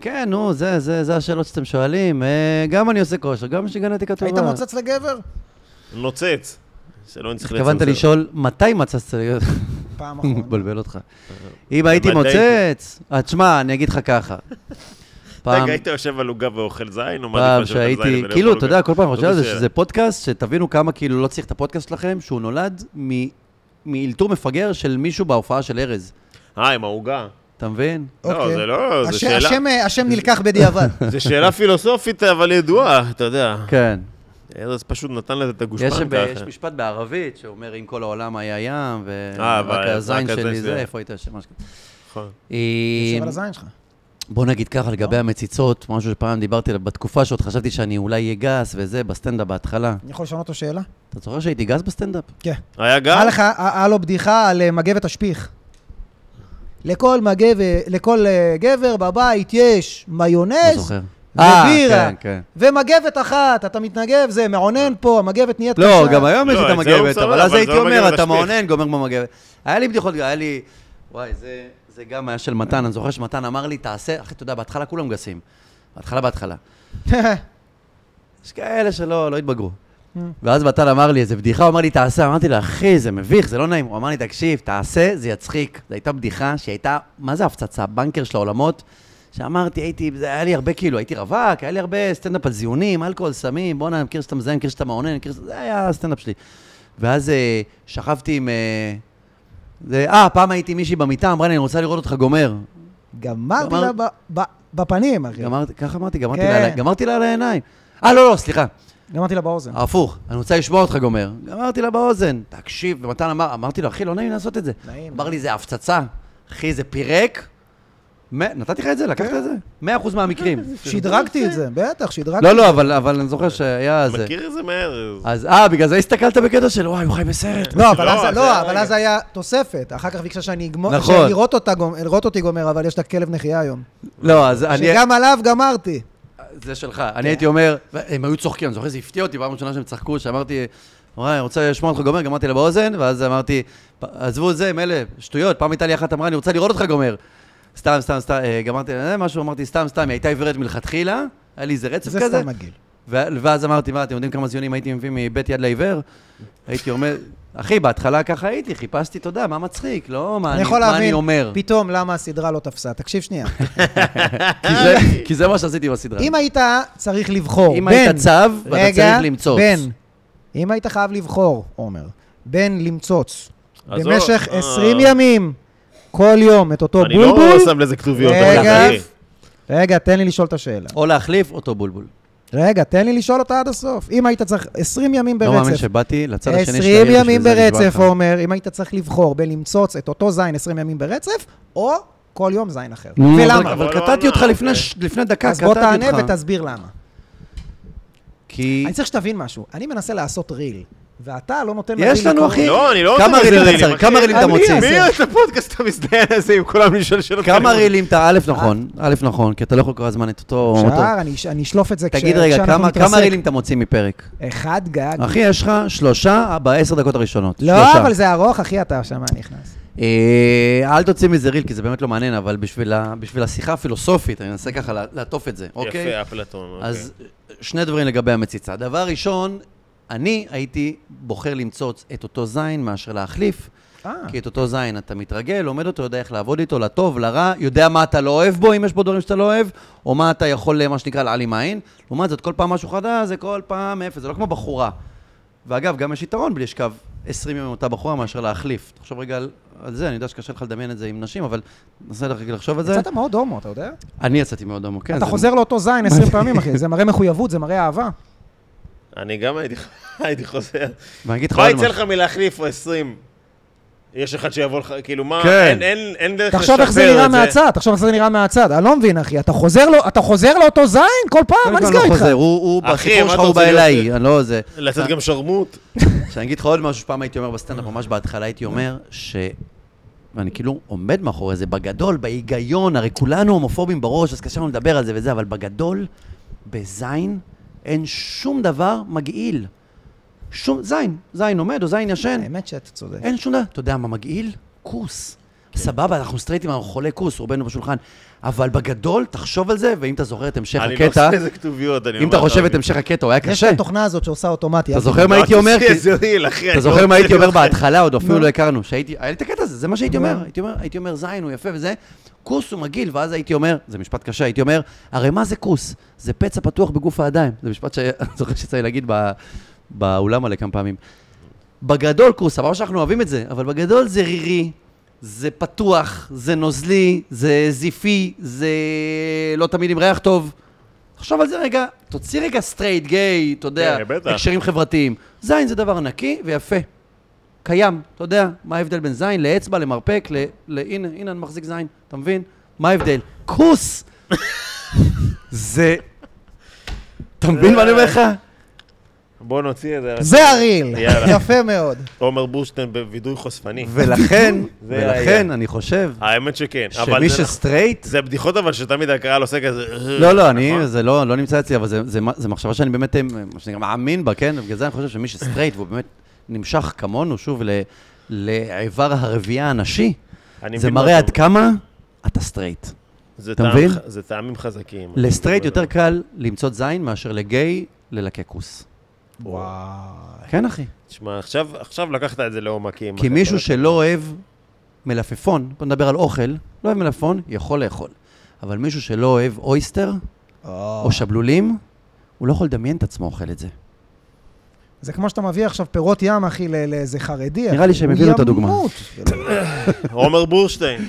Speaker 2: כן, נו, זה- זה זה השאלות שאתם שואלים. אה, גם אני עושה כושר, גם יש לי גנטיקה טובה.
Speaker 1: היית מוצץ לגבר?
Speaker 3: נוצץ. שלא נצטרך
Speaker 2: התכוונת לשאול, מתי מצצת להיות? [LAUGHS]
Speaker 1: פעם
Speaker 2: הוא
Speaker 1: אחרונה.
Speaker 2: מבלבל אותך. אם הייתי
Speaker 3: נכון. אה, אבל
Speaker 2: מוצץ... אה, תשמע, אני אגיד לך
Speaker 3: [LAUGHS]
Speaker 2: ככה. פעם,
Speaker 3: רגע, היית יושב על עוגה ואוכל זין, או מה
Speaker 2: פעם
Speaker 3: עדיף לך לשבת על
Speaker 2: שהייתי...
Speaker 3: זין ולאכול
Speaker 2: כאילו,
Speaker 3: עוגה? לא
Speaker 2: אתה יודע, כל פעם אני
Speaker 3: זאת
Speaker 2: חושב על זה
Speaker 3: השאלה.
Speaker 2: שזה פודקאסט, שתבינו כמה כאילו לא צריך את הפודקאסט שלכם, שהוא נולד מ- מאלתור מפגר של מישהו בהופעה של ארז.
Speaker 3: אה, עם העוגה.
Speaker 2: אתה מבין?
Speaker 3: לא, זה לא, זה
Speaker 1: הש-
Speaker 3: שאלה.
Speaker 1: אוקיי. השם, אה, השם נלקח
Speaker 2: [LAUGHS]
Speaker 1: בדיעבד.
Speaker 3: זו שאלה פילוסופית, אבל ידועה, אתה יודע.
Speaker 2: כן.
Speaker 3: ארז פשוט נתן לזה את
Speaker 2: יש,
Speaker 3: הגושפנקה.
Speaker 2: ב-
Speaker 3: אחי.
Speaker 2: יש משפט בערבית שאומר, אם כל העולם היה ים,
Speaker 3: אה, אבל-
Speaker 2: ורק
Speaker 3: רק
Speaker 2: הזין
Speaker 3: הזין
Speaker 2: שלי
Speaker 3: שלי
Speaker 2: זה,
Speaker 3: היה."
Speaker 2: איפה היית יושב? משהו כזה.
Speaker 3: נכון.
Speaker 1: יושב
Speaker 2: אה,
Speaker 1: על הזין לא. שלך.
Speaker 2: בוא נגיד ככה, לגבי המציצות, משהו שפעם דיברתי עליו, בתקופה שעוד חשבתי שאני אולי אהיה גס וזה, בסטנדאפ בהתחלה.
Speaker 1: אני יכול לשנות אותו שאלה?
Speaker 2: אתה זוכר שהייתי גס בסטנדאפ?
Speaker 1: כן.
Speaker 3: היה
Speaker 1: היה
Speaker 3: גם?
Speaker 1: לך, היה לו בדיחה על אה, מגבת השפיך. לכל מגב, לכל אה, גבר בבית יש
Speaker 2: לא
Speaker 1: מיונז
Speaker 2: זוכר.
Speaker 1: ובירה,
Speaker 2: כן, כן.
Speaker 1: ומגבת אחת, אתה מתנגב, זה מעונן פה, המגבת נהיית קשה.
Speaker 2: לא, גם היום יש
Speaker 3: לא,
Speaker 2: את
Speaker 3: את זה הוא
Speaker 2: המגבת,
Speaker 3: מסרב,
Speaker 2: אבל אז
Speaker 3: אבל
Speaker 2: הייתי
Speaker 3: זה לא
Speaker 2: אומר,
Speaker 3: מגבת
Speaker 2: אתה
Speaker 3: משפיך."
Speaker 2: מעונן, גומר כמו מגבת. היה לי בדיחות, היה לי... וואי, זה- זה גם היה של מתן, אני זוכר שמתן אמר לי, תעשה, אחי, אתה יודע, בהתחלה כולם גסים. בהתחלה, בהתחלה. יש כאלה שלא לא התבגרו. ואז מתן אמר לי איזה בדיחה, הוא אמר לי, תעשה. אמרתי לו, אחי, זה מביך, זה לא נעים. הוא אמר לי, תקשיב, תעשה, זה יצחיק. זו הייתה בדיחה שהייתה, מה זה הפצצה? בנקר של העולמות. שאמרתי, הייתי, זה היה לי הרבה, כאילו, הייתי רווק, היה לי הרבה סטנדאפ על זיונים, אלכוהול, סמים, בואנה, אני מכיר שאתה מזיין, מכיר שאתה מעונן, מכיר ש- זה היה הסטנדאפ שלי. ואז אה, שכבתי עם... אה, זה- אה, פעם הייתי עם מישהי במיטה, אמרה לי, אני רוצה לראות אותך גומר.
Speaker 1: [LAUGHS] גמרתי
Speaker 2: גמר-
Speaker 1: לה ב- ב- בפנים, אחי.
Speaker 2: גמרתי, ככה אמרתי, גמרתי
Speaker 1: כן.
Speaker 2: לה על ה- גמרתי לה על העיניים. אה, לא, לא, סליחה.
Speaker 1: גמרתי לה באוזן.
Speaker 2: הפוך, אני רוצה לשמוע אותך גומר. אמרתי לה באוזן, תקשיב, ומתן אמר, אמרתי לו, אחי, לא נעים לעשות את זה.
Speaker 1: נעים.
Speaker 2: אמר לי, זה הפצצה. אחי, זה פירק. מ- נתתי לך את זה, לקחת את זה? מאה אחוז מהמקרים.
Speaker 1: [LAUGHS] שדרגתי את זה, בטח, שדרגתי.
Speaker 2: לא, לא, אבל- אבל אני זוכר שהיה זה.
Speaker 3: מכיר איזה מארז?
Speaker 2: אז אה, בגלל זה הסתכלת בקטע של, וואי, הוא חי בסרט.
Speaker 1: לא, אבל
Speaker 3: לא,
Speaker 1: אז,
Speaker 3: זה
Speaker 1: לא,
Speaker 3: היה
Speaker 1: אבל
Speaker 3: רגע.
Speaker 1: אז היה תוספת. אחר כך ביקשה שאני אגמור,
Speaker 2: נכון.
Speaker 1: לראות אותה גומ- לראות אותי גומר, אבל יש לה כלב נחייה היום.
Speaker 2: לא, אז אני...
Speaker 1: שגם עליו גמרתי.
Speaker 2: זה שלך. אני הייתי אומר, אה, כן. הם היו צוחקים, אני זוכר, זה הפתיע אותי פעם ראשונה שהם צחקו, שאמרתי, וואי, אני רוצה לשמוע אותך גומר, גמרתי לה באוזן, ואז אמרתי, "פ- עזבו את זה, מילא, שטויות, פעם הייתה לי אחת אמרה, אני רוצה לראות אותך גומר. סתם, סתם, סתם, אה, גמרתי לה אה, משהו, אמרתי, סתם, סתם, היא הייתה עיוורת מלכתחילה, היה לי איזה רצף
Speaker 1: זה
Speaker 2: כזה.
Speaker 1: סתם מגעיל.
Speaker 2: ו- ואז אמרתי, מה, אתם יודעים כמה זיונים הייתי מביא מבית יד לעיוור? הייתי אומר, אחי, בהתחלה ככה הייתי, חיפשתי, אתה יודע, מה מצחיק, לא מה
Speaker 1: אני
Speaker 2: אני,
Speaker 1: יכול
Speaker 2: מה אני
Speaker 1: להבין
Speaker 2: אומר.
Speaker 1: פתאום למה הסדרה לא תפסה. תקשיב
Speaker 2: [LAUGHS]
Speaker 1: שנייה.
Speaker 2: כי זה- כי זה מה שעשיתי בסדרה.
Speaker 1: אם היית צריך לבחור
Speaker 2: אם
Speaker 1: בין...
Speaker 2: היית צב, ואתה
Speaker 1: רגע,
Speaker 2: צריך למצוץ.
Speaker 1: בין. אם היית חייב לבחור, עומר, בין למצוץ
Speaker 3: אז
Speaker 1: במשך
Speaker 3: או-
Speaker 1: 20
Speaker 3: אה.
Speaker 1: ימים, כל יום, את אותו
Speaker 3: אני לא
Speaker 1: בולבול,
Speaker 3: שם לזה כתוביות.
Speaker 1: רגע.
Speaker 3: אבל אחי.
Speaker 1: רגע, תן לי לשאול את השאלה.
Speaker 2: או להחליף אותו בולבול.
Speaker 1: רגע, תן לי לשאול אותה עד הסוף. אם היית צריך 20 ימים
Speaker 2: לא מאמין
Speaker 1: ברצף,
Speaker 2: שבאתי לצד השני של העיר
Speaker 1: 20 ימים
Speaker 2: בשביל זה
Speaker 1: ברצף,
Speaker 2: נשבע לך.
Speaker 1: עומר, אם היית צריך לבחור בין למצוץ את אותו זין 20 ימים ברצף, או כל יום זין אחר.
Speaker 2: נו, אבל-
Speaker 1: ולמה?
Speaker 2: אבל
Speaker 3: אבל לא
Speaker 2: קטעתי אותך
Speaker 3: עונה,
Speaker 2: לפני ש- לפני דקה,
Speaker 1: אז
Speaker 2: קטעתי
Speaker 1: בוא
Speaker 2: אותך.
Speaker 1: תענה ותסביר למה.
Speaker 2: כי
Speaker 1: אני צריך שתבין משהו. אני מנסה לעשות ריל, ואתה לא נותן לריל
Speaker 2: יש לנו, אחי,
Speaker 3: לא, אני לא עושה
Speaker 2: כמה
Speaker 3: מזה
Speaker 2: רילים אתה
Speaker 3: רילים,
Speaker 2: צריך,
Speaker 3: אחי.
Speaker 2: כמה רילים אתה
Speaker 1: אני
Speaker 2: מוציא?
Speaker 1: אעשה.
Speaker 3: מי את הפודקאסט המזדיין הזה עם כולם לשאול שאלות?
Speaker 2: כמה רילים אתה, א' נכון,
Speaker 1: אה?
Speaker 2: א' נכון, כי אתה לא יכול כל הזמן את אותו... אותו-
Speaker 1: שער, אני אש- אני אשלוף את זה כש-
Speaker 2: תגיד רגע,
Speaker 1: כשאנחנו
Speaker 2: כמה-
Speaker 1: נתרסק.
Speaker 2: כמה רילים אתה מוציא מפרק?
Speaker 1: אחד גג.
Speaker 2: אחי, יש לך שלושה בעשר דקות הראשונות.
Speaker 1: לא,
Speaker 2: שלושה.
Speaker 1: אבל זה ארוך, אחי, אתה שם נכנס.
Speaker 2: אה, אל תוציא מזה ריל, כי זה באמת לא מעניין, אבל בשביל ה- בשביל השיחה הפילוסופית, אני אנסה ככה לה- לעטוף את זה, אוקיי?
Speaker 3: יפה, אפלטון.
Speaker 2: אז שני דברים לגבי המציצה. דבר ראשון, אני הייתי בוחר למצוץ את אותו זין מאשר להחליף,
Speaker 1: אה,
Speaker 2: כי את אותו זין אתה מתרגל, לומד אותו, יודע איך לעבוד איתו, לטוב, לרע, יודע מה אתה לא אוהב בו, אם יש בו דברים שאתה לא אוהב, או מה אתה יכול, מה שנקרא, להעלים עין. לעומת זאת, כל פעם משהו חדש, זה כל פעם אפס, זה לא כמו בחורה. ואגב, גם יש יתרון בלשכב 20 יום עם אותה בחורה מאשר להחליף. תחשוב רגע על, על זה, אני יודע שקשה לך לדמיין את זה עם נשים, אבל נסה לך רגע לחשוב על זה.
Speaker 1: יצאת מאוד הומו, אתה יודע?
Speaker 2: אני יצאתי מאוד הומו, כן.
Speaker 1: אתה
Speaker 2: זה-
Speaker 1: חוזר לאותו זין 20 פעמים, אחי. זה מראה מחויבות, זה מראה אהבה.
Speaker 3: אני גם הייתי- [LAUGHS] הייתי חוזר.
Speaker 2: ואני אגיד לך
Speaker 3: מה
Speaker 2: עוד
Speaker 3: יצא
Speaker 2: משהו.
Speaker 3: לך מלהחליף 20? יש אחד שיבוא לך, כאילו מה,
Speaker 2: כן.
Speaker 3: אין- אין אין דרך לשפר את זה.
Speaker 1: תחשוב איך זה נראה מהצד, תחשוב איך זה נראה מהצד. אני לא מבין, אחי. אתה חוזר לו- אתה חוזר לאותו זין כל פעם? מה
Speaker 2: אני
Speaker 1: נסגר
Speaker 2: לא
Speaker 1: איתך?
Speaker 2: חוזר, הוא, הוא
Speaker 3: אחי,
Speaker 2: בסיפור
Speaker 3: מה
Speaker 2: שלך
Speaker 3: אתה
Speaker 2: הוא בא
Speaker 3: רוצה להיות?
Speaker 2: אליי, אני לא זה.
Speaker 3: לתת גם שרמוט.
Speaker 2: שאני אגיד לך עוד משהו שפעם הייתי אומר בסטנדאפ, ממש בהתחלה הייתי אומר, ש... ואני כאילו עומד מאחורי זה, בגדול, בהיגיון, הרי כולנו הומופובים בראש, אז קשה לנו לדבר על זה וזה, אבל בגדול, בזין, אין שום דבר מגעיל. שום, זין, זין עומד או זין ישן,
Speaker 1: האמת שאתה צודק.
Speaker 2: אין שום דבר. אתה יודע מה מגעיל? כוס. סבבה, אנחנו סטרייטים, אנחנו חולי כוס, רובנו בשולחן. אבל בגדול, תחשוב על זה, ואם אתה זוכר את המשך
Speaker 3: אני לא עושה
Speaker 2: הקטע,
Speaker 3: איזה כתוביות, אני לא,
Speaker 2: אם אתה חושב את המשך הקטע, הוא היה
Speaker 1: יש
Speaker 2: קשה.
Speaker 1: את התוכנה הזאת שעושה אוטומטי.
Speaker 2: אתה
Speaker 1: אל
Speaker 2: זוכר מה הייתי אומר? כי- אתה זוכר מה הייתי אומר בהתחלה, עוד אפילו
Speaker 1: נו.
Speaker 2: לא הכרנו, שהייתי, היה לי את הקטע הזה, זה מה שהייתי אומר,
Speaker 1: נו.
Speaker 2: הייתי אומר, הייתי אומר, זין, הוא יפה וזה, כוס הוא מגעיל, ואז הייתי אומר, זה משפט קשה, הייתי אומר, הרי מה זה כוס? זה פצע פתוח בגוף האדם, זה משפט שאני [LAUGHS] זוכר שצריך להגיד ב- באולם עלי כמה פעמים. בגדול כוס, אמרנו שאנחנו אוהבים את זה, אבל בגדול זה רירי, זה פתוח, זה נוזלי, זה זיפי, זה לא תמיד עם ריח טוב. תחשוב על זה רגע, תוציא רגע סטרייט, גיי, אתה יודע,
Speaker 3: כן, בטח.
Speaker 2: הקשרים חברתיים. זין זה דבר נקי ויפה. קיים, אתה יודע, מה ההבדל בין זין לאצבע, למרפק, ל... ל... הנה, הנה אני מחזיק זין, אתה מבין? מה ההבדל? כוס! [LAUGHS] זה... אתה מבין מה אני אומר לך?
Speaker 3: [LAUGHS] בוא נוציא את זה.
Speaker 1: תחשוב. זה הריל.
Speaker 3: יאללה.
Speaker 1: יפה מאוד.
Speaker 3: עומר בורשטיין בווידוי חושפני.
Speaker 2: ולכן,
Speaker 3: זה
Speaker 2: ולכן
Speaker 3: היה.
Speaker 2: אני חושב
Speaker 3: האמת שכן. אבל
Speaker 2: שמי
Speaker 3: זה-
Speaker 2: שסטרייט...
Speaker 3: זה בדיחות אבל שתמיד הקהל עושה כזה...
Speaker 2: לא, לא, אני,
Speaker 3: נכון?
Speaker 2: זה לא לא נמצא אצלי, אבל זה- זה מה- זה מחשבה שאני באמת, אה, מה שנקרא, מאמין בה, כן? בגלל זה אני חושב שמי שסטרייט, והוא באמת נמשך כמונו, שוב, ל- לאיבר הרבייה הנשי,
Speaker 3: אני
Speaker 2: זה
Speaker 3: מבין מה
Speaker 2: מראה
Speaker 3: אתה
Speaker 2: עד
Speaker 3: אומר.
Speaker 2: כמה אתה סטרייט.
Speaker 3: זה
Speaker 2: אתה
Speaker 3: טעם
Speaker 2: מבין?
Speaker 3: ח- זה טעמים חזקים.
Speaker 2: לסטרייט
Speaker 3: אני
Speaker 2: יותר
Speaker 3: אומר.
Speaker 2: קל למצוא זין מאשר לגיי ללקקוס.
Speaker 1: וואי.
Speaker 2: כן, אחי.
Speaker 3: תשמע, עכשיו- עכשיו לקחת את זה לעומקים.
Speaker 2: כי מישהו שלא אוהב מלפפון, בוא נדבר על אוכל, לא אוהב מלפפון, יכול לאכול. אבל מישהו שלא אוהב אויסטר
Speaker 3: אה.
Speaker 2: או שבלולים, הוא לא יכול לדמיין את עצמו אוכל את זה.
Speaker 1: זה כמו שאתה מביא עכשיו פירות ים, אחי, לא- לאיזה חרדי.
Speaker 2: נראה
Speaker 1: אחי.
Speaker 2: לי שהם
Speaker 1: הוא
Speaker 2: הבינו את הדוגמה.
Speaker 3: [LAUGHS]
Speaker 1: ימות.
Speaker 3: עומר בורשטיין.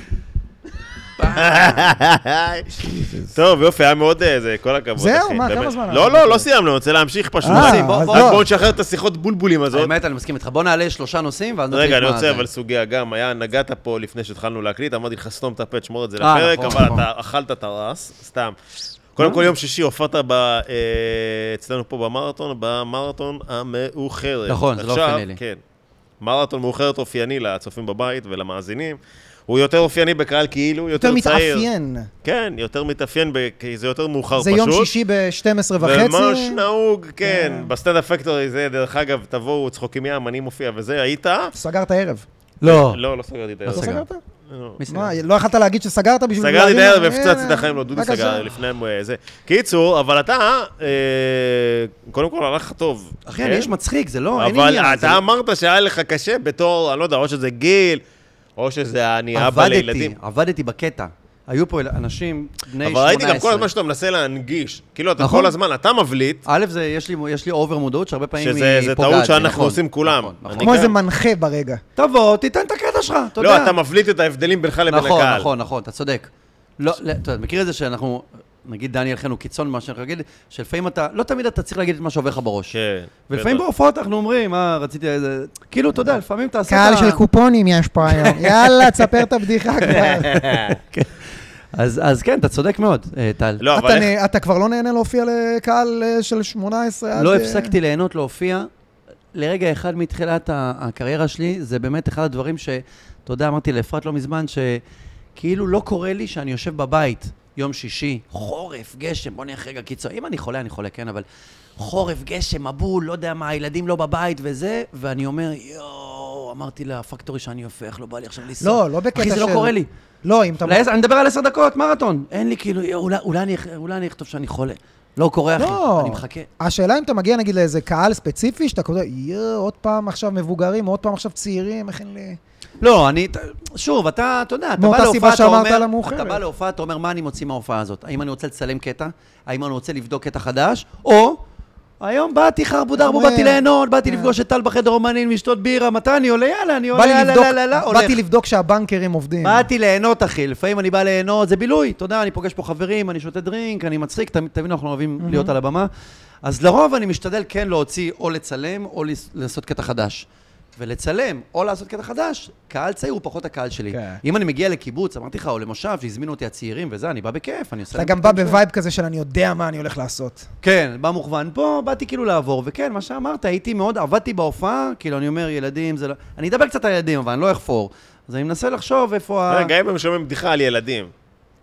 Speaker 2: [LAUGHS]
Speaker 3: טוב, יופי, היה מאוד אה, זה, כל הכבוד.
Speaker 1: זהו,
Speaker 3: אחי,
Speaker 1: מה,
Speaker 3: באמת.
Speaker 1: כמה זמן?
Speaker 3: לא, לא, לא סיימנו, אני רוצה להמשיך פשוט.
Speaker 1: אה,
Speaker 2: נוסעים, בוא-
Speaker 1: אז
Speaker 2: בוא-
Speaker 1: לא.
Speaker 3: רק בואו נשחרר את השיחות בולבולים הזאת.
Speaker 2: באמת, אני מסכים איתך. בוא נעלה שלושה נושאים, ואז
Speaker 3: רגע, אני רוצה
Speaker 2: זה.
Speaker 3: אבל סוגיה גם, היה, נגעת פה לפני שהתחלנו להקליט, אמרתי לך, סתום את הפה, תשמור את זה
Speaker 2: אה,
Speaker 3: לפרק,
Speaker 2: נכון,
Speaker 3: אבל
Speaker 2: נכון.
Speaker 3: אתה אכלת את הרס, סתם. קודם כל, יום שישי הופעת ב- אה, אצלנו פה במרתון, במרתון המאוחרת.
Speaker 2: נכון, זה לא
Speaker 3: עכשיו,
Speaker 2: אופייני לי.
Speaker 3: כן. מרתון מאוחרת אופייני לצופים בבית ולמאזינים. הוא יותר אופייני בקהל כאילו, יותר
Speaker 1: יותר
Speaker 3: צעיר.
Speaker 1: מתאפיין.
Speaker 3: כן, יותר מתאפיין, ב- כי זה יותר מאוחר
Speaker 1: זה
Speaker 3: פשוט.
Speaker 1: יום שישי ב-12 וחצי.
Speaker 3: ומה שנהוג, כן, בסטנדאפ פקטורי זה, דרך אגב, תבואו, צחוקים ים, אני מופיע וזה, היית?
Speaker 1: סגרת ערב.
Speaker 2: לא.
Speaker 3: לא, לא סגרתי את
Speaker 2: לא
Speaker 3: הערב.
Speaker 1: לא סגרת?
Speaker 3: לא.
Speaker 2: מי סגר?
Speaker 1: מה, לא יכלת להגיד שסגרת בשביל...
Speaker 3: סגרתי את
Speaker 1: להגיד-
Speaker 3: הערב
Speaker 1: אה,
Speaker 3: והפצצתי את החיים, לא, דודי
Speaker 1: בבקשה.
Speaker 3: סגר לפני אה, זה. קיצור, אבל אתה, אה, קודם כל הלך לך טוב.
Speaker 2: אחי, אני
Speaker 3: כן?
Speaker 2: איש מצחיק, זה לא, אין עניין.
Speaker 3: אבל
Speaker 2: זה-
Speaker 3: אתה אמרת שהיה לך קשה בתור, אני לא יודע, או שזה גיל, או שזה אני אבא
Speaker 2: עבדתי,
Speaker 3: לילדים.
Speaker 2: עבדתי בקטע. היו פה אל- אנשים בני 18.
Speaker 3: אבל ראיתי גם כל הזמן שאתה מנסה להנגיש. כאילו, אתה
Speaker 2: נכון.
Speaker 3: כל הזן, אתה מבליט,
Speaker 2: א', זה, יש לי, יש לי אובר מודעות שהרבה פעמים
Speaker 3: שזה-
Speaker 2: היא
Speaker 3: זה
Speaker 2: פוגעת.
Speaker 3: טעות
Speaker 2: בי,
Speaker 3: שאנחנו
Speaker 2: נכון,
Speaker 3: עושים כולם.
Speaker 2: נכון, נכון.
Speaker 3: אני
Speaker 1: כמו
Speaker 3: גם-
Speaker 1: איזה מנחה ברגע.
Speaker 2: תבוא, תיתן את הקטע שלך, אתה יודע.
Speaker 3: לא, אתה מבליט את ההבדלים בינך לבין
Speaker 2: נכון,
Speaker 3: הקהל.
Speaker 2: נכון, נכון, אתה צודק. לא, לא, אתה יודע, מכיר את זה שאנחנו, נגיד דניאל חן הוא קיצון ממה שאני אגיד, שלפעמים אתה, לא תמיד אתה צריך להגיד את מה שעובר לך בראש.
Speaker 3: כן.
Speaker 2: ולפעמים
Speaker 3: בטח.
Speaker 2: בהופעות אנחנו אומרים, אה, רציתי איזה... כאילו, אתה יודע, לפעמים תעשה
Speaker 1: קהל
Speaker 2: את ה-
Speaker 1: של קופונים יש פה
Speaker 2: [LAUGHS]
Speaker 1: היום. יאללה, תספר את הבדיחה כבר.
Speaker 2: אז אז כן, אתה צודק מאוד, אה, טל.
Speaker 3: לא, אבל
Speaker 1: אתה
Speaker 3: איך-
Speaker 1: נה- אתה כבר לא נהנה להופיע לקהל אה, של 18 עד...
Speaker 2: לא
Speaker 1: אה,
Speaker 2: הפסקתי ליהנות להופיע. לרגע אחד מתחילת ה- הקריירה שלי, זה באמת אחד הדברים ש... אתה יודע, אמרתי לאפרת לא מזמן, שכאילו לא קורה לי שאני יושב בבית, יום שישי, חורף, גשם, בוא נלך רגע קיצור. אם אני חולה, אני חולה, כן, אבל חורף, גשם, מבול, לא יודע מה, הילדים לא בבית וזה, ואני אומר, יואו, אמרתי לפקטורי שאני הופך, לא בא לי עכשיו לנסוע.
Speaker 1: לא, לא בקטע של...
Speaker 2: אחי, זה לא קורה לי.
Speaker 1: לא, אם אתה...
Speaker 2: לעשר- אני מדבר על עשר דקות, מרתון. אין לי כאילו, "יואו, אולי- אולי אני אכ- אולי אני אכתוב שאני חולה. לא קורה, אחי.
Speaker 1: לא.
Speaker 2: אני מחכה.
Speaker 1: השאלה אם אתה מגיע נגיד לאיזה קהל ספציפי, שאתה כותב, יואו, עוד פעם עכשיו מבוגרים, עוד פעם עכשיו צעירים, איך אין לי...
Speaker 2: לא, אני, שוב, אתה, אתה יודע, אתה בא
Speaker 1: מאותה
Speaker 2: להופעה,
Speaker 1: סיבה
Speaker 2: אתה
Speaker 1: שאמרת על
Speaker 2: אומר,
Speaker 1: המאוחרת.
Speaker 2: אתה בא להופעה, אתה אומר, מה אני מוציא מההופעה הזאת? האם אני רוצה לצלם קטע? האם אני רוצה לבדוק קטע חדש? או, היום באתי חרבו דרבו,
Speaker 1: אומר.
Speaker 2: באתי ליהנות, באתי
Speaker 1: כן.
Speaker 2: לפגוש את טל בחדר אומנים, לשתות בירה, מתי אני עולה? יאללה, אני
Speaker 1: בא
Speaker 2: עולה,
Speaker 1: לי
Speaker 2: יאללה,
Speaker 1: לבדוק-
Speaker 2: לא, לא, לא, הולך.
Speaker 1: באתי לבדוק שהבנקרים עובדים.
Speaker 2: באתי ליהנות, אחי, לפעמים אני בא ליהנות, זה בילוי, אתה יודע, אני פוגש פה חברים, אני שותה דרינק, אני מצחיק, תמיד תמיד אנחנו אוהבים להיות על הבמה. אז לרוב אני משתדל כן להוציא או לצלם או לס- לעשות קטע חדש. ולצלם או לעשות קטע חדש, קהל צעיר הוא פחות הקהל שלי.
Speaker 1: כן.
Speaker 2: אם אני מגיע לקיבוץ, אמרתי לך, או למושב, שהזמינו אותי הצעירים וזה, אני בא בכיף, אני עושה...
Speaker 1: אתה
Speaker 2: להם
Speaker 1: גם
Speaker 2: את
Speaker 1: בא
Speaker 2: הקטע שלי.
Speaker 1: בווייב כזה של אני יודע מה אני הולך לעשות.
Speaker 2: כן, בא מוכוון. פה באתי כאילו לעבור, וכן, מה שאמרת, הייתי מאוד, עבדתי בהופעה, כאילו, אני אומר, ילדים, זה לא... אני
Speaker 3: אה,
Speaker 2: אדבר קצת על ילדים, אבל אני לא אחפור. אז אני מנסה לחשוב איפה ה...
Speaker 3: רגע, גם אם הם שומעים בדיחה על ילדים.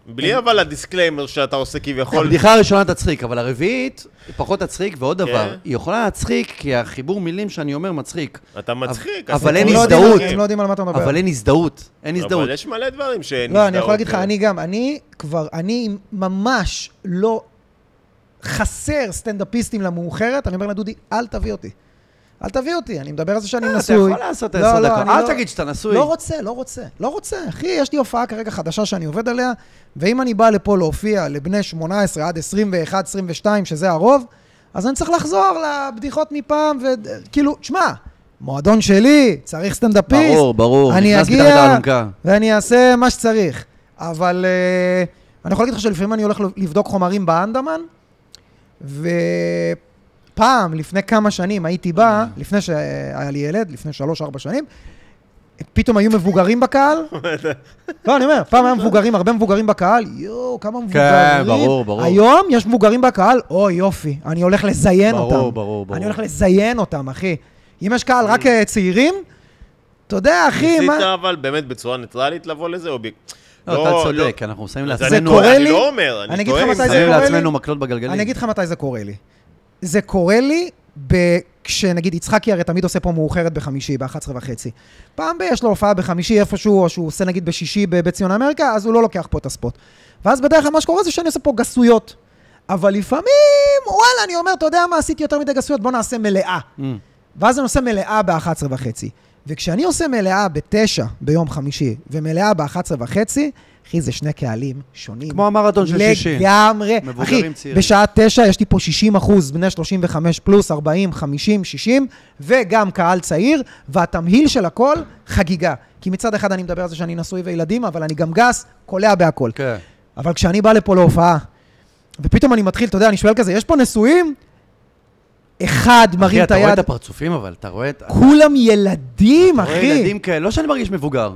Speaker 3: בלי אבל הדיסקליימר שאתה עושה כביכול.
Speaker 2: הבדיחה הראשונה תצחיק, אבל הרביעית היא פחות תצחיק, ועוד דבר,
Speaker 3: כן.
Speaker 2: היא יכולה להצחיק כי החיבור מילים שאני אומר מצחיק.
Speaker 3: אתה מצחיק.
Speaker 2: אבל
Speaker 3: הסיפור
Speaker 2: אין
Speaker 1: הם לא
Speaker 3: הוא
Speaker 1: יודעים-
Speaker 2: הזדהות.
Speaker 1: הם לא יודעים על מה אתה מדבר.
Speaker 2: אבל אין הזדהות, אין הזדהות.
Speaker 3: לא, אבל יש מלא דברים כן. שנסדרות.
Speaker 1: לא, אני יכול
Speaker 2: כן.
Speaker 1: להגיד לך, אני גם, אני כבר, אני ממש לא חסר סטנדאפיסטים למאוחרת, אני אומר לדודי, אל תביא אותי. אל תביא אותי, אני מדבר על זה שאני
Speaker 2: אה,
Speaker 1: נשוי.
Speaker 2: אתה יכול לעשות עשר דקות. אל תגיד שאתה נשוי.
Speaker 1: לא רוצה, לא רוצה, לא רוצה. אחי, יש לי הופעה כרגע חדשה שאני עובד עליה, ואם אני בא לפה להופיע לבני 18 עד 21, 22, שזה הרוב, אז אני צריך לחזור לבדיחות מפעם, וכאילו, שמע, מועדון שלי, צריך סטנדאפיסט.
Speaker 2: ברור, ברור,
Speaker 1: אני
Speaker 2: נכנס
Speaker 1: אגיע,
Speaker 2: מתחת לאלונקה.
Speaker 1: ואני אעשה מה שצריך. אבל אה, אני יכול להגיד לך שלפעמים אני הולך לבדוק חומרים באנדמן, ופעם, לפני כמה שנים, הייתי בא, לפני שהיה לי ילד, לפני שלוש-ארבע שנים, פתאום היו מבוגרים בקהל. לא, אני אומר, פעם היו מבוגרים, הרבה מבוגרים בקהל, יואו, כמה מבוגרים.
Speaker 2: ברור, ברור.
Speaker 1: היום יש מבוגרים בקהל, אוי, יופי, אני הולך לזיין
Speaker 2: ברור,
Speaker 1: אותם.
Speaker 2: ברור, ברור.
Speaker 1: אני הולך לזיין אותם, אחי. אם יש קהל רק אה, צעירים, אתה יודע, אחי,
Speaker 3: ניסית
Speaker 1: מה...
Speaker 3: אבל באמת בצורה ניטרלית לבוא לזה, או ב...
Speaker 2: לא, אתה צודק,
Speaker 1: כן.
Speaker 2: אנחנו שמים
Speaker 3: זה
Speaker 2: לעצמנו...
Speaker 1: קורה
Speaker 3: אני
Speaker 1: לי-
Speaker 3: לא אומר, אני
Speaker 1: אני אגיד
Speaker 3: טועה
Speaker 1: לך
Speaker 3: עם
Speaker 1: מתי
Speaker 3: זה.
Speaker 2: שמים
Speaker 1: קורה לי-
Speaker 2: לעצמנו מקלות בגלגלים.
Speaker 1: אני אגיד לך מתי זה קורה לי. זה קורה לי ב... כשנגיד יצחקי הרי תמיד עושה פה מאוחרת בחמישי, ב-11 וחצי. פעם ב- יש לו הופעה בחמישי איפשהו, או שהוא עושה נגיד בשישי בבית ציון אמריקה, אז הוא לא לוקח פה את הספוט. ואז בדרך כלל מה שקורה זה שאני עושה פה גסויות. אבל לפעמים, וואלה, אני אומר, אתה יודע מה, עשיתי יותר מדי גסויות, בוא נעשה מלאה.
Speaker 2: Mm.
Speaker 1: ואז אני עושה מלאה ב-11 וחצי. וכשאני עושה מלאה ב-9 ביום חמישי, ומלאה ב-11 וחצי, אחי, זה שני קהלים שונים.
Speaker 2: כמו המרתון של שישי.
Speaker 1: לגמרי.
Speaker 2: מבוגרים
Speaker 1: אחי,
Speaker 2: צעירים.
Speaker 1: בשעה 9 יש לי פה 60 אחוז, בני 35 פלוס, 40, 50, 60, וגם קהל צעיר, והתמהיל של הכל, חגיגה. כי מצד אחד אני מדבר על זה שאני נשוי וילדים, אבל אני גם גס, קולע בהכל.
Speaker 2: כן.
Speaker 1: אבל כשאני בא לפה להופעה, ופתאום אני מתחיל, אתה יודע, אני שואל כזה, יש פה נשואים? אחד
Speaker 2: אחי,
Speaker 1: מרים את
Speaker 2: אתה
Speaker 1: היד.
Speaker 2: רואה את הפרצופים, אבל אתה רואה את...
Speaker 1: כולם ילדים,
Speaker 2: אתה רואה
Speaker 1: אחי.
Speaker 2: ילדים כאלה, לא שאני מרגיש מבוגר,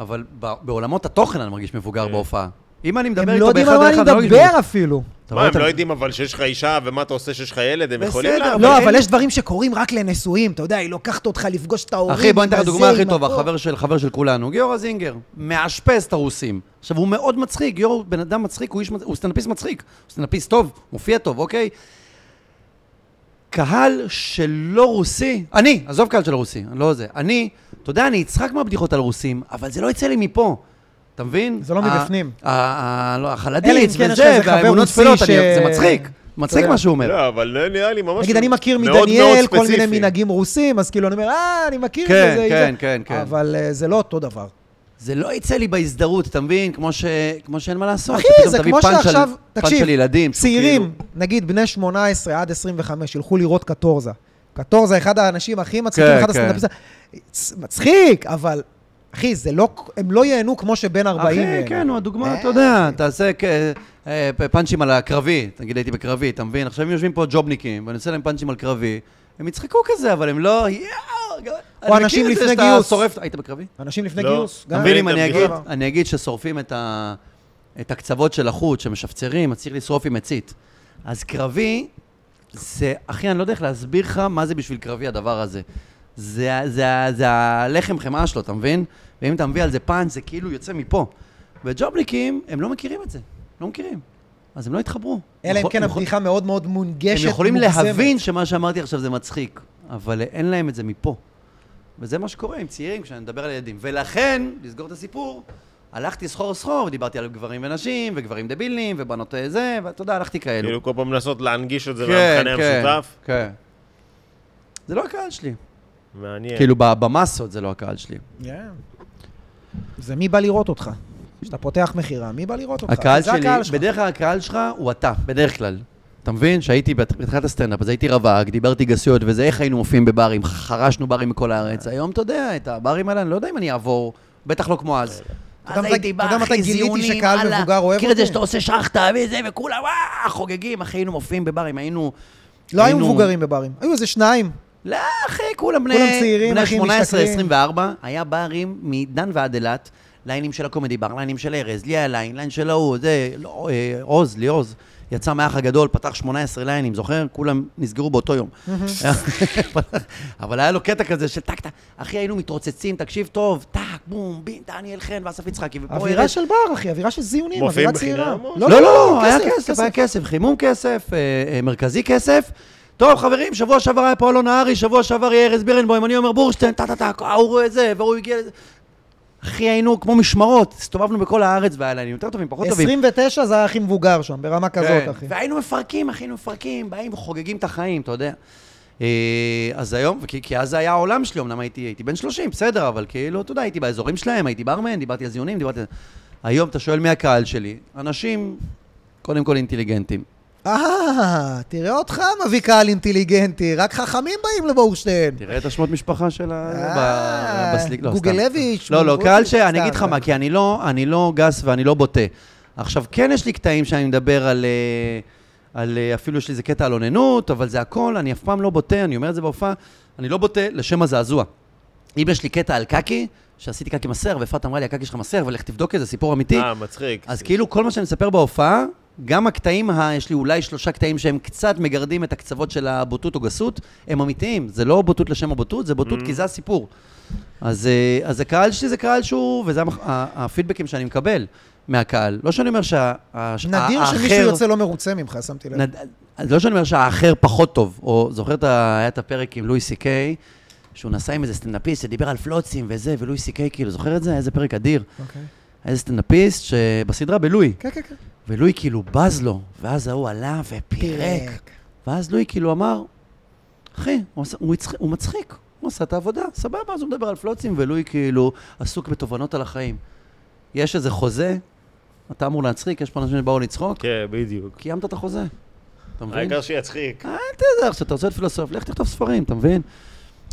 Speaker 2: אבל ב- בעולמות התוכן אני מרגיש מבוגר
Speaker 3: כן.
Speaker 2: בהופעה. אם אני
Speaker 1: הם
Speaker 2: מדבר
Speaker 1: לא
Speaker 2: איתו באחד
Speaker 1: יודעים על מה
Speaker 2: על
Speaker 1: אני
Speaker 2: אחד, אני לא מרגיש מבוגר.
Speaker 1: מדבר אפילו.
Speaker 2: אתה רואה
Speaker 3: מה,
Speaker 2: את
Speaker 3: הם
Speaker 2: ה-
Speaker 3: לא יודעים אבל שיש לך אישה, ומה אתה עושה שיש לך ילד, הם יכולים
Speaker 2: בסדר,
Speaker 3: לה...
Speaker 2: אבל
Speaker 1: לא,
Speaker 2: אין-
Speaker 1: אבל יש דברים שקורים רק לנשואים, אתה יודע, היא לוקחת אותך לפגוש את ההורים.
Speaker 2: אחי, בוא ניתן לך
Speaker 1: עם
Speaker 2: דוגמה
Speaker 1: הזה,
Speaker 2: הכי
Speaker 1: עם
Speaker 2: טובה,
Speaker 1: הפה.
Speaker 2: חבר של חבר של כולנו, גיורא זינגר, מאשפז את הרוסים. עכשיו, הוא מאוד מצחיק, גיורא הוא בן אדם מצחיק, הוא, איש, מצ- הוא סטנדאפיסט מצחיק, הוא סטנדאפיסט טוב, מופיע טוב, אוקיי? קהל שלא רוסי, אני, עזוב קהל של רוסי, אני לא זה, אני, אתה יודע, אני אצחק מהבדיחות על רוסים, אבל זה לא יצא לי מפה. אתה מבין?
Speaker 1: זה לא
Speaker 2: ה-
Speaker 1: מבפנים.
Speaker 2: ה- ה- לא,
Speaker 1: אלא אם
Speaker 2: החלדיץ
Speaker 1: כן יש לך
Speaker 2: וזה,
Speaker 1: איזה חבר
Speaker 2: והאמונות
Speaker 1: רוסי
Speaker 2: תפילות,
Speaker 1: ש-
Speaker 2: אני- זה מצחיק, מצחיק
Speaker 1: יודע.
Speaker 2: מה שהוא אומר.
Speaker 3: לא, אבל לא נראה לי ממש...
Speaker 1: נגיד, אני מכיר
Speaker 3: מאוד מאוד
Speaker 1: מדניאל כל
Speaker 3: ספציפי.
Speaker 1: מיני מנהגים רוסים, אז כאילו, אני אומר, אה, אני מכיר את
Speaker 2: כן,
Speaker 1: זה. זה-
Speaker 2: כן,
Speaker 1: זה."
Speaker 2: כן, כן.
Speaker 1: אבל אה, זה לא אותו דבר.
Speaker 2: זה לא יצא לי בהזדהות, אתה מבין? כמו, ש... כמו שאין מה לעשות.
Speaker 1: אחי,
Speaker 2: שפתאום
Speaker 1: זה
Speaker 2: תביא
Speaker 1: כמו
Speaker 2: פאנץ'
Speaker 1: שעכשיו,
Speaker 2: על... פאנץ'
Speaker 1: תקשיב,
Speaker 2: של ילדים. שהוא
Speaker 1: צעירים,
Speaker 2: כאילו-
Speaker 1: נגיד בני 18 עד 25, ילכו לראות קטורזה. קטורזה, אחד האנשים הכי מצחיקים,
Speaker 2: כן,
Speaker 1: אחד
Speaker 2: כן.
Speaker 1: הסטנדאפיסטים. צ- מצחיק, אבל, אחי, זה לא, הם לא ייהנו כמו שבן 40 ייהנו.
Speaker 2: אחי, כן, הוא הדוגמה, אתה יודע, תעשה כ- אה, פאנצ'ים על הקרבי, נגיד הייתי בקרבי, אתה מבין? עכשיו הם יושבים פה ג'ובניקים, ואני עושה להם פאנצ'ים על קרבי, הם יצחקו כזה, אבל הם לא... יואו, אני מכיר
Speaker 1: אנשים
Speaker 2: את זה
Speaker 1: לפני
Speaker 2: שאתה
Speaker 1: גיוס.
Speaker 2: שורף... היית בקרבי?
Speaker 1: אנשים לפני
Speaker 3: לא.
Speaker 1: גיוס.
Speaker 2: אתה
Speaker 1: גם-
Speaker 2: מבין
Speaker 3: אני
Speaker 2: אם אני
Speaker 3: מדבר.
Speaker 2: אגיד, אני אגיד ששורפים את, ה, את הקצוות של החוט, שמשפצרים, אז צריך לשרוף עם מצית. אז קרבי, זה, אחי, אני לא יודע איך להסביר לך מה זה בשביל קרבי הדבר הזה. זה, ה- זה, ה- זה הלחם חמאה שלו, אתה מבין? ואם אתה מביא על זה פאנץ', זה כאילו יוצא מפה. וג'ובניקים, הם לא מכירים את זה, לא מכירים. אז הם לא יתחברו.
Speaker 1: אלא אם
Speaker 2: יכול-
Speaker 1: כן
Speaker 2: הם יכול-
Speaker 1: הבדיחה מאוד מאוד מונגשת,
Speaker 2: נכון- הם יכולים
Speaker 1: מוגזמת.
Speaker 2: להבין שמה שאמרתי עכשיו זה מצחיק, אבל אין להם את זה מפה. וזה מה שקורה עם צעירים כשאני מדבר על ילדים. ולכן, לסגור את הסיפור, הלכתי סחור סחור, ודיברתי על גברים ונשים, וגברים דבילים, ובנות אה, זה, ואתה יודע, הלכתי כאלו.
Speaker 3: כאילו כל פעם לנסות להנגיש את זה
Speaker 2: כן,
Speaker 3: למכנה
Speaker 2: כן,
Speaker 3: המשותף. כן.
Speaker 2: כן. זה לא הקהל שלי.
Speaker 3: מעניין.
Speaker 2: כאילו, ב- במסות זה לא הקהל שלי.
Speaker 1: זה מי בא לראות אותך. כשאתה פותח מכירה, מי בא לראות אותך?
Speaker 2: הקהל
Speaker 1: זה
Speaker 2: שלי,
Speaker 1: הקהל שלך.
Speaker 2: בדרך כלל הקהל שלך הוא אתה, בדרך כלל. אתה מבין? שהייתי בת- בתחילת הסטנדאפ, אז הייתי רווק, דיברתי גסויות וזה, איך היינו מופיעים בברים, חרשנו ברים מכל הארץ.
Speaker 1: אה.
Speaker 2: היום, אתה יודע, את הברים האלה, אני לא יודע אם אני אעבור, בטח לא כמו אז.
Speaker 1: אתה יודע מתי- אתה יודע מתי גיליתי שקהל
Speaker 2: וואלה,
Speaker 1: מבוגר אוהב
Speaker 2: מכיר את זה
Speaker 1: אותי?
Speaker 2: שאתה עושה שחטה וזה, וכולם, וואו, חוגגים, אחי, היינו מופיעים בברים, היינו...
Speaker 1: לא היו
Speaker 2: היינו-
Speaker 1: מבוגרים בברים, היו איזה שניים.
Speaker 2: לא, אחי, כולם בני...
Speaker 1: כולם צעירים,
Speaker 2: בני
Speaker 1: אחי,
Speaker 2: 18,
Speaker 1: משתכרים.
Speaker 2: 24, היה ברים מדן ועד אילת. ליינים של הקומדי בר, ליינים של ארז, לי היה ליין, ליין של ההוא, זה, לא, אה, עוז, לי עוז. יצא מהאח הגדול, פתח 18 ליינים, זוכר? כולם נסגרו באותו יום. אבל היה לו קטע כזה של טק טק, אחי, היינו מתרוצצים, תקשיב טוב, טק, בום, בין, דניאל חן ואסף יצחקי, ופה
Speaker 1: אווירה של בר, אחי, אווירה של זיונים,
Speaker 3: מופיעים
Speaker 1: אווירה צעירה.
Speaker 3: בחינם או-
Speaker 2: לא, לא, לא, היה כסף, היה כסף, חימום כסף, אה, אה, מרכזי כסף. טוב, חברים, שבוע שעבר היה פה אלון נהרי, שבוע שעבר יהיה ארז בירנבוים, אני אומר בורשטיין, טה טה טה, ההוא רואה זה, והוא הגיע לזה. אחי, היינו כמו משמרות, הסתובבנו בכל הארץ והיה לנו יותר טובים, פחות טובים.
Speaker 1: 29 זה היה הכי מבוגר שם, ברמה
Speaker 2: כן.
Speaker 1: כזאת, אחי.
Speaker 2: והיינו מפרקים, אחי, היינו מפרקים, באים, חוגגים את החיים, אתה יודע. אה, אז היום, כי, כי אז זה היה העולם שלי, אמנם הייתי, הייתי בן 30, בסדר, אבל כאילו, אתה יודע, הייתי באזורים שלהם, הייתי ברמן, דיברתי על זיונים, דיברתי על... היום אתה שואל מי הקהל שלי, אנשים קודם כל אינטליגנטים.
Speaker 1: אה, תראה אותך מביא קהל אינטליגנטי, רק חכמים באים לבורשטיין.
Speaker 2: תראה את השמות משפחה של ה...
Speaker 1: כן. אה,
Speaker 2: ב- בסליק, לא, סתם.
Speaker 1: גוגלביץ',
Speaker 2: לא, לא,
Speaker 1: גוגלביץ',
Speaker 2: קהל ש... אני
Speaker 1: סתם. אה.
Speaker 2: אגיד לך מה, כי אני לא, אני לא גס ואני לא בוטה. עכשיו, כן יש לי קטעים שאני מדבר על... אה, על אה, אפילו יש לי איזה קטע על אוננות, אבל זה הכל, אני אף פעם לא בוטה, אני אומר את זה בהופעה, אני לא בוטה לשם הזעזוע. אם יש לי קטע על קקי, שעשיתי קקי מסר, ואפרת אמרה לי, הקקי שלך מסר, ולך תבדוק את זה, סיפור אמיתי.
Speaker 3: אה, מצחיק.
Speaker 2: אז כאילו כל מה שאני מספר בהופעה, גם הקטעים, ה... יש לי אולי שלושה קטעים שהם קצת מגרדים את הקצוות של הבוטות או גסות, הם אמיתיים, זה לא בוטות לשם הבוטות, זה בוטות כי זה הסיפור. אז, אה, אז הקהל שלי זה קהל שהוא, וזה המח... ה- הפידבקים שאני מקבל מהקהל. לא שאני אומר שה... ה-
Speaker 1: נדיר
Speaker 2: האחר-
Speaker 1: שמישהו יוצא לא מרוצה ממך, שמתי לב.
Speaker 2: נד... אז לא שאני אומר שהאחר פחות טוב, או זוכר את ה... היה את הפרק עם לואי סי קיי, שהוא נסע עם איזה סטנדאפיסט שדיבר על פלוצים וזה, ולואי סי קיי כאילו, זוכר את זה? איזה פרק אדיר.
Speaker 1: אוקיי.
Speaker 2: היה איזה סטנדאפיסט שבסדרה בלואי,
Speaker 1: כן, כן, כן.
Speaker 2: ולואי כאילו בז לו, ואז ההוא עלה ופירק. ואז לואי כאילו אמר, אחי, הוא, עשה, הוא, הצח... הוא מצחיק, הוא עשה את העבודה, סבבה, אז הוא מדבר על פלוצים, ולואי כאילו עסוק בתובנות על החיים. יש איזה חוזה, אתה אמור להצחיק, יש פה אנשים שבאו לצחוק,
Speaker 3: כן, בדיוק.
Speaker 2: קיימת את החוזה. אתה
Speaker 1: כאילו-
Speaker 2: מבין?
Speaker 3: העיקר שיצחיק.
Speaker 2: זה עכשיו, אתה רוצה להיות פילוסוף, לך תכתוב ספרים, אתה מבין?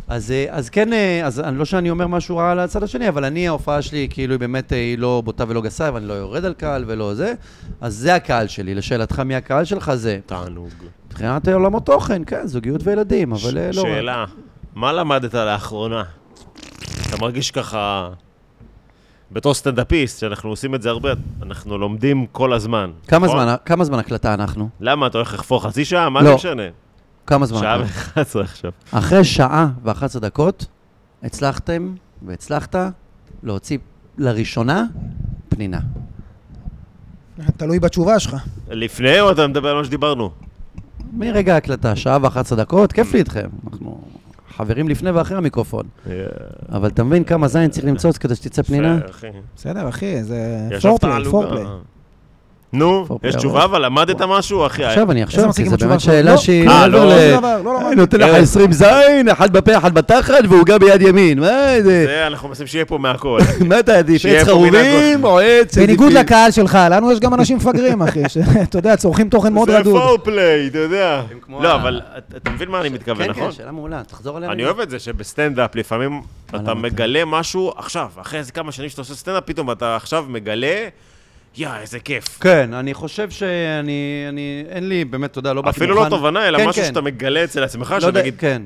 Speaker 2: אז, אה, אז כן, אה, אז אני- לא שאני אומר משהו רע על הצד השני, אבל אני, ההופעה שלי, כאילו, היא באמת, אה, היא לא בוטה ולא גסה, ואני לא יורד על קהל ולא זה. אז זה הקהל שלי. לשאלתך, מי הקהל שלך? זה
Speaker 3: תענוג.
Speaker 2: מבחינת עולמות תוכן, כן, זוגיות וילדים, אבל אה, לא... רק.
Speaker 3: שאלה, מה למדת לאחרונה? אתה מרגיש ככה... בתור סטנדאפיסט, שאנחנו עושים את זה הרבה, אנחנו לומדים כל הזמן.
Speaker 2: כמה
Speaker 3: נכון?
Speaker 2: זמן, כמה זמן הקלטה אנחנו?
Speaker 3: למה, אתה הולך לחפור חצי שעה? מה זה
Speaker 2: לא.
Speaker 3: משנה?
Speaker 2: כמה זמן?
Speaker 3: שעה
Speaker 2: הקלטה?
Speaker 3: ו-11 עכשיו.
Speaker 2: אחרי שעה ו-11 דקות, הצלחתם והצלחת להוציא לראשונה פנינה.
Speaker 1: תלוי בתשובה שלך.
Speaker 3: לפני או אתה מדבר על מה שדיברנו?
Speaker 2: מרגע ההקלטה, שעה ואחת עשרה דקות, כיף לי איתכם. אנחנו חברים לפני ואחרי המיקרופון. אבל אתה מבין כמה זין צריך למצוא כדי שתצא פנינה?
Speaker 3: יפה, אחי.
Speaker 2: אה,
Speaker 1: בסדר, אחי, זה
Speaker 3: יש
Speaker 1: פורפליי,
Speaker 3: הפתעה
Speaker 1: פורפליי.
Speaker 3: עלובה. נו,
Speaker 2: פורפליי,
Speaker 3: יש
Speaker 2: אבל-
Speaker 3: תשובה, אבל למדת משהו, אחי.
Speaker 2: עכשיו אני
Speaker 1: איזה
Speaker 2: אחשוב,
Speaker 1: מצחיק
Speaker 2: כי
Speaker 1: עם
Speaker 2: זו
Speaker 1: התשובה
Speaker 2: באמת
Speaker 1: שלך?
Speaker 2: שאלה
Speaker 1: לא,
Speaker 2: שהיא...
Speaker 3: אה, לא,
Speaker 1: שום
Speaker 2: ל-
Speaker 1: דבר, לא למדתי.
Speaker 2: אני נותן לך
Speaker 3: אה.
Speaker 2: 20 זין, אחת בפה, אחת בתחת, ועוגה ביד ימין. מה זה?
Speaker 3: זה, אנחנו מנסים שיהיה פה
Speaker 2: [LAUGHS]
Speaker 3: מהכל.
Speaker 2: מה אתה עדיף?
Speaker 3: שיהיה
Speaker 2: עץ
Speaker 3: פה מנהג
Speaker 2: חרובים
Speaker 3: גוזל.
Speaker 2: או [LAUGHS] עץ...
Speaker 1: בניגוד
Speaker 2: איזה
Speaker 1: לקהל שלך, לנו יש גם אנשים מפגרים, [LAUGHS] אחי, שאתה יודע, צורכים תוכן מאוד
Speaker 3: זה
Speaker 1: רדוד.
Speaker 3: פורפליי, אתה יודע.
Speaker 2: הם כמו
Speaker 3: לא,
Speaker 2: ה-
Speaker 3: אבל אתה- אתה מבין מה אני מתכוון,
Speaker 2: כן,
Speaker 3: נכון?
Speaker 2: כן, שאלה מעולה, תחזור עליה.
Speaker 3: אני
Speaker 2: רגע.
Speaker 3: אוהב את זה שבסטנדאפ לפעמים
Speaker 2: אה,
Speaker 3: אתה
Speaker 2: אמרתי.
Speaker 3: מגלה משהו עכשיו, אחרי איזה כמה שנים שאתה עושה סטנדאפ, פתאום אתה עכשיו מגלה, יא, איזה כיף.
Speaker 2: כן, אני חושב שאני... אני- אין לי, באמת, תודה, לא באתי מוכן.
Speaker 3: אפילו לא תובנה, אלא
Speaker 2: כן,
Speaker 3: משהו
Speaker 2: כן.
Speaker 3: שאתה מגלה אצל עצמך,
Speaker 2: לא יודע,
Speaker 3: שנגיד,
Speaker 2: כן.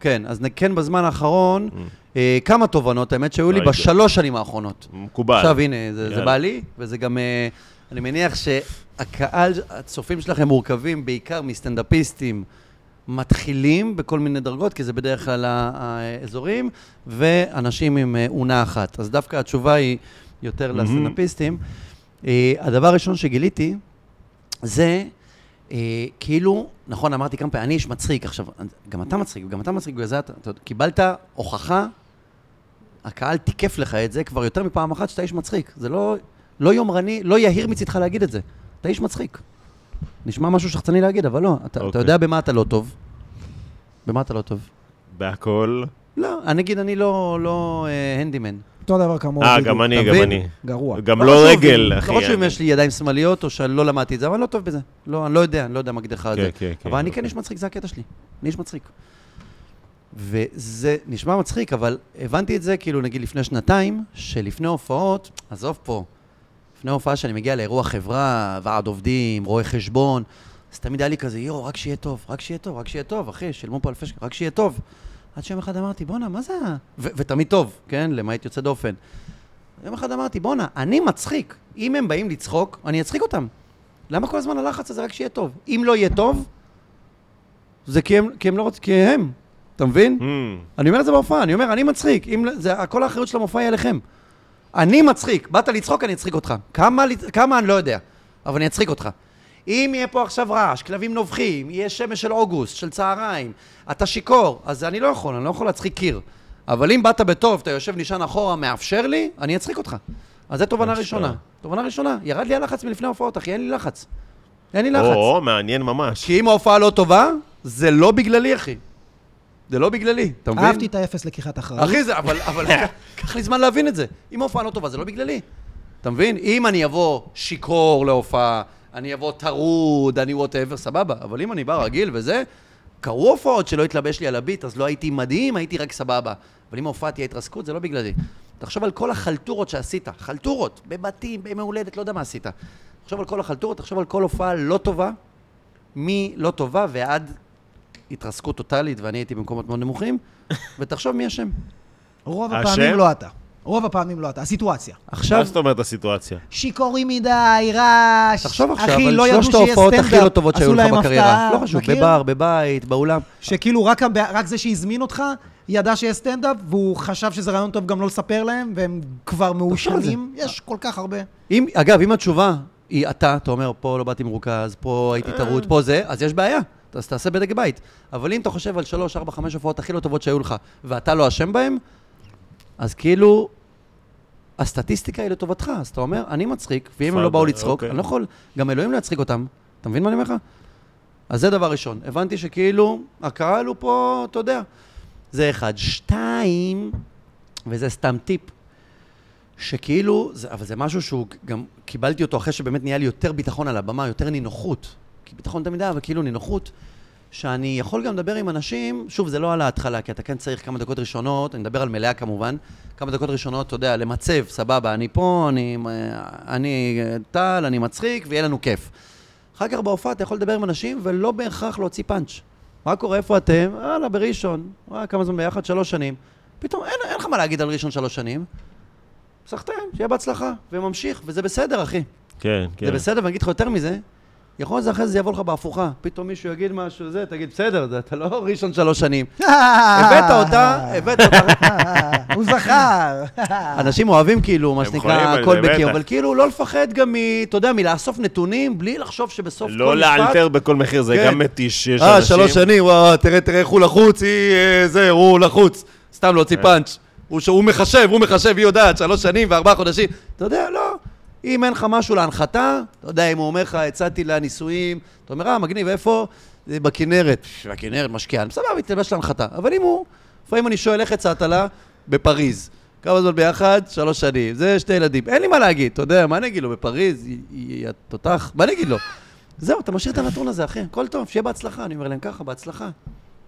Speaker 2: כן, אז נ- כן בזמן האחרון, אה, כמה תובנות, האמת, שהיו לי
Speaker 3: Mm. לא יודע.
Speaker 2: בשלוש שנים האחרונות.
Speaker 3: מקובל.
Speaker 2: עכשיו, הנה, זה- זה
Speaker 3: יאללה.
Speaker 2: בא לי, וזה גם, אה, אני מניח שהקהל, הצופים שלכם מורכבים בעיקר מסטנדאפיסטים מתחילים בכל מיני דרגות, כי זה בדרך כלל ה- האזורים, ואנשים עם אה, אונה אחת. אז דווקא התשובה היא יותר לסטנדאפיסטים. אה, הדבר הראשון שגיליתי, זה אה, כאילו, נכון, אמרתי כמה פעמים, אני איש מצחיק, עכשיו, גם אתה מצחיק, גם אתה מצחיק, בגלל זה אתה, אתה קיבלת הוכחה, הקהל תיקף לך את זה כבר יותר מפעם אחת שאתה איש מצחיק. זה לא, לא יומרני, לא יהיר מצדך להגיד את זה. אתה איש מצחיק. נשמע משהו שחצני להגיד, אבל לא, אתה, אתה
Speaker 3: אוקיי.
Speaker 2: יודע במה אתה לא טוב. במה אתה לא טוב?
Speaker 3: בהכל.
Speaker 2: לא, אני אגיד, אני לא, לא אה, הנדימן.
Speaker 1: אותו דבר כמוהו.
Speaker 3: אה,
Speaker 1: בדיוק.
Speaker 3: גם אני,
Speaker 2: אתה
Speaker 3: גם
Speaker 2: מבין?
Speaker 3: אני.
Speaker 1: גרוע.
Speaker 3: גם לא
Speaker 2: חשוב אם-
Speaker 3: רגל, אחי.
Speaker 2: לא חשוב אם
Speaker 3: אני-
Speaker 2: יש לי ידיים שמאליות או שאני לא למדתי את זה, אבל אני לא טוב בזה. לא, אני לא יודע, אני לא יודע מה הגדרך על
Speaker 3: כן,
Speaker 2: זה.
Speaker 3: כן, כן,
Speaker 2: אבל אני
Speaker 3: אוקיי.
Speaker 2: כן איש מצחיק, זה הקטע שלי. אני איש מצחיק. וזה נשמע מצחיק, אבל הבנתי את זה כאילו נגיד לפני שנתיים, שלפני הופעות, עזוב פה, לפני הופעה שאני מגיע לאירוע חברה, ועד עובדים, רואה חשבון, אז תמיד היה לי כזה, יואו, רק שיהיה טוב, רק שיהיה טוב, רק שיהיה טוב, אחי, שילמו פה אלפי שקלים, רק שיהיה טוב. עד שיום אחד אמרתי, בואנה, מה זה ה... ו- ותמיד טוב, כן? למעט יוצא דופן. יום אחד אמרתי, בואנה, אני מצחיק. אם הם באים לצחוק, אני אצחיק אותם. למה כל הזמן הלחץ הזה רק שיהיה טוב? אם לא יהיה טוב, זה כי הם, כי הם לא רוצים, כי הם. אתה מבין?
Speaker 3: אמ,
Speaker 2: אני אומר את זה בהופעה, אני אומר, אני מצחיק. אם לא- זה, כל האחריות של המופע היא עליכם. אני מצחיק. באת לצחוק, אני אצחיק אותך. כמה, לצ- כמה אני לא יודע, אבל אני אצחיק אותך. אם יהיה פה עכשיו רעש, כלבים נובחים, יהיה שמש של אוגוסט, של צהריים, אתה שיכור, אז אני לא יכול, אני לא יכול להצחיק קיר. אבל אם באת בטוב, אתה יושב נשען אחורה, מאפשר לי, אני אצחיק אותך. אז זו תובנה
Speaker 1: אוקיי.
Speaker 3: אשכרה.
Speaker 2: ראשונה. תובנה ראשונה, ירד לי הלחץ מלפני ההופעות, אחי, אין לי לחץ. אין לי לחץ.
Speaker 3: או, מעניין ממש.
Speaker 2: כי אם ההופעה לא טובה, זה לא בגללי, אחי. זה לא בגללי, אתה מבין?
Speaker 1: אהבתי את האפס לקיחת אחריות.
Speaker 2: אחי, זה, אבל, [LAUGHS] אבל לקח- לקח לי זמן להבין את זה. אם ההופעה לא טובה, זה לא בגללי. אתה מבין? אם אני אבוא שיכור להופעה, אני אבוא טרוד, אני וואטאבר, סבבה. אבל אם אני בא רגיל וזה, קרו הופעות שלא התלבש לי על הביט, אז לא הייתי מדהים, הייתי רק סבבה. אבל אם ההופעה תהיה התרסקות, זה לא בגללי. תחשוב על כל החלטורות שעשית, חלטורות, בבתים, בימי הולדת, לא יודע מה עשית. תחשוב על כל החלטורות, תחשוב על כל הופעה לא טובה, מלא טובה ועד התרסקות טוטאלית, ואני הייתי במקומות מאוד נמוכים, ותחשוב מי אשם.
Speaker 1: רוב
Speaker 3: השם?
Speaker 1: הפעמים לא אתה. רוב הפעמים לא אתה. הסיטואציה.
Speaker 2: עכשיו,
Speaker 3: מה זאת אומרת הסיטואציה?
Speaker 1: שיכורים מדי, רעש.
Speaker 2: תחשוב עכשיו,
Speaker 1: אחי,
Speaker 2: על
Speaker 1: לא ידעו
Speaker 2: שלושת
Speaker 1: שיהיה
Speaker 2: ההופעות הכי לא
Speaker 1: סטנדאפ,
Speaker 2: טובות
Speaker 1: עשו
Speaker 2: שהיו לך
Speaker 1: להם
Speaker 2: בקריירה.
Speaker 1: הפתעה,
Speaker 2: לא חשוב,
Speaker 1: מכיר?
Speaker 2: בבר, בבית, באולם.
Speaker 1: שכאילו רק, הב- רק זה שהזמין אותך, ידע שיש סטנדאפ, והוא חשב שזה רעיון טוב גם לא לספר להם, והם כבר
Speaker 2: תחשוב על זה.
Speaker 1: מאושרים. יש כל כך הרבה.
Speaker 2: אם, אגב, אם התשובה היא אתה, אתה אומר, פה לא באתי מרוכז, פה הייתי טרוד, פה זה, אז יש בעיה. אז תעשה בדק בית. אבל אם אתה חושב על שלוש, ארבע, חמש הופעות הכי לא טובות שהיו לך, ואתה לא אשם בהן, אז כאילו, הסטטיסטיקה היא לטובתך. אז אתה אומר, אני מצחיק, ואם הם לא באו
Speaker 3: פאבל,
Speaker 2: לצחוק,
Speaker 3: אוקיי.
Speaker 2: אני לא יכול, גם אלוהים לא יצחיק אותם. אתה מבין מה אני אומר לך? אז זה דבר ראשון. הבנתי שכאילו, הקהל הוא פה, אתה יודע. זה אחד. שתיים, וזה סתם טיפ, שכאילו, זה, אבל זה משהו שהוא גם קיבלתי אותו אחרי שבאמת נהיה לי יותר ביטחון על הבמה, יותר נינוחות. כי ביטחון תמיד היה, אבל כאילו נינוחות. שאני יכול גם לדבר עם אנשים, שוב, זה לא על ההתחלה, כי אתה כן צריך כמה דקות ראשונות, אני מדבר על מלאה כמובן, כמה דקות ראשונות, אתה יודע, למצב, סבבה, אני פה, אני, אני אה, טל, אני מצחיק, ויהיה לנו כיף. אחר כך בהופעה אתה יכול לדבר עם אנשים ולא בהכרח להוציא פאנץ'. מה קורה, איפה אתם? יאללה, בראשון. וואי, כמה זמן ביחד? שלוש שנים. פתאום אין, אין לך מה להגיד על ראשון שלוש שנים. סחטיין, שיהיה בהצלחה, וממשיך, וזה בסדר, אחי.
Speaker 3: כן, כן.
Speaker 2: זה בסדר, ואני אגיד לך יותר מזה, יכול להיות שאחרי זה זה יבוא לך בהפוכה. פתאום מישהו יגיד משהו, זה, תגיד, בסדר, זה- אתה לא ראשון שלוש שנים.
Speaker 1: אה.
Speaker 2: הבאת
Speaker 1: [LAUGHS]
Speaker 2: אותה, הבאת אותה.
Speaker 1: הוא זכר.
Speaker 2: אנשים אוהבים כאילו, מה
Speaker 3: הם חולים על
Speaker 2: שנקרא,
Speaker 3: זה,
Speaker 2: קולבקים,
Speaker 3: בטח.
Speaker 2: אבל כאילו, לא לפחד גם מ... אתה יודע, מלאסוף נתונים, בלי לחשוב שבסוף כל
Speaker 3: לא
Speaker 2: משפט...
Speaker 3: לאלתר בכל מחיר, זה
Speaker 2: כן.
Speaker 3: גם מתיש שיש
Speaker 2: אה, שלוש
Speaker 3: אנשים.
Speaker 2: שנים, וואו, תראה, תראה איך הוא לחוץ, היא, אה, זה, הוא לחוץ. סתם להוציא פאנץ'. הוא ש- הוא מחשב, הוא מחשב, היא יודעת, שלוש שנים וארבעה חודשים. אתה יודע, לא. אם אין לך משהו להנחתה, אתה יודע, אם הוא אומר לך, הצעתי לנישואים, אתה אומר, אה, מגניב, איפה? זה בכנרת. "פש, בכנרת, משקיען. סבבה, מתלבש להנחתה. אבל אם הוא, לפעמים אני שואל, איך הצעת לה? בפריז. כמה זמן ביחד? שלוש שנים. זה שתי ילדים. אין לי מה להגיד, אתה יודע, מה אני אגיד לו? בפריז, היא- היא התותח? מה אני אגיד לו? זהו, אתה משאיר את הנתון הזה, אחי, הכל טוב, שיהיה בהצלחה. אני אומר להם ככה, בהצלחה.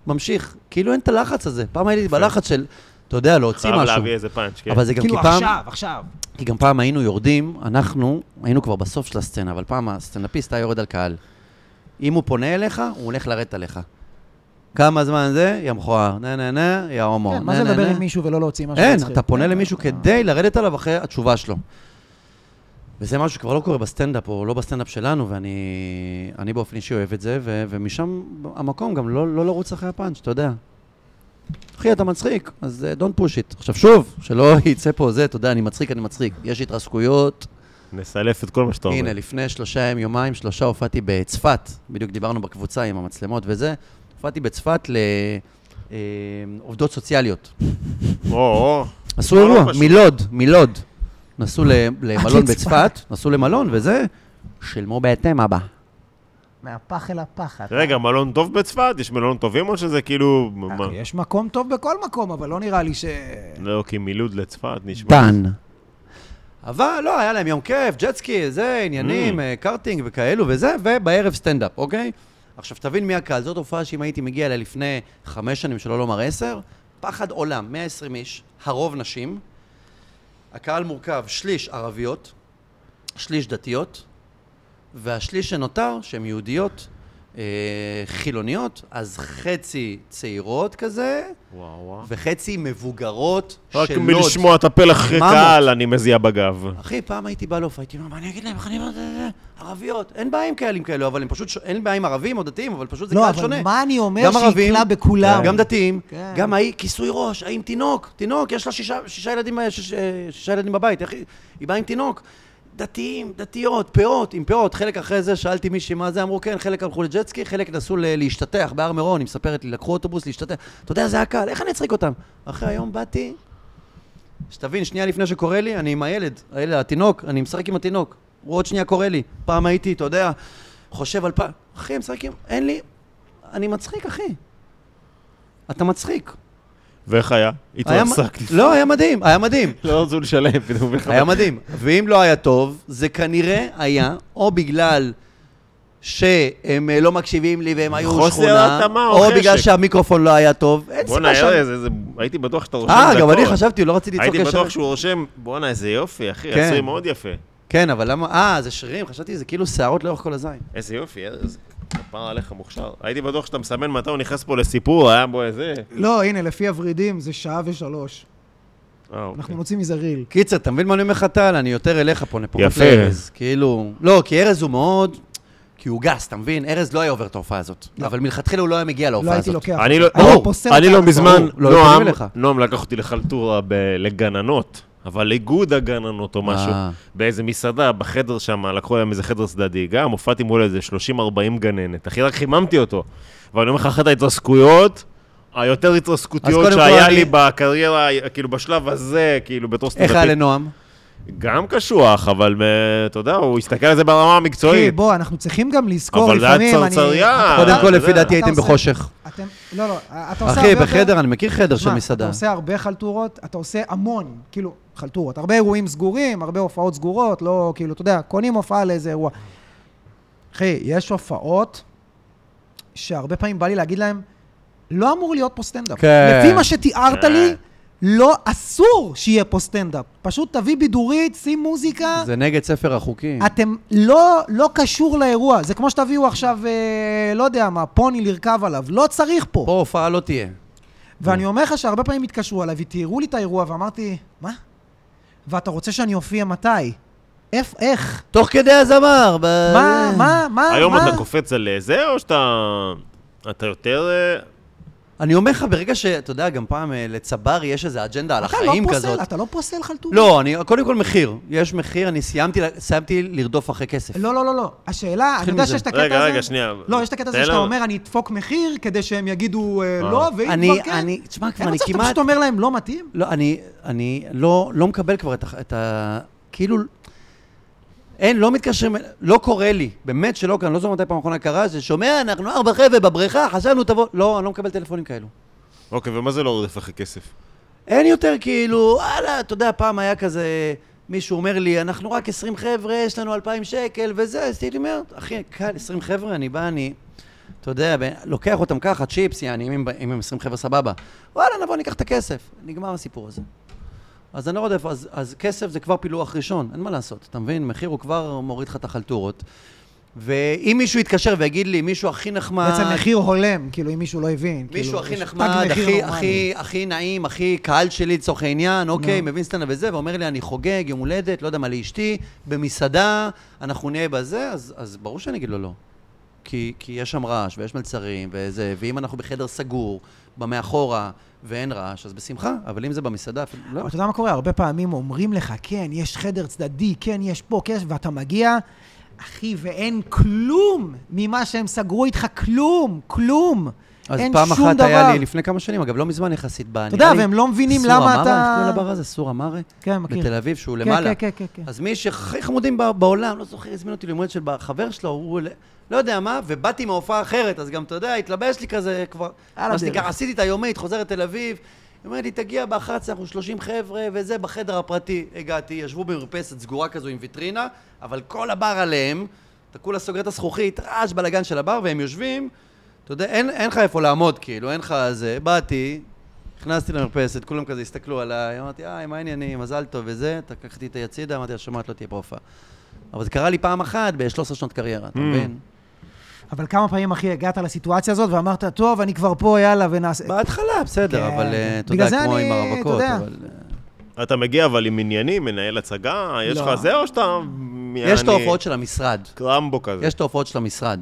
Speaker 2: ממשיך. כאילו אין את הלחץ הזה. פעם הייתי בלחץ של, אתה יודע, להוציא
Speaker 3: חייב
Speaker 2: משהו.
Speaker 3: להביא איזה פאנץ', כן.
Speaker 2: אבל זה גם כי
Speaker 1: כאילו
Speaker 2: פעם,
Speaker 1: עכשיו, עכשיו.
Speaker 2: כי גם פעם היינו יורדים, אנחנו היינו כבר בסוף של הסצנה, אבל פעם הסטנדאפיסט היה יורד על קהל. אם הוא פונה אליך, הוא הולך לרדת עליך. כמה זמן זה? יא מכוער. נה נה נה, יא הומו.
Speaker 1: כן, מה
Speaker 2: נה,
Speaker 1: זה
Speaker 2: נה,
Speaker 1: לדבר
Speaker 2: נה.
Speaker 1: עם מישהו ולא להוציא משהו
Speaker 2: אין,
Speaker 1: מצחיק?
Speaker 2: אתה פונה
Speaker 1: כן,
Speaker 2: למישהו
Speaker 1: אה,
Speaker 2: כדי לרדת עליו אחרי התשובה שלו. וזה משהו שכבר לא קורה בסטנדאפ, או לא בסטנדאפ שלנו, ואני אני באופן אישי אוהב את זה, ו, ומשם המקום גם לא, לא לרוץ אחרי הפאנץ', אתה יודע. אחי, אתה מצחיק, אז אה, don't push it. עכשיו שוב, שלא [LAUGHS] יצא פה זה, אתה יודע, אני מצחיק, אני מצחיק. יש התרסקויות.
Speaker 3: נסלף את כל מה שאתה אומר.
Speaker 2: הנה, לפני שלושה ימים, יומיים, שלושה הופעתי בצפת, בדיוק דיברנו בקבוצה עם המצלמות וזה, הופעתי בצפת לעובדות סוציאליות.
Speaker 3: או, או.
Speaker 2: עשו
Speaker 3: לא, לא
Speaker 2: אירוע,
Speaker 3: פשוט.
Speaker 2: מלוד, מלוד. נסעו ל- למלון
Speaker 1: לצפת.
Speaker 2: בצפת, נסעו למלון וזה, שילמו בהתאם אבא.
Speaker 1: מהפח אל הפחת.
Speaker 3: רגע, מלון טוב בצפת? יש מלון טובים או שזה כאילו... מה?
Speaker 1: אוקיי, יש מקום טוב בכל מקום, אבל לא נראה לי ש...
Speaker 3: לא, כי מלוד לצפת נשמע...
Speaker 2: דן. אבל לא, היה להם יום כיף, ג'טסקי, זה, עניינים,
Speaker 3: Mm.
Speaker 2: אה, קארטינג וכאלו וזה, ובערב סטנדאפ, אוקיי? עכשיו, תבין מי הקהל, זאת הופעה שאם הייתי מגיע אליה לפני חמש שנים, שלא לומר עשר, פחד עולם, 120 איש, הרוב נשים. הקהל מורכב שליש ערביות, שליש דתיות, והשליש שנותר, שהן יהודיות, אה, חילוניות, אז חצי צעירות כזה,
Speaker 3: וואו, וואו.
Speaker 2: וחצי מבוגרות של
Speaker 3: רק
Speaker 2: לוד.
Speaker 3: מלשמוע את הפלח
Speaker 2: ממות.
Speaker 3: קהל אני מזיע בגב.
Speaker 2: אחי, פעם הייתי בא לעוף, הייתי אומר, מה אני אגיד להם, איך אני אומר, זה, זה, ערביות, אין בעיה עם קהלים כאלו, אבל הם פשוט, ש- אין בעיה עם ערבים או דתיים, אבל פשוט זה
Speaker 1: לא,
Speaker 2: קהל
Speaker 1: אבל
Speaker 2: שונה.
Speaker 1: מה אני אומר
Speaker 2: גם
Speaker 1: שיקלע
Speaker 2: ערבים,
Speaker 1: בכולם?
Speaker 2: גם דתיים,
Speaker 1: כן.
Speaker 2: גם ההיא, כיסוי ראש, ההיא עם תינוק, תינוק, יש לה שישה, שישה, ילדים, שש, אה, שישה ילדים בבית, איך היא, היא באה עם תינוק. דתיים, דתיות, פאות, עם פאות. חלק אחרי זה שאלתי מישהי מה זה, אמרו כן, חלק הלכו לג'טסקי, חלק נסעו ל- להשתטח בהר מירון, היא מספרת לי, לקחו אוטובוס להשתטח. אתה יודע, זה הקהל, איך אני אצחיק אותם? אחרי היום באתי, שתבין, שנייה לפני שקורה לי, אני עם הילד, הילד, התינוק, אני משחק עם התינוק. הוא עוד שנייה קורא לי. פעם הייתי, אתה יודע, חושב על פעם. אחי, משחק עם... אין לי... אני מצחיק, אחי. אתה מצחיק.
Speaker 3: ואיך היה?
Speaker 2: היה מ-
Speaker 3: התרסקתי.
Speaker 2: לא, היה מדהים, היה מדהים.
Speaker 3: [LAUGHS] לא רצו לשלם, [LAUGHS] פתאום.
Speaker 2: היה מדהים. ואם לא היה טוב, זה כנראה היה או בגלל שהם אה, לא מקשיבים לי והם היו
Speaker 3: חוסר
Speaker 2: שכונה,
Speaker 3: התאמה או
Speaker 2: או בגלל
Speaker 3: חשק.
Speaker 2: שהמיקרופון לא היה טוב. אין
Speaker 3: בואנה,
Speaker 2: סיבה שם.
Speaker 3: ארז, איזה- הייתי בטוח שאתה רושם
Speaker 2: אה,
Speaker 3: דקות.
Speaker 2: גם אני חשבתי, לא רציתי לצעוק
Speaker 3: הייתי
Speaker 2: ישר.
Speaker 3: בטוח שהוא רושם, בואנה, איזה יופי, אחי,
Speaker 2: כן.
Speaker 3: עצרי מאוד יפה.
Speaker 2: כן, אבל למה... אה, זה שרירים, חשבתי, זה כאילו שערות לאורך כל הזין.
Speaker 3: איזה יופי, ארז. כפר עליך מוכשר. הייתי בטוח שאתה מסמן מתי הוא נכנס פה לסיפור, היה בו איזה...
Speaker 1: לא, הנה, לפי הוורידים זה שעה ושלוש.
Speaker 3: אה, אוקיי.
Speaker 1: אנחנו נוציא מזה ריל.
Speaker 2: קיצר, אתה מבין מה אני אומר לך, טל? אני יותר אליך פה, נפחות
Speaker 3: יפה.
Speaker 2: לארז. כאילו... לא, כי ארז הוא מאוד... כי הוא גס, אתה מבין? ארז לא היה עובר את ההופעה הזאת. אבל מלכתחילה הוא לא היה מגיע
Speaker 1: לא
Speaker 2: להופעה
Speaker 1: הייתי
Speaker 2: הזאת.
Speaker 1: לוקח.
Speaker 3: אני לא,
Speaker 1: הייתי
Speaker 3: ברור,
Speaker 1: פוסל
Speaker 3: אני
Speaker 1: אותה.
Speaker 3: לא מזמן,
Speaker 2: ברור, לא,
Speaker 3: נועם,
Speaker 2: לפעמים אליך.
Speaker 3: נועם לקח אותי לחלטורה ב- לגננות, אבל איגוד הגננות או משהו,
Speaker 2: אה.
Speaker 3: באיזה מסעדה, בחדר שם, לקחו להם איזה חדר צדדי, גם הופעתי מול איזה 30-40 גננת, אחי, רק חיממתי אותו. ואני אומר לך, אחת ההתרסקויות, היותר התרסקותיות
Speaker 2: קודם כל
Speaker 3: שהיה
Speaker 2: אני-
Speaker 3: לי בקריירה, כאילו בשלב הזה, כאילו בתור
Speaker 2: איך היה
Speaker 3: סטנדאפיסט,
Speaker 2: לנועם?
Speaker 3: גם קשוח, אבל אה, אתה יודע, הוא הסתכל על זה ברמה
Speaker 1: תראי,
Speaker 3: המקצועית.
Speaker 1: בוא, אנחנו צריכים גם לזכור
Speaker 3: אבל זה
Speaker 1: לפעמים,
Speaker 3: היה
Speaker 1: אני...
Speaker 3: צרצריה.
Speaker 2: קודם
Speaker 3: אתה
Speaker 2: כל, לפי
Speaker 3: יודע.
Speaker 2: דעתי הייתם
Speaker 1: אה, אתה עושה-
Speaker 2: בחושך.
Speaker 1: אתם, לא, לא, אתה עושה
Speaker 2: אחי,
Speaker 1: הרבה יותר-
Speaker 2: בחדר, אני מכיר חדר של
Speaker 1: שמע, אתה
Speaker 2: מסעדה.
Speaker 1: עושה הרבה חלטורות, אתה עושה המון, כאילו, חלטורות. הרבה אירועים סגורים, הרבה הופעות סגורות, לא, כאילו, אתה יודע, קונים הופעה לאיזה אירוע. אחי, יש הופעות שהרבה פעמים בא לי להגיד להם, לא אמור להיות פה סטנדאפ.
Speaker 2: כן.
Speaker 1: לפי מה שתיארת
Speaker 3: כן.
Speaker 1: לי, לא אסור שיהיה פה סטנדאפ. פשוט תביא בידורית, שים מוזיקה.
Speaker 2: זה נגד ספר
Speaker 3: כן.
Speaker 2: החוקים.
Speaker 1: אתם לא, לא קשור לאירוע. זה כמו שתביאו עכשיו, אה, לא יודע מה, פוני לרכב עליו. לא צריך פה.
Speaker 2: פה הופעה לא תהיה.
Speaker 1: ואני אומר לך שהרבה פעמים התקשרו אליי ותיארו לי את האירוע, ואמרתי, מה? ואתה רוצה שאני אופיע מתי? איפה, איך?
Speaker 2: תוך כדי הזמר. ב-
Speaker 1: מה, מה, מה,
Speaker 3: אה, היום
Speaker 1: מה?
Speaker 3: אתה קופץ על אה, זה, או שאתה... אתה יותר... אה,
Speaker 2: אני אומר לך, ברגע שאתה יודע, גם פעם אה, לצברי יש איזו אג'נדה על
Speaker 1: אתה לא
Speaker 2: החיים
Speaker 1: פוסל,
Speaker 2: כזאת.
Speaker 1: אתה לא פוסל חלטורה.
Speaker 2: לא, אני, קודם כל מחיר. יש מחיר, אני סיימתי, סיימתי לרדוף אחרי כסף.
Speaker 1: לא, לא, לא, לא. השאלה, אני יודע
Speaker 2: מזה.
Speaker 1: שיש את הקטע הזה...
Speaker 3: רגע, רגע, שנייה.
Speaker 1: לא, יש את הקטע הזה
Speaker 3: תן
Speaker 1: שאתה
Speaker 3: לנו-
Speaker 1: אומר, אני אדפוק מחיר, כדי שהם יגידו אה,
Speaker 3: אה.
Speaker 1: לא, ואם
Speaker 2: אני,
Speaker 1: כבר כן...
Speaker 2: אני, תשמע, כבר
Speaker 1: אין
Speaker 2: אני
Speaker 1: מצב, אתה
Speaker 2: כמעט...
Speaker 1: פשוט אומר להם, לא מתאים?
Speaker 2: לא, אני, אני לא, לא מקבל כבר את, ה- את ה... כאילו... אין, לא מתקשרים, לא קורה לי, באמת שלא, כי אני לא זוכר מתי פעם אחרונה קרה, זה שומע, אנחנו ארבע חבר'ה בבריכה, חשבנו תבוא, לא, אני לא מקבל טלפונים כאלו.
Speaker 3: אוקיי, ומה זה לא רודף אחרי כסף?
Speaker 2: אין יותר כאילו, וואלה, אתה יודע, פעם היה כזה, מישהו אומר לי, אנחנו רק 20 חבר'ה, יש לנו 2,000 שקל וזה, אז הייתי אומר, אחי, קל, 20 חבר'ה, אני בא, אני, אתה יודע, ב- לוקח אותם ככה, צ'יפס, יעני, אם הם- אם הם 20 חבר'ה, סבבה. וואלה, נבוא, ניקח את הכסף. נגמר הסיפור הזה. אז אני לא יודע איפה, אז, אז כסף זה כבר פילוח ראשון, אין מה לעשות, אתה מבין? מחיר הוא כבר מוריד לך את החלטורות. ואם מישהו יתקשר ויגיד לי, מישהו הכי נחמד...
Speaker 1: בעצם מחיר הולם, כאילו, אם מישהו לא הבין.
Speaker 2: מישהו
Speaker 1: כאילו,
Speaker 2: הכי
Speaker 1: יש
Speaker 2: נחמד,
Speaker 1: תג מחיר
Speaker 2: הכי,
Speaker 1: נורמלי.
Speaker 2: הכי, הכי נעים, הכי קהל שלי לצורך העניין, אוקיי,
Speaker 1: נו.
Speaker 2: מבין סטנדאפ וזה, ואומר לי, אני חוגג יום הולדת, לא יודע מה לאשתי, במסעדה, אנחנו נהיה בזה, אז, אז ברור שאני אגיד לו לא. כי, כי יש שם רעש, ויש מלצרים, וזה, ואם אנחנו בחדר סגור, במאחורה, ואין רעש, אז בשמחה, אבל אם זה במסעדה, אפילו לא.
Speaker 1: אבל אתה יודע מה קורה? הרבה פעמים אומרים לך, כן, יש חדר צדדי, כן, יש פה, כן, יש-" ואתה מגיע, אחי, ואין כלום ממה שהם סגרו איתך, כלום, כלום.
Speaker 2: אז
Speaker 1: אין
Speaker 2: פעם
Speaker 1: שום
Speaker 2: אחת
Speaker 1: דבר.
Speaker 2: היה לי, לפני כמה שנים, אגב, לא מזמן יחסית, בא,
Speaker 1: אתה יודע, והם לא מבינים למה אתה...
Speaker 2: סור אמרה, איך קוראים לבר הזה? סור אמרה?
Speaker 1: כן, מכיר.
Speaker 2: בתל אביב, שהוא
Speaker 1: כן,
Speaker 2: למעלה.
Speaker 1: כן, כן, כן, כן.
Speaker 2: אז מי שהכי חמודים בע- בעולם, לא זוכר, הזמין אותי לימוד של חבר שלו, הוא ל- לא יודע מה, ובאתי מההופעה אחרת, אז גם, אתה יודע, התלבש לי כזה כבר,
Speaker 1: על
Speaker 2: מה שנקרא,
Speaker 1: הדרך.
Speaker 2: עשיתי את היומית, חוזרת תל אביב. היא אומרת לי, תגיע ב-11, אנחנו 30 חבר'ה, וזה, בחדר הפרטי. הגעתי, ישבו במרפסת סגורה כזו עם ויטרינה, אבל כל הבר עליהם, אתה כולה סוגר את הזכוכית, רעש בלאגן של הבר, והם יושבים, אתה יודע, אין אין לך איפה לעמוד, כאילו, אין לך זה. באתי, נכנסתי למרפסת, כולם כזה הסתכלו עליי, אמרתי, היי, מה העניינים, מזל טוב וזה, לקחתי את היצידה,
Speaker 1: Mm.
Speaker 2: אמרתי לה, שומעת, לא תהיה פה הופעה. אבל זה קרה לי פעם אחת ב-13 שנות קריירה, אתה מבין?
Speaker 1: אבל כמה פעמים, אחי, הגעת לסיטואציה הזאת ואמרת, טוב, אני כבר פה, יאללה, ונעשה...
Speaker 2: בהתחלה, בסדר,
Speaker 1: כן.
Speaker 2: אבל אה, אתה
Speaker 1: בגלל
Speaker 2: יודע,
Speaker 1: זה
Speaker 2: כמו
Speaker 1: אני-
Speaker 2: עם
Speaker 1: אתה
Speaker 2: הרווקות,
Speaker 1: יודע.
Speaker 2: אבל... אה,
Speaker 3: אתה מגיע אבל עם עניינים, מנהל הצגה, יש
Speaker 1: לא.
Speaker 3: לך זה או שאתה...
Speaker 1: כן,
Speaker 2: יש את
Speaker 3: יעני,
Speaker 2: ההופעות של המשרד.
Speaker 1: אוקיי.
Speaker 3: קרמבו כזה.
Speaker 2: יש את ההופעות של המשרד.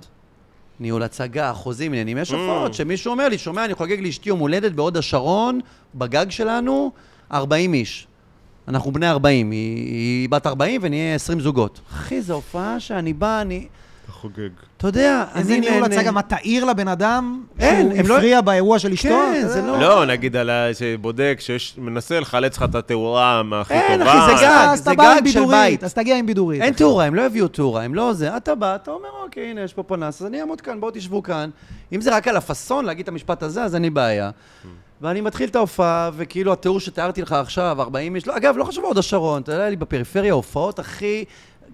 Speaker 2: ניהול הצגה, חוזים, עניינים, יש
Speaker 3: Mm.
Speaker 2: הופעות שמישהו אומר לי, שומע, אני חוגג לאשתי יום הולדת בהוד השרון, בגג שלנו, 40 איש. אנחנו בני 40, היא, היא בת 40 ונהיה 20 זוגות. אחי, זו הופעה שאני בא, אני...
Speaker 3: אתה חוגג.
Speaker 2: אתה יודע, אני...
Speaker 1: איזה ניהול
Speaker 2: נהנה.
Speaker 1: הצגה, מה תעיר לבן אדם
Speaker 2: אין,
Speaker 1: שהוא
Speaker 2: הם לא-
Speaker 1: הפריע באירוע של אשתו?
Speaker 2: כן, זה לא...
Speaker 3: לא, נגיד על ה... שבודק, שיש... מנסה לחלץ לך את התאורה הכי טובה.
Speaker 2: אין, אחי, זה גג.
Speaker 1: אז אתה
Speaker 2: זה
Speaker 1: בא עם
Speaker 2: גג של
Speaker 1: בידורית,
Speaker 2: בית.
Speaker 1: אז תגיע עם בידורית.
Speaker 2: אין תאורה, הם לא יביאו תאורה, הם לא זה. אתה בא, אתה אומר, אוקיי, הנה, יש פה פנס, אז אני אעמוד כאן, בואו תשבו כאן. אם זה רק על הפאסון להגיד את המשפט הזה, אז אין לי בעיה. ואני מתחיל את ההופעה, וכאילו התיאור שתיארתי לך עכשיו, 40 איש, לא, אגב, לא חשוב עוד השרון, אתה יודע, היה לי בפריפריה הופעות הכי...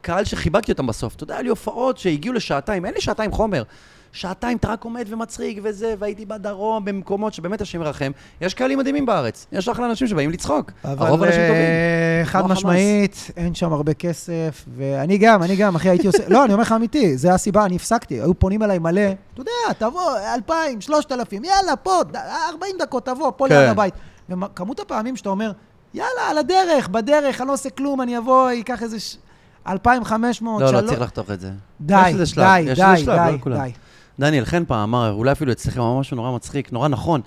Speaker 2: קהל שחיבקתי אותם בסוף. אתה יודע, היה לי הופעות שהגיעו לשעתיים, אין לי שעתיים חומר. שעתיים אתה רק עומד ומצחיק וזה, והייתי בדרום, במקומות שבאמת השם ירחם. יש קהלים מדהימים בארץ, יש אחלה אנשים שבאים לצחוק. הרוב
Speaker 1: אבל
Speaker 2: אנשים טובים.
Speaker 1: אה, חד
Speaker 2: כמו החמאס.
Speaker 1: משמעית, אין שם הרבה כסף, ואני גם, אני גם, אחי, הייתי עושה, [LAUGHS] לא, אני אומר לך אמיתי, זה הסיבה, אני הפסקתי, היו פונים אליי מלא, אתה יודע, תבוא, 2,000, 3,000, יאללה, פה, ד- 40 דקות, תבוא, פה
Speaker 2: כן.
Speaker 1: ליד הבית. וכמות הפעמים שאתה אומר, יאללה, על הדרך, בדרך, אני לא עושה כלום, אני אבוא, אקח איזה ש- 2,500,
Speaker 2: לא,
Speaker 1: שלוש-
Speaker 2: לא צריך לחתוך את זה.
Speaker 1: די,
Speaker 2: יש לזה שלב,
Speaker 1: די,
Speaker 2: יש לזה
Speaker 1: די,
Speaker 2: שלב, לא
Speaker 1: די,
Speaker 2: לכולם.
Speaker 1: די.
Speaker 2: דניאל חן פעם אמר, אולי אפילו אצלכם, אמר משהו נורא מצחיק, נורא נכון,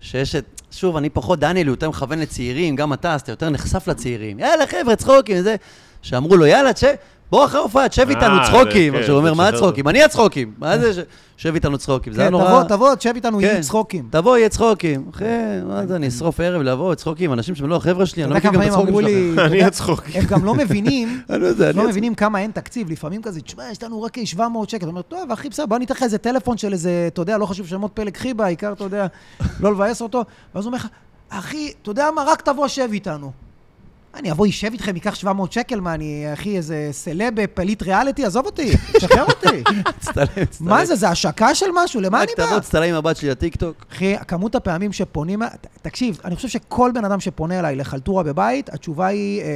Speaker 2: שיש את... שוב, אני פחות, דניאל הוא יותר מכוון לצעירים, גם אתה, אז אתה יותר נחשף לצעירים. יאללה, חבר'ה, צחוקים, זה... שאמרו לו, יאללה, תשב, בוא אחרי ההופעה, תשב איתנו
Speaker 3: אה,
Speaker 2: צחוקים.
Speaker 3: זה,
Speaker 2: אז הוא
Speaker 3: כן,
Speaker 2: אומר, מה
Speaker 3: זה שזה-
Speaker 2: הצחוקים? אני הצחוקים. מה זה ש... שב איתנו צחוקים? זה היה
Speaker 1: כן,
Speaker 2: נורא...
Speaker 1: תבוא, תבוא, תשב איתנו,
Speaker 2: כן.
Speaker 1: יהיו צחוקים.
Speaker 2: תבוא, יהיה צחוקים. אחי, מה זה, אני אשרוף ערב לבוא, צחוקים, אנשים שהם לא החבר'ה שלי, אני
Speaker 1: אתה
Speaker 2: לא
Speaker 1: יודע
Speaker 2: מכיר גם
Speaker 1: כמה
Speaker 2: את
Speaker 1: פעמים
Speaker 2: הצחוקים
Speaker 1: אמרו לי,
Speaker 2: שלכם.
Speaker 1: אתה
Speaker 3: אני
Speaker 1: יודע,
Speaker 3: הצחוק.
Speaker 1: הם גם לא מבינים,
Speaker 2: [LAUGHS] אני לא יודע, אני
Speaker 1: לא
Speaker 2: הצחוק.
Speaker 1: מבינים כמה אין תקציב, לפעמים כזה, תשמע, יש לנו רק 700 שקל. אתה אומר, טוב, אחי, בסדר, בוא ניתן לך איזה טלפון של איזה, אתה יודע, לא חשוב שמות פלג חיבה, העיקר, אתה יודע, לא לבאס אותו. ואז הוא אומר לך, אחי, אתה יודע מה, רק תבוא, שב איתנו. אני אבוא, יישב איתכם, ייקח 700 שקל, מה, אני, אחי, איזה סלב, אה, פליט ריאליטי, עזוב אותי, שחרר
Speaker 2: [LAUGHS]
Speaker 1: אותי.
Speaker 2: מצטלם, מצטלם.
Speaker 1: מה זה, זה השקה של משהו? למה אני
Speaker 2: רק
Speaker 1: בא?
Speaker 2: תבוא, תצטלם עם הבת שלי לטיקטוק.
Speaker 1: אחי, כמות הפעמים שפונים... ת- תקשיב, אני חושב שכל בן אדם שפונה אליי לחלטורה בבית, התשובה היא, אה,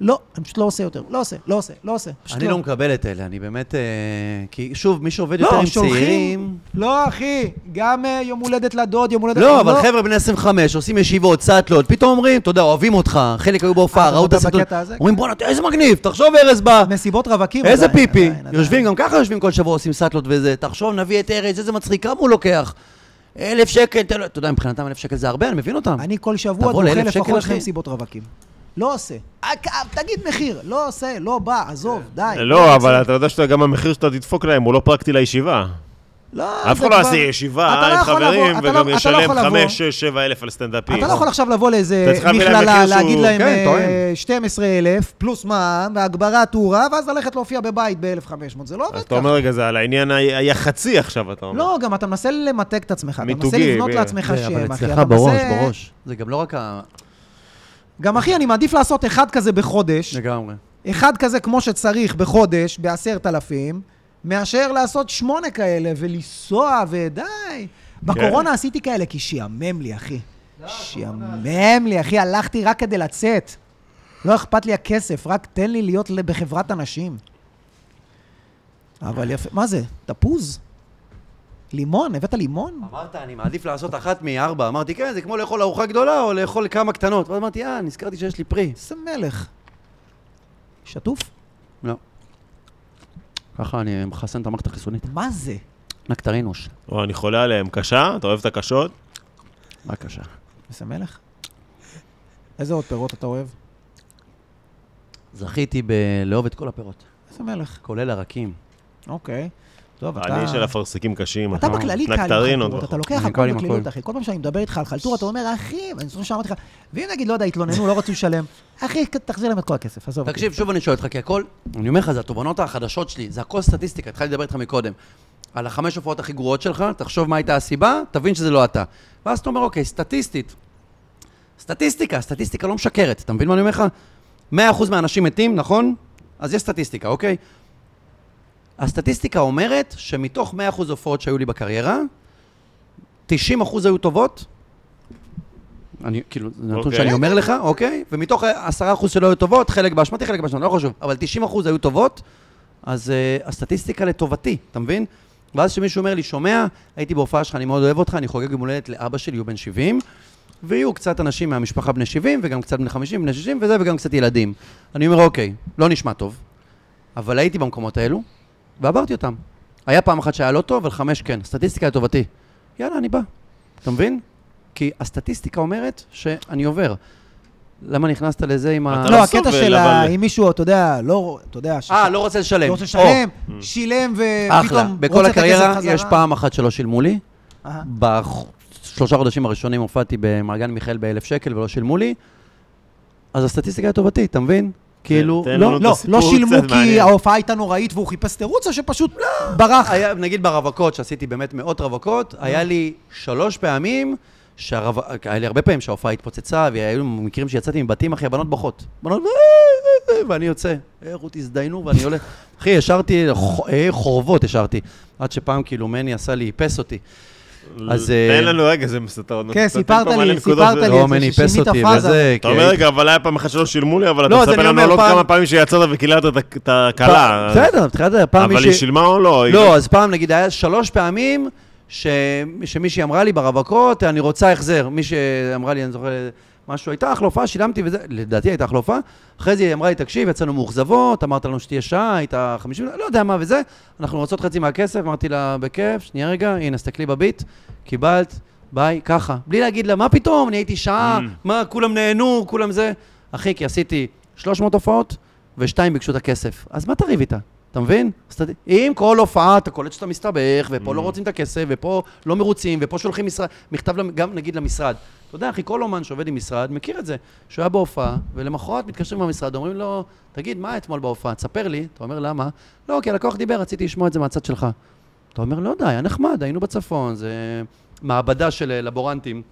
Speaker 1: לא, אני פשוט לא עושה יותר. לא עושה, לא עושה, לא עושה. פשוט
Speaker 2: אני לא מקבל את אלה, אני באמת... אה, כי שוב, מי שעובד יותר
Speaker 1: לא,
Speaker 2: עם צעירים...
Speaker 1: שולחים... לא, אחי, גם אה, יום הולדת לדוד, יום הולדת...
Speaker 2: לא, אבל חבר'ה בני 25 עושים ישיבות, צאטלות, פתאום אומרים, אתה יודע, אוהבים אותך, חלק היו בהופעה,
Speaker 1: אה, אתה
Speaker 2: ראו את
Speaker 1: בקטע
Speaker 2: הסרטון,
Speaker 1: הזה, כן,
Speaker 2: אומרים בואנה, תראה, איזה מגניב, תחשוב ארז בא,
Speaker 1: מסיבות רווקים אה,
Speaker 2: איזה
Speaker 1: עדיין,
Speaker 2: פיפי,
Speaker 1: עדיין, עדיין.
Speaker 2: יושבים, גם ככה יושבים כל שבוע, עושים סאטלות וזה, תחשוב, נביא את ארז, איזה מצחיק, כמה הוא לוקח? אלף שקל, תן לו- אתה יודע, מבחינתם אלף שקל זה הרבה, אני מבין אותם.
Speaker 1: אני כל שבוע
Speaker 2: תבוא
Speaker 1: דוחה
Speaker 2: לאלף שקל,
Speaker 1: לפחות
Speaker 2: אחי.
Speaker 1: שני מסיבות רווקים. לא עושה. אה, כ- תגיד מחיר, לא עושה, לא בא, עזוב, די.
Speaker 3: לא, אבל אתה יודע שגם המחיר שאתה תדפוק להם הוא לא פרקטי לישיבה.
Speaker 1: לא,
Speaker 3: אף
Speaker 1: זה
Speaker 3: אחד לא
Speaker 1: כבר-
Speaker 3: יעשה ישיבה,
Speaker 1: אתה לא
Speaker 3: אה, עם
Speaker 1: יכול לבוא,
Speaker 3: חברים,
Speaker 1: אתה לא-
Speaker 3: וגם
Speaker 1: אתה לא
Speaker 3: ישלם
Speaker 1: יכול לבוא.
Speaker 3: 5, 6, 7 אלף על סטנדאפיסט.
Speaker 1: אתה לא יכול עכשיו לבוא לאיזה
Speaker 3: אתה צריך להביא להם
Speaker 1: מכללה,
Speaker 3: מחיר שהוא-
Speaker 1: להגיד להם אה,
Speaker 2: כן, טוען.
Speaker 1: 12,000 פלוס מע"מ והגברת טורה, ואז ללכת להופיע בבית ב-1,500. זה לא
Speaker 3: אז
Speaker 1: עובד
Speaker 3: אתה
Speaker 1: ככה.
Speaker 3: אומר, רגע, זה על העניין ה- היחסי עכשיו, אתה אומר.
Speaker 1: לא, גם אתה מנסה למתג את עצמך. אתה מנסה
Speaker 3: מיתוגי,
Speaker 1: לבנות
Speaker 3: ב-
Speaker 1: לעצמך
Speaker 2: זה, אבל
Speaker 1: שם, אחי.
Speaker 2: אצלך
Speaker 1: אתה
Speaker 2: בראש,
Speaker 1: מנסה-
Speaker 2: בראש. זה גם לא רק ה...
Speaker 1: גם אחי, אני מעדיף לעשות אחד כזה בחודש,
Speaker 2: לגמרי.
Speaker 1: אחד כזה כמו שצריך בחודש, ב-10,000, מאשר לעשות שמונה כאלה ולנסוע ודי. בקורונה עשיתי כאלה כי שיאמם לי, אחי. שיאמם לי, אחי, הלכתי רק כדי לצאת. לא אכפת לי הכסף, רק תן לי להיות ל- בחברת אנשים. אבל יפה, מה זה? תפוז? לימון? הבאת לימון?
Speaker 2: אמרת, אני מעדיף לעשות אחת מארבע. אמרתי, כן, זה כמו לאכול ארוחה גדולה או לאכול כמה קטנות. ואז אמרתי, אה, נזכרתי שיש לי פרי.
Speaker 1: איזה מלך. שטוף?
Speaker 2: לא. ככה אני מחסן את המערכת החיסונית.
Speaker 1: מה זה?
Speaker 2: נקטרינוש.
Speaker 3: או, אני חולה עליהם. קשה? אתה אוהב את הקשות?
Speaker 2: בבקשה.
Speaker 1: איזה מלך? איזה עוד פירות אתה אוהב?
Speaker 2: זכיתי בלאהוב את כל הפירות,
Speaker 1: איזה מלך.
Speaker 2: כולל הרקים.
Speaker 1: אוקיי. טוב, אתה...
Speaker 3: אני של אפרסקים קשים.
Speaker 1: אתה בכללי קל עם
Speaker 3: נקטרינות
Speaker 1: חלטורות, אתה
Speaker 3: בחוץ.
Speaker 1: לוקח
Speaker 2: אני
Speaker 1: הכל
Speaker 2: קל עם
Speaker 1: בקלילות,
Speaker 2: הכל.
Speaker 1: אחי. כל פעם שאני מדבר איתך על חלטורה, אתה אומר, אחי, אני זוכר שאמרתי לך, ואם נגיד, לא יודע, התלוננו, לא רצו לשלם, אחי, תחזיר להם את כל הכסף, עזוב. אותי."
Speaker 2: תקשיב, שוב אני שואל אותך, כי הכל, אני אומר לך, זה התובנות החדשות שלי, זה הכל סטטיסטיקה, התחלתי לדבר איתך מקודם. על החמש הופעות הכי גרועות שלך, תחשוב מה הייתה הסיבה, תבין שזה לא אתה. ואז אתה אומר, אוקיי, סטטיסטית. סטטיסטיקה, סטטיסטיקה לא משקרת, אתה מבין מה אני אומר לך? 100% מהאנשים מתים, נכון? אז יש סטטיסטיקה, אוקיי? הסטטיסטיקה אומרת שמתוך 100% הופעות שהיו לי בקריירה, 90% היו טובות. אני, כאילו, זה נתון
Speaker 3: אוקיי.
Speaker 2: שאני אומר לך, אוקיי? ומתוך ה-10% שלא היו טובות, חלק באשמתי, חלק באשמתי, לא חשוב. אבל 90% היו טובות, אז uh, הסטטיסטיקה אה, לטובתי, אתה מבין? ואז כשמישהו אומר לי, שומע, הייתי בהופעה שלך, אני מאוד אוהב אותך, אני חוגג יום הולדת לאבא שלי, הוא בן 70, ויהיו קצת אנשים מהמשפחה בני 70, וגם קצת בני 50, בני 60 וזה, וגם קצת ילדים. אני אומר, אוקיי, לא נשמע טוב, אבל הייתי במקומות האלו, ועברתי אותם. היה פעם אחת שהיה לא טוב, אבל חמש כן. סטטיסטיקה לטובתי. יאללה, אני בא. אתה מבין? כי הסטטיסטיקה אומרת שאני עובר. למה נכנסת לזה עם ה...
Speaker 3: אתה
Speaker 1: לא,
Speaker 3: לא
Speaker 1: הקטע
Speaker 3: סובל,
Speaker 1: של ה-
Speaker 3: אבל-
Speaker 1: אם מישהו, אתה יודע, לא, אתה יודע, ש-
Speaker 2: אה, לא רוצה לשלם.
Speaker 1: לא רוצה
Speaker 2: או,
Speaker 1: לשלם, [LAUGHS] שילם
Speaker 2: אחלה.
Speaker 1: ופתאום
Speaker 2: בכל
Speaker 1: רוצה את הכסף
Speaker 2: הקריירה
Speaker 1: חזרה.
Speaker 2: יש פעם אחת שלא שילמו לי.
Speaker 1: אה.
Speaker 2: בשלושה חודשים הראשונים הופעתי במעגן מיכאל באלף שקל ולא שילמו לי. אז הסטטיסטיקה לטובתי, אתה מבין? כאילו,
Speaker 3: תן
Speaker 2: לא,
Speaker 3: לנו את
Speaker 1: לא,
Speaker 3: הסיפור
Speaker 1: לא שילמו
Speaker 3: קצת
Speaker 1: כי
Speaker 3: מעניין.
Speaker 1: ההופעה הייתה נוראית והוא חיפש תירוץ, או שפשוט
Speaker 2: לא.
Speaker 1: ברח.
Speaker 2: היה, נגיד ברווקות, שעשיתי באמת מאות רווקות, היה לי שלוש פעמים, שהרו... היה לי הרבה פעמים שההופעה התפוצצה, והיו מקרים שיצאתי מבתים, אחי, הבנות בוכות. בנות, "אה, אה, אה", ואני יוצא. "אה, רות, הזדיינו, ואני הולך. אחי, השארתי, ח- אה, חורבות השארתי. עד שפעם, כאילו, מני עשה לי, איפס אותי. אז, אה,
Speaker 3: תן לנו רגע, זה מסתר.
Speaker 1: לא- כן,
Speaker 3: נותן
Speaker 1: סיפרת
Speaker 3: פה מלא
Speaker 1: לי,
Speaker 3: נקודות.
Speaker 1: סיפרת לי.
Speaker 2: לא,
Speaker 1: את זה
Speaker 2: מני
Speaker 1: ששינית
Speaker 2: איפס אותי,
Speaker 1: פאזה.
Speaker 2: וזה, כן.
Speaker 3: אתה אומר, רגע, אבל היה פעם אחת שלא שילמו לי, אבל אתה
Speaker 2: לא, אז
Speaker 3: מספר
Speaker 2: אני
Speaker 3: לנו
Speaker 2: אומר,
Speaker 3: על עוד
Speaker 2: פעם-
Speaker 3: כמה פעמים שיצאת וקיללת את ה- את
Speaker 2: פעם-
Speaker 3: הכלה.
Speaker 2: בסדר, בתחילת הפעם
Speaker 3: אבל היא שילמה או לא? [LAUGHS] היא-
Speaker 2: לא, אז פעם, נגיד, היה שלוש פעמים ש... שמישהי אמרה לי ברווקות, אני רוצה החזר. מי שאמרה לי, אני זוכר, משהו, הייתה אחלה הופעה, שילמתי וזה, לדעתי הייתה אחלה הופעה. אחרי זה היא אמרה לי, תקשיב, יצאנו מאוכזבות, אמרת לנו שתהיה שעה, היית חמישים, לא יודע מה וזה, אנחנו רוצות חצי מהכסף, אמרתי לה, בכיף, שנייה רגע, הנה, תסתכלי בביט, קיבלת, ביי, ככה. בלי להגיד לה, מה פתאום, אני הייתי שעה,
Speaker 3: Mm.
Speaker 2: מה, כולם נהנו, כולם זה. אחי, כי עשיתי 300 הופעות, ושתיים ביקשו את הכסף. אז מה תריב איתה? אתה מבין? סטט... אם כל הופעה אתה קולט שאתה מסתבך, ופה לא רוצים את הכסף, ופה לא מרוצים, ופה שולחים משרד, מכתב למ- גם נגיד למשרד. אתה יודע, אחי, כל אומן שעובד עם משרד מכיר את זה. שהוא היה בהופעה, ולמחרת מתקשרים מהמשרד, אומרים לו, תגיד, מה היה אתמול בהופעה? תספר לי. אתה אומר, למה? לא, כי הלקוח דיבר, רציתי לשמוע את זה מהצד שלך. אתה אומר, לא יודע, היה נחמד, היינו בצפון, זה מעבדה של אה, לבורנטים.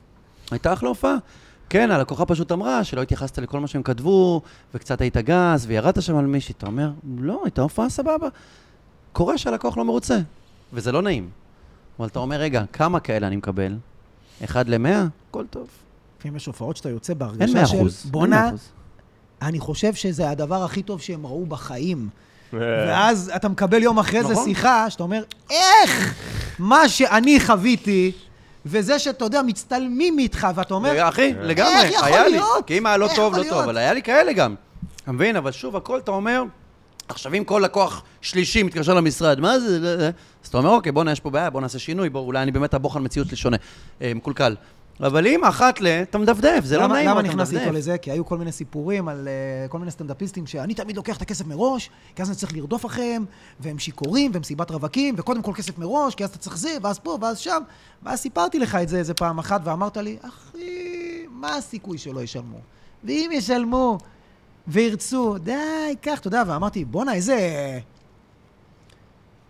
Speaker 2: הייתה אחלה הופעה. כן, הלקוחה פשוט אמרה שלא התייחסת לכל מה שהם כתבו, וקצת היית גס, וירדת שם על מישהי. אתה אומר, לא, הייתה הופעה סבבה. קורה שהלקוח לא מרוצה, וזה לא נעים. אבל אתה אומר, רגע, כמה כאלה אני מקבל? אחד למאה? הכל טוב.
Speaker 1: לפעמים יש הופעות שאתה יוצא
Speaker 2: אין מאה
Speaker 1: בהרגשה
Speaker 2: אחוז.
Speaker 1: של,
Speaker 2: אין מאה
Speaker 1: בואנה,
Speaker 2: אחוז."
Speaker 1: אני חושב שזה הדבר הכי טוב שהם ראו בחיים.
Speaker 3: אה,
Speaker 1: ואז אתה מקבל יום אחרי זה
Speaker 2: נכון.
Speaker 1: שיחה, שאתה אומר, איך מה שאני חוויתי, וזה שאתה יודע, מצטלמים איתך, ואתה אומר, אה,
Speaker 2: רגע, אה, אחי, לגמרי,
Speaker 1: איך יכול
Speaker 2: היה לי.
Speaker 1: להיות?
Speaker 2: כי אם היה לא
Speaker 1: איך
Speaker 2: טוב,
Speaker 1: יכול
Speaker 2: לא
Speaker 1: להיות?
Speaker 2: טוב, אבל היה לי כאלה גם. אתה מבין? אבל שוב, הכל אתה אומר, עכשיו אם כל לקוח שלישי מתקשר למשרד, מה זה? זה- זה?" אז אתה אומר, אוקיי, בוא'נה, יש פה בעיה, בוא נעשה שינוי, בוא, אולי אני באמת הבוחן מציאות שלי שונה, אה, מקולקל. אבל אם אחת ל... אתה מדפדף, זה לא
Speaker 1: למה-
Speaker 2: נעים,
Speaker 1: למה
Speaker 2: אבל אתה
Speaker 1: נכנסתי איתו
Speaker 2: מדפדף.
Speaker 1: לזה? כי היו כל מיני סיפורים על אה, כל מיני סטנדאפיסטים שאני תמיד לוקח את הכסף מראש, כי אז אני צריך לרדוף אחריהם, והם שיכורים, ומסיבת רווקים, וקודם כל כסף מראש, כי אז אתה צריך זה, ואז פה, ואז שם. ואז סיפרתי לך את זה איזה פעם אחת, ואמרת לי, אחי, מה הסיכוי שלא ישלמו? ואם ישלמו וירצו, די, קח, אתה יודע, ואמרתי, בואנה, איזה...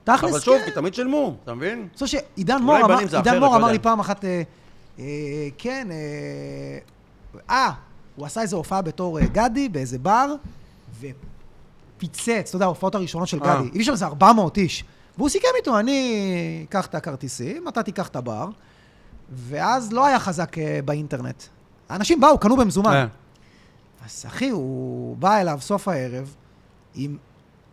Speaker 2: אבל
Speaker 1: תכלס,
Speaker 2: שוב,
Speaker 1: כן.
Speaker 2: כי תמיד שילמו, אתה מבין?
Speaker 1: אני חושב שעידן
Speaker 2: אולי
Speaker 1: מור אמר,
Speaker 2: בנים זה
Speaker 1: עידן
Speaker 2: אחרת,
Speaker 1: מור
Speaker 2: לא
Speaker 1: אמר לי
Speaker 2: יודע.
Speaker 1: פעם אחת, אה, אה, כן, אה, אה, הוא עשה איזו הופעה בתור אה, גדי באיזה בר, ופיצץ, אתה יודע, ההופעות הראשונות של
Speaker 2: אה.
Speaker 1: גדי, הביא שם איזה 400 איש, והוא סיכם איתו, אני אקח את הכרטיסים, אתה תיקח את הבר, ואז לא היה חזק אה, באינטרנט. האנשים באו, קנו במזומן.
Speaker 2: אה.
Speaker 1: אז אחי, הוא בא אליו סוף הערב עם,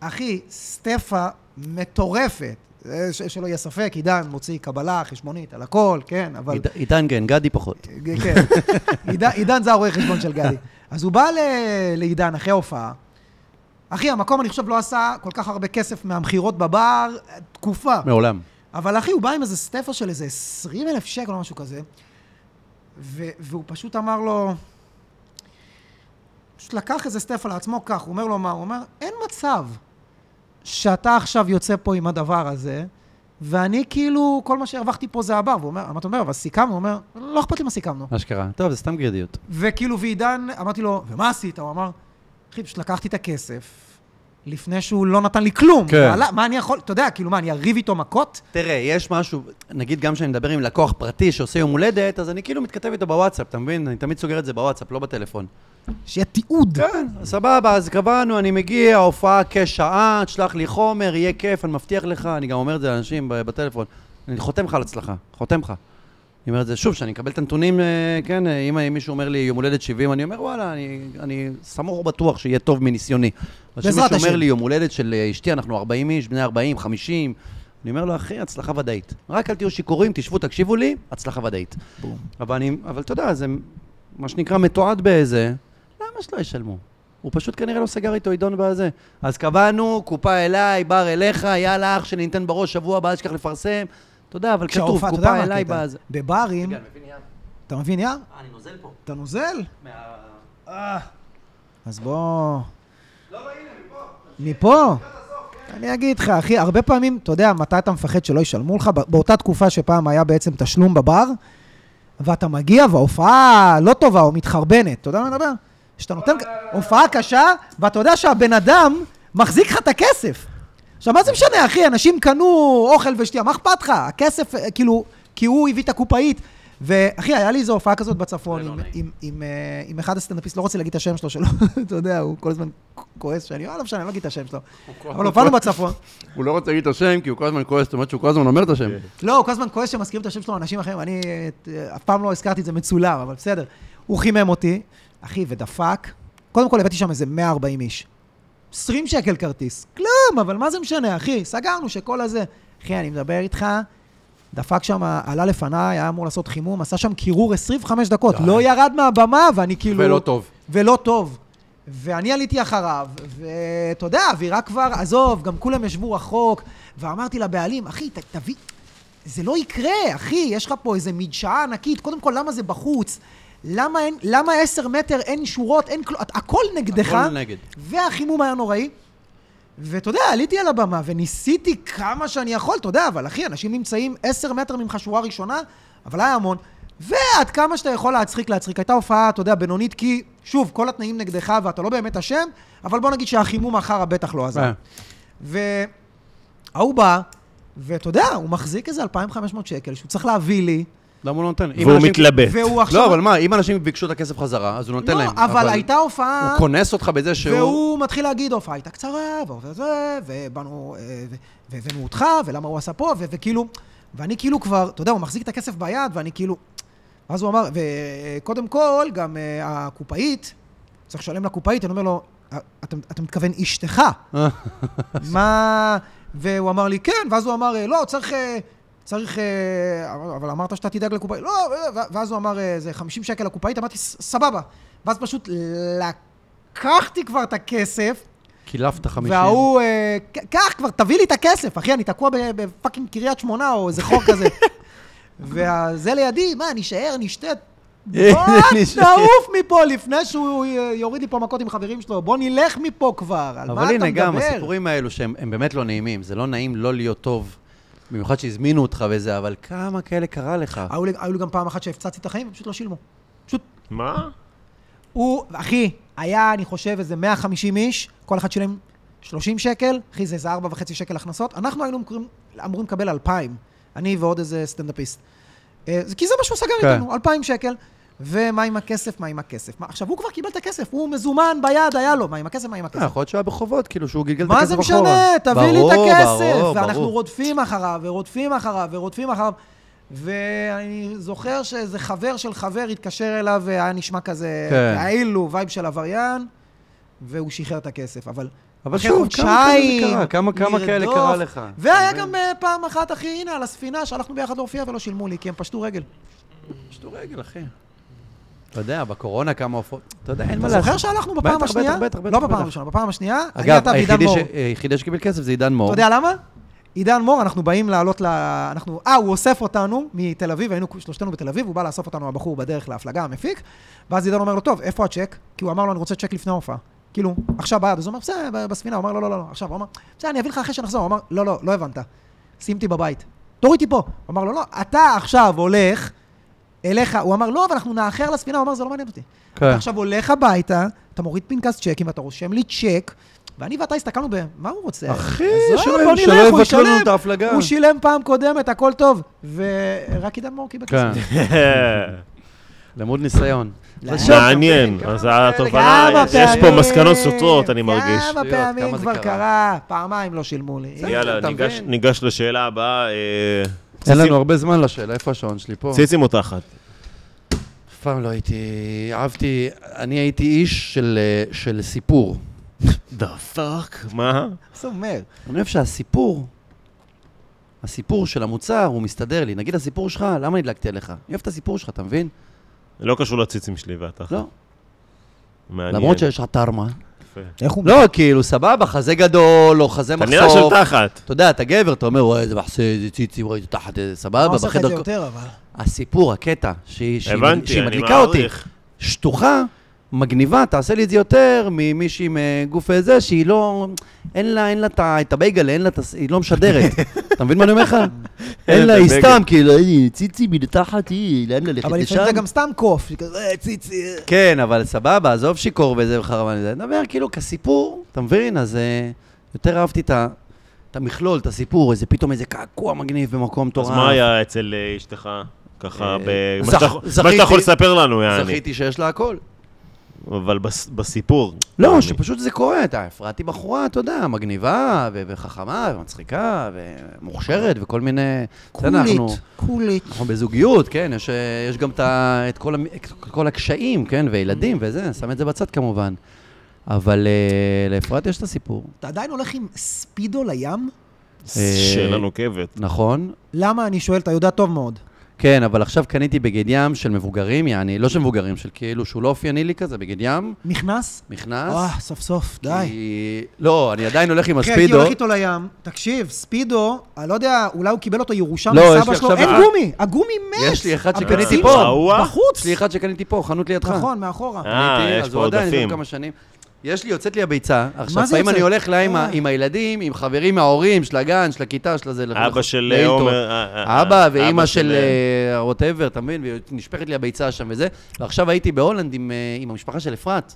Speaker 1: אחי, סטפה מטורפת. אה, ש- שלא יהיה ספק, עידן מוציא קבלה, חשבונית, על הכל, כן, אבל...
Speaker 2: עיד- עידן גן, גדי פחות.
Speaker 1: כן. [LAUGHS] עידן- עידן זה הרואה חשבון של גדי. אז הוא בא ל- לעידן אחרי ההופעה. אחי, המקום, אני חושב, לא עשה כל כך הרבה כסף מהמכירות בבר, אה, תקופה.
Speaker 2: מעולם.
Speaker 1: אבל אחי, הוא בא עם איזה סטפה של איזה 20 אלף שקל או משהו כזה, ו- והוא פשוט אמר לו... פשוט לקח איזה סטפה לעצמו כך, הוא אומר לו מה? הוא אומר, אין מצב שאתה עכשיו יוצא פה עם הדבר הזה, ואני כאילו, כל מה שהרווחתי פה זה הבר. והוא אומר, אמרתי, אומר, אבל סיכמנו? הוא אומר, לא אכפת לי מה סיכמנו.
Speaker 2: אשכרה. טוב, זה סתם גרדיות.
Speaker 1: וכאילו, ועידן, אמרתי לו, ומה עשית? הוא אמר, אחי, פשוט לקחתי את הכסף לפני שהוא לא נתן לי כלום.
Speaker 2: כן.
Speaker 1: מה, מה אני יכול, אתה יודע, כאילו, מה, אני אריב איתו מכות?
Speaker 2: תראה, יש משהו, נגיד גם כשאני מדבר עם לקוח פרטי שעושה יום הולדת, אז אני כאילו מתכתב איתו בוואטסאפ, אתה מבין? אני תמיד סוגר את זה בוואטסאפ, לא בטלפון.
Speaker 1: שיהיה תיעוד.
Speaker 2: כן, סבבה, אז קבענו, אני מגיע, הופעה כשעה, תשלח לי חומר, יהיה כיף, אני מבטיח לך, אני גם אומר את זה לאנשים ב- בטלפון. אני חותם לך על הצלחה, חותם לך. אני אומר את זה שוב, כשאני אקבל את הנתונים, אה, כן, אה, אם אה, מישהו אומר לי יום הולדת 70, אני אומר, וואלה, אני, אני סמוך ובטוח שיהיה טוב מניסיוני. אבל
Speaker 1: בעזרת
Speaker 2: כשמישהו
Speaker 1: השם.
Speaker 2: אומר לי יום הולדת של אה, אשתי, אנחנו 40 איש, בני 40, 50, אני אומר לו, אחי, הצלחה ודאית. רק אל תהיו שיכורים, תשבו, תקשיבו לי, הצלחה ודאית.
Speaker 1: בום.
Speaker 2: אבל אני, אבל אתה יודע, זה מה שנקרא מתועד באיזה, למה שלא ישלמו? הוא פשוט כנראה לא סגר איתו עידון בזה. אז קבענו, קופה אליי, בר אליך, יאללה, אח שלי, ניתן בראש שבוע הבא, אל תשכח לפרסם. אתה יודע, אבל כתוב,
Speaker 1: כשההופעה, אתה יודע
Speaker 2: קופה
Speaker 1: מה
Speaker 2: אליי
Speaker 1: הקטע?
Speaker 2: בזה.
Speaker 1: בברים, אתה מבין יער?
Speaker 2: אה, אני נוזל פה.
Speaker 1: אתה נוזל? אה. אז בוא... מפה? אני אגיד לך, אחי, הרבה פעמים, אתה יודע, מתי אתה מפחד שלא ישלמו לך? ב- באותה תקופה שפעם היה בעצם תשלום בבר, ואתה מגיע וההופעה לא טובה או מתחרבנת, אתה יודע מה אני מדבר? שאתה נותן הופעה קשה, ואתה יודע שהבן אדם מחזיק לך את הכסף. עכשיו, מה זה משנה, אחי? אנשים קנו אוכל ושתייה, מה אכפת לך? הכסף, אה, כאילו, כי הוא הביא את הקופאית. ואחי, היה לי איזו הופעה כזאת בצפון, עם, עם, עם, אה, עם אחד הסטנדאפיסט, לא רוצה להגיד את השם שלו, שלא, [LAUGHS] אתה יודע, הוא כל הזמן כועס שאני, אה, לא משנה, אני לא אגיד את השם שלו. אבל הופענו בצפון.
Speaker 2: הוא לא רוצה להגיד את השם, כי הוא כל הזמן כועס, זאת אומרת שהוא כל הזמן אומר את השם.
Speaker 1: לא, הוא כל הזמן כועס שמזכירים את השם שלו לאנשים אחרים, אני אה, ת- אה, אף פעם לא הזכרתי את זה מצולם, אבל בסדר. הוא חימם אותי, אחי, ודפק. קודם כל הבאתי שם איזה 140 איש. 20 שקל כרטיס. כלום, אבל מה זה משנה, אחי? סגרנו שכל הזה... אחי, אני מדבר איתך, דפק שם, עלה לפניי, היה אמור לעשות חימום, עשה שם קירור 25 דקות,
Speaker 2: די.
Speaker 1: לא ירד מהבמה, ואני כאילו...
Speaker 2: ולא טוב.
Speaker 1: ולא טוב. ואני עליתי אחריו, ואתה יודע, האווירה כבר, עזוב, גם כולם ישבו רחוק, ואמרתי לבעלים, אחי, ת, תביא, זה לא יקרה, אחי, יש לך פה איזה מדשאה ענקית, קודם כל, למה זה בחוץ? למה אין, למה עשר מטר אין שורות, אין כלום, הכל נגדך,
Speaker 2: הכל נגד.
Speaker 1: והחימום היה נוראי. ואתה יודע, עליתי על הבמה וניסיתי כמה שאני יכול, אתה יודע, אבל אחי, אנשים נמצאים עשר מטר ממך שורה ראשונה, אבל היה המון. ועד כמה שאתה יכול להצחיק, להצחיק. הייתה הופעה, אתה יודע, בינונית, כי, שוב, כל התנאים נגדך ואתה לא באמת אשם, אבל בוא נגיד שהחימום אחר בטח לא עזר.
Speaker 2: אה.
Speaker 1: וההוא בא, ואתה יודע, הוא מחזיק איזה 2,500 שקל שהוא צריך להביא לי,
Speaker 2: למה הוא לא נותן? אם
Speaker 3: והוא
Speaker 2: אנשים-
Speaker 3: מתלבט.
Speaker 1: והוא עכשיו...
Speaker 2: לא, אבל מה, אם אנשים ביקשו את הכסף חזרה, אז הוא נותן
Speaker 1: לא,
Speaker 2: להם.
Speaker 1: אבל הייתה הופעה...
Speaker 2: הוא כונס אותך בזה שהוא...
Speaker 1: והוא מתחיל להגיד, הופעה הייתה קצרה, וזה, ובאנו, אה, ו- והבאנו אותך, ולמה הוא עשה פה, ו- וכאילו, ואני כאילו כבר, אתה יודע, הוא מחזיק את הכסף ביד, ואני כאילו... אז הוא אמר, וקודם כל, גם אה, הקופאית, צריך לשלם לקופאית, אני אומר לו, "אה, אתה, אתה מתכוון אשתך, מה... והוא אמר לי, כן, ואז הוא אמר, אה, לא, צריך... אה, צריך... אה, אבל- אבל אמרת שאתה תדאג לקופאית. לא, אה, ו- ואז הוא אמר, אה, זה 50 שקל לקופאית, אמרתי, "ס- סבבה. ואז פשוט לקחתי כבר את הכסף,
Speaker 2: קילפת חמישים.
Speaker 1: וההוא, אה, "ק- קח כבר, תביא לי את הכסף, אחי, אני תקוע ב- בפאקינג קריית שמונה או איזה חור
Speaker 2: [LAUGHS]
Speaker 1: כזה. וזה לידי, מה, נישאר,
Speaker 2: [LAUGHS]
Speaker 1: נשתה. בוא
Speaker 2: נשאר.
Speaker 1: נעוף מפה לפני שהוא אה, יוריד לי פה מכות עם חברים שלו, בוא נלך מפה כבר, על מה
Speaker 2: אבל
Speaker 1: אתה מדבר?
Speaker 2: הנה, גם הסיפורים האלו שהם הם באמת לא נעימים, זה לא נעים לא להיות טוב, במיוחד שהזמינו אותך וזה, אבל כמה כאלה קרה לך?
Speaker 1: היו לי, היו לי גם פעם אחת שהפצצתי את החיים ופשוט לא שילמו. פשוט,
Speaker 3: מה?
Speaker 1: [LAUGHS]
Speaker 3: [LAUGHS]
Speaker 1: הוא, אחי, היה, אני חושב, איזה 150 איש, כל אחד שילם 30 שקל, אחי, זה איזה 4.5 שקל הכנסות. אנחנו היינו אמורים, אמורים לקבל 2,000, אני ועוד איזה סטנדאפיסט. אה, זה- כי זה מה שהוא סגר
Speaker 2: כן.
Speaker 1: איתנו, 2,000 שקל. ומה עם הכסף, מה עם הכסף? מה, עכשיו, הוא כבר קיבל את הכסף, הוא מזומן ביד, היה לו, מה עם הכסף, מה עם
Speaker 2: אה,
Speaker 1: הכסף?
Speaker 2: יכול להיות שהיה בחובות, כאילו שהוא גלגל את
Speaker 1: מה זה
Speaker 2: הכסף אחורה.
Speaker 1: משנה? תביא לי את
Speaker 2: ברור,
Speaker 1: הכסף.
Speaker 2: ברור,
Speaker 1: ואנחנו
Speaker 2: ברור.
Speaker 1: רודפים אחריו, ורודפים אחריו, ורודפים אחריו. ואני זוכר שאיזה חבר של חבר התקשר אליו, והיה נשמע כזה,
Speaker 2: כן.
Speaker 1: כאילו וייב של עבריין, והוא שחרר את הכסף. אבל
Speaker 2: אבל
Speaker 1: אחרי
Speaker 2: שוב, כמה כאלה זה
Speaker 1: חודשיים,
Speaker 2: קרה? כמה- כמה כאלה
Speaker 1: לרדוף.
Speaker 2: קרה לך?
Speaker 1: והיה
Speaker 2: אתה
Speaker 1: גם אה, פעם אחת, אחי, הנה, על הספינה, שהלכנו ביחד להופיע ולא שילמו לי, כי הם פשטו רגל.
Speaker 2: יש לו רגל, אחי. אתה יודע, בקורונה כמה הופעות, אתה יודע, אין מה
Speaker 1: אתה
Speaker 2: לעשות.
Speaker 1: זוכר שהלכנו בפעם
Speaker 2: בטח,
Speaker 1: השנייה?
Speaker 2: בטח, בטח, בטח,
Speaker 1: לא בפעם
Speaker 2: בטח.
Speaker 1: הראשונה, בפעם השנייה, אני
Speaker 2: אגב,
Speaker 1: אתה ועידן
Speaker 2: היחידי
Speaker 1: מור.
Speaker 2: ש- היחידי שקיבל כסף זה עידן
Speaker 1: אתה
Speaker 2: מור.
Speaker 1: יודע למה? עידן מור, אנחנו באים לעלות ל... אנחנו... אה, הוא אוסף אותנו מתל אביב, היינו שלושתנו בתל אביב, הוא בא לאסוף אותנו, הבחור בדרך להפלגה, המפיק, ואז עידן אומר לו, טוב, איפה הצ'ק? כי הוא אמר לו, אני רוצה צ'ק לפני ההופעה. כאילו, עכשיו ביד, אז הוא אמר, בסדר, ב- בספינה, הוא אמר, לא, לא, לא, לא, עכשיו, הוא אמר, בסדר, אני אביא לך אחרי שנחזור, הוא אמר, לא, לא, לא הבנת, שים אותי בבית, תוריד אותי פה. הוא אמר לו, לא, אתה עכשיו הולך אליך, הוא אמר, לא, אבל אנחנו נאחר לספינה, הוא אמר, זה לא מעניין אותי.
Speaker 2: כן.
Speaker 1: אתה עכשיו הולך הביתה, אתה מוריד פנקס צ'קים, ואתה רושם לי צ'ק, ואני ואתה הסתכלנו ב... מה הוא רוצה?
Speaker 2: אחי,
Speaker 1: עזוב,
Speaker 2: שלא-
Speaker 1: לא, בוא
Speaker 2: שלא
Speaker 1: נלך, הוא
Speaker 2: יבטלו לנו
Speaker 1: ישלם.
Speaker 2: את ההפלגה.
Speaker 1: הוא שילם פעם קודמת, הכל טוב. ורק עידן מור קיבל
Speaker 2: כן,
Speaker 1: כסף.
Speaker 2: למוד
Speaker 1: [LAUGHS]
Speaker 2: ניסיון.
Speaker 1: לא.
Speaker 2: זה שוב,
Speaker 3: מעניין,
Speaker 2: קמפיין,
Speaker 3: אז
Speaker 2: כמה
Speaker 3: התובנה,
Speaker 2: כאלה,
Speaker 1: כמה
Speaker 3: יש- יש פה
Speaker 1: פעמים,
Speaker 3: מסקנות סותרות, אני מרגיש.
Speaker 1: כמה
Speaker 2: שטויות,
Speaker 1: פעמים
Speaker 2: כמה זה
Speaker 1: כבר
Speaker 2: קרה.
Speaker 1: קרה, פעמיים לא שילמו לי.
Speaker 3: יאללה,
Speaker 2: אתה
Speaker 3: ניגש-
Speaker 2: מבין?
Speaker 3: ניגש לשאלה הבאה. אה,
Speaker 2: אין
Speaker 3: ציצים-
Speaker 2: לנו הרבה זמן לשאלה, איפה השעון שלי פה?
Speaker 3: ציצים או תחת?
Speaker 2: אף פעם לא הייתי, אהבתי, אני הייתי איש של, אה, של סיפור.
Speaker 3: דה פאק? מה?
Speaker 1: אה, זה אומר.
Speaker 2: אני חושב שהסיפור הסיפור של המוצר, הוא מסתדר לי. נגיד הסיפור שלך, למה נדלקתי עליך? אני אוהב את הסיפור שלך, אתה מבין?
Speaker 3: לא קשור לציצים שלי ואתה.
Speaker 2: לא.
Speaker 3: מעניין.
Speaker 2: למרות שיש לך תרמה.
Speaker 3: יפה.
Speaker 1: איך הוא...
Speaker 2: לא, כאילו, סבבה, חזה גדול, או חזה
Speaker 3: אתה נראה של
Speaker 2: מחשוף.
Speaker 3: תחת.
Speaker 2: אתה יודע, אתה גבר, אתה אומר, וואי, איזה מחסה, איזה ציצי, וואי, איזה תחת, איזה
Speaker 1: הוא
Speaker 2: סבבה,
Speaker 1: לא עושה את זה
Speaker 2: בחדר...
Speaker 1: יותר, אבל.
Speaker 2: הסיפור, הקטע, שהיא שהיא-
Speaker 3: הבנתי,
Speaker 2: שהיא
Speaker 3: אני
Speaker 2: מדליקה אותי.
Speaker 3: מעריך.
Speaker 2: שטוחה, מגניבה, תעשה לי את זה יותר ממישהי עם אה, גוף אה, זה, שהיא לא... אין לה, אין לה את ה- את הבייגל, אין לה את ה... היא לא
Speaker 3: [LAUGHS]
Speaker 2: משדרת. אתה מבין מה אני אומר לך? אין לה,
Speaker 3: את
Speaker 2: היא
Speaker 3: הבייגל.
Speaker 2: סתם, כאילו, "אה, ציצי מתחת, היא, לאן ללכת
Speaker 1: אבל
Speaker 2: לשם?
Speaker 1: לפעמים זה גם סתם קוף, שכזה, "אה, ציצי. אה."
Speaker 2: כן, אבל סבבה, עזוב שיכור וזה וחרמן וזה. נדבר כאילו כסיפור, אתה מבין? אז אה, יותר אהבתי את ה... את המכלול, את הסיפור, איזה פתאום איזה קעקוע מגניב במקום
Speaker 3: אז
Speaker 2: מטורף.
Speaker 3: מה היה אצל אה, אשתך? ככה,
Speaker 2: אה,
Speaker 3: ב- מה
Speaker 2: זכ-
Speaker 3: שאתה- מה
Speaker 2: זכיתי-
Speaker 3: שאתה יכול לספר לנו, יעני.
Speaker 2: זכיתי שיש לה הכל.
Speaker 3: אבל בס- בסיפור.
Speaker 2: לא,
Speaker 3: יעני.
Speaker 2: שפשוט זה קורה, אתה הפרעתי בחורה, אתה יודע, מגניבה, ו- וחכמה, ומצחיקה, ומוכשרת, וכל מיני... אתה יודע, אנחנו-
Speaker 1: קולית.
Speaker 2: אנחנו בזוגיות, כן, יש, אה, יש גם את, ה- את, כל, המ- את כל הקשיים, כן, וילדים וזה, אני שם את זה בצד כמובן. אבל אה, לאפרת יש את הסיפור,
Speaker 1: אתה עדיין הולך עם ספידו לים?
Speaker 3: שאלה
Speaker 2: אה,
Speaker 3: נוקבת.
Speaker 2: נכון?
Speaker 1: למה? אני שואל, אתה יודע טוב מאוד.
Speaker 2: כן, אבל עכשיו קניתי בגד ים של מבוגרים, יעני, לא של מבוגרים, של כאילו שהוא לא אופייני לי כזה, בגד ים,
Speaker 1: נכנס?
Speaker 2: נכנס.
Speaker 1: אה, סוף סוף, די.
Speaker 2: כי... לא, אני עדיין הולך עם
Speaker 1: אחי, הייתי
Speaker 2: הספידו.
Speaker 1: הולך איתו לים, תקשיב, ספידו, אני לא יודע, אולי הוא קיבל אותו ירושה
Speaker 2: לא, יש
Speaker 1: מסבא
Speaker 2: לי
Speaker 1: שלו,
Speaker 2: עכשיו-
Speaker 1: אין
Speaker 2: אה.
Speaker 1: גומי, הגומי מת.
Speaker 2: יש לי אחד שקניתי
Speaker 1: הפרסים
Speaker 2: פה.
Speaker 1: שלו
Speaker 3: וואו.
Speaker 1: בחוץ.
Speaker 2: יש לי אחד שקניתי פה, חנות לידך.
Speaker 1: נכון, מאחורה.
Speaker 3: אה,
Speaker 2: קניתי,
Speaker 3: יש
Speaker 2: אז
Speaker 3: פה
Speaker 2: הוא עדיין, יש לו
Speaker 3: עודפים.
Speaker 2: כמה שנים. יש לי, יוצאת לי הביצה. עכשיו,
Speaker 1: זה
Speaker 2: לפעמים
Speaker 1: יוצא?
Speaker 2: אני הולך לה עם ה-
Speaker 1: אה.
Speaker 2: עם הילדים, עם חברים מההורים, של הגן, של הכיתה, של הזה. לכל
Speaker 3: אבא
Speaker 2: אחד.
Speaker 3: של
Speaker 2: לאילטון.
Speaker 3: עומר... אה, אה, אה,
Speaker 2: אבא ואימא של
Speaker 3: של, אה,
Speaker 2: ווטאבר, אתה מבין? ונשפכת לי הביצה שם וזה. ועכשיו הייתי בהולנד עם, אה, עם המשפחה של אפרת.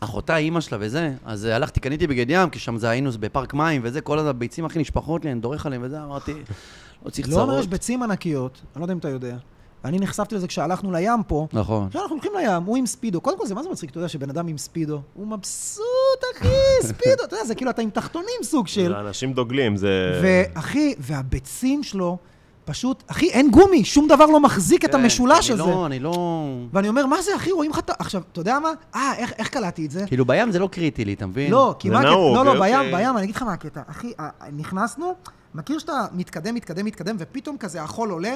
Speaker 2: אחותה, אימא שלה וזה, אז אה, הלכתי, קניתי בגד ים, כי שם זה היינו בפארק מים וזה, כל הביצים הכי נשפכות לי, אני דורך עליהם וזה,
Speaker 3: [LAUGHS]
Speaker 2: אמרתי, לא צריך
Speaker 1: לא אומר, יש
Speaker 2: צרות.
Speaker 1: ביצים ענקיות, אני לא יודע אם אתה יודע. אני נחשפתי לזה כשהלכנו לים פה.
Speaker 2: נכון.
Speaker 3: לא,
Speaker 1: עכשיו אנחנו הולכים לים, הוא עם ספידו. קודם כל זה מה זה מצחיק, אתה יודע שבן אדם עם ספידו, הוא מבסוט,
Speaker 2: [LAUGHS]
Speaker 1: אחי, ספידו, אתה יודע, זה כאילו אתה עם תחתונים סוג של.
Speaker 3: זה אנשים דוגלים,
Speaker 2: אה.
Speaker 3: זה...
Speaker 1: ואחי, והביצים שלו, פשוט, אחי, אין גומי, שום דבר לא מחזיק את
Speaker 2: כן,
Speaker 1: המשולש
Speaker 2: כי אני
Speaker 1: הזה.
Speaker 2: לא, אני לא...
Speaker 1: ואני אומר, מה זה, אחי, רואים לך את ה... עכשיו, אתה יודע מה? אה, איך איך קלטתי את זה?
Speaker 2: כאילו, בים זה לא קריטי לי, אתה מבין?
Speaker 1: לא, כי
Speaker 3: זה
Speaker 1: מה הקטע?
Speaker 3: נהוג,
Speaker 1: לא, לא,
Speaker 3: אוקיי.
Speaker 1: בים, בים, אני אגיד לך מה הקטע. אחי, אה, אה, נכנסנו, מכיר שאתה מתקדם, מתקדם, מתקדם, ופתאום כזה החול עולה,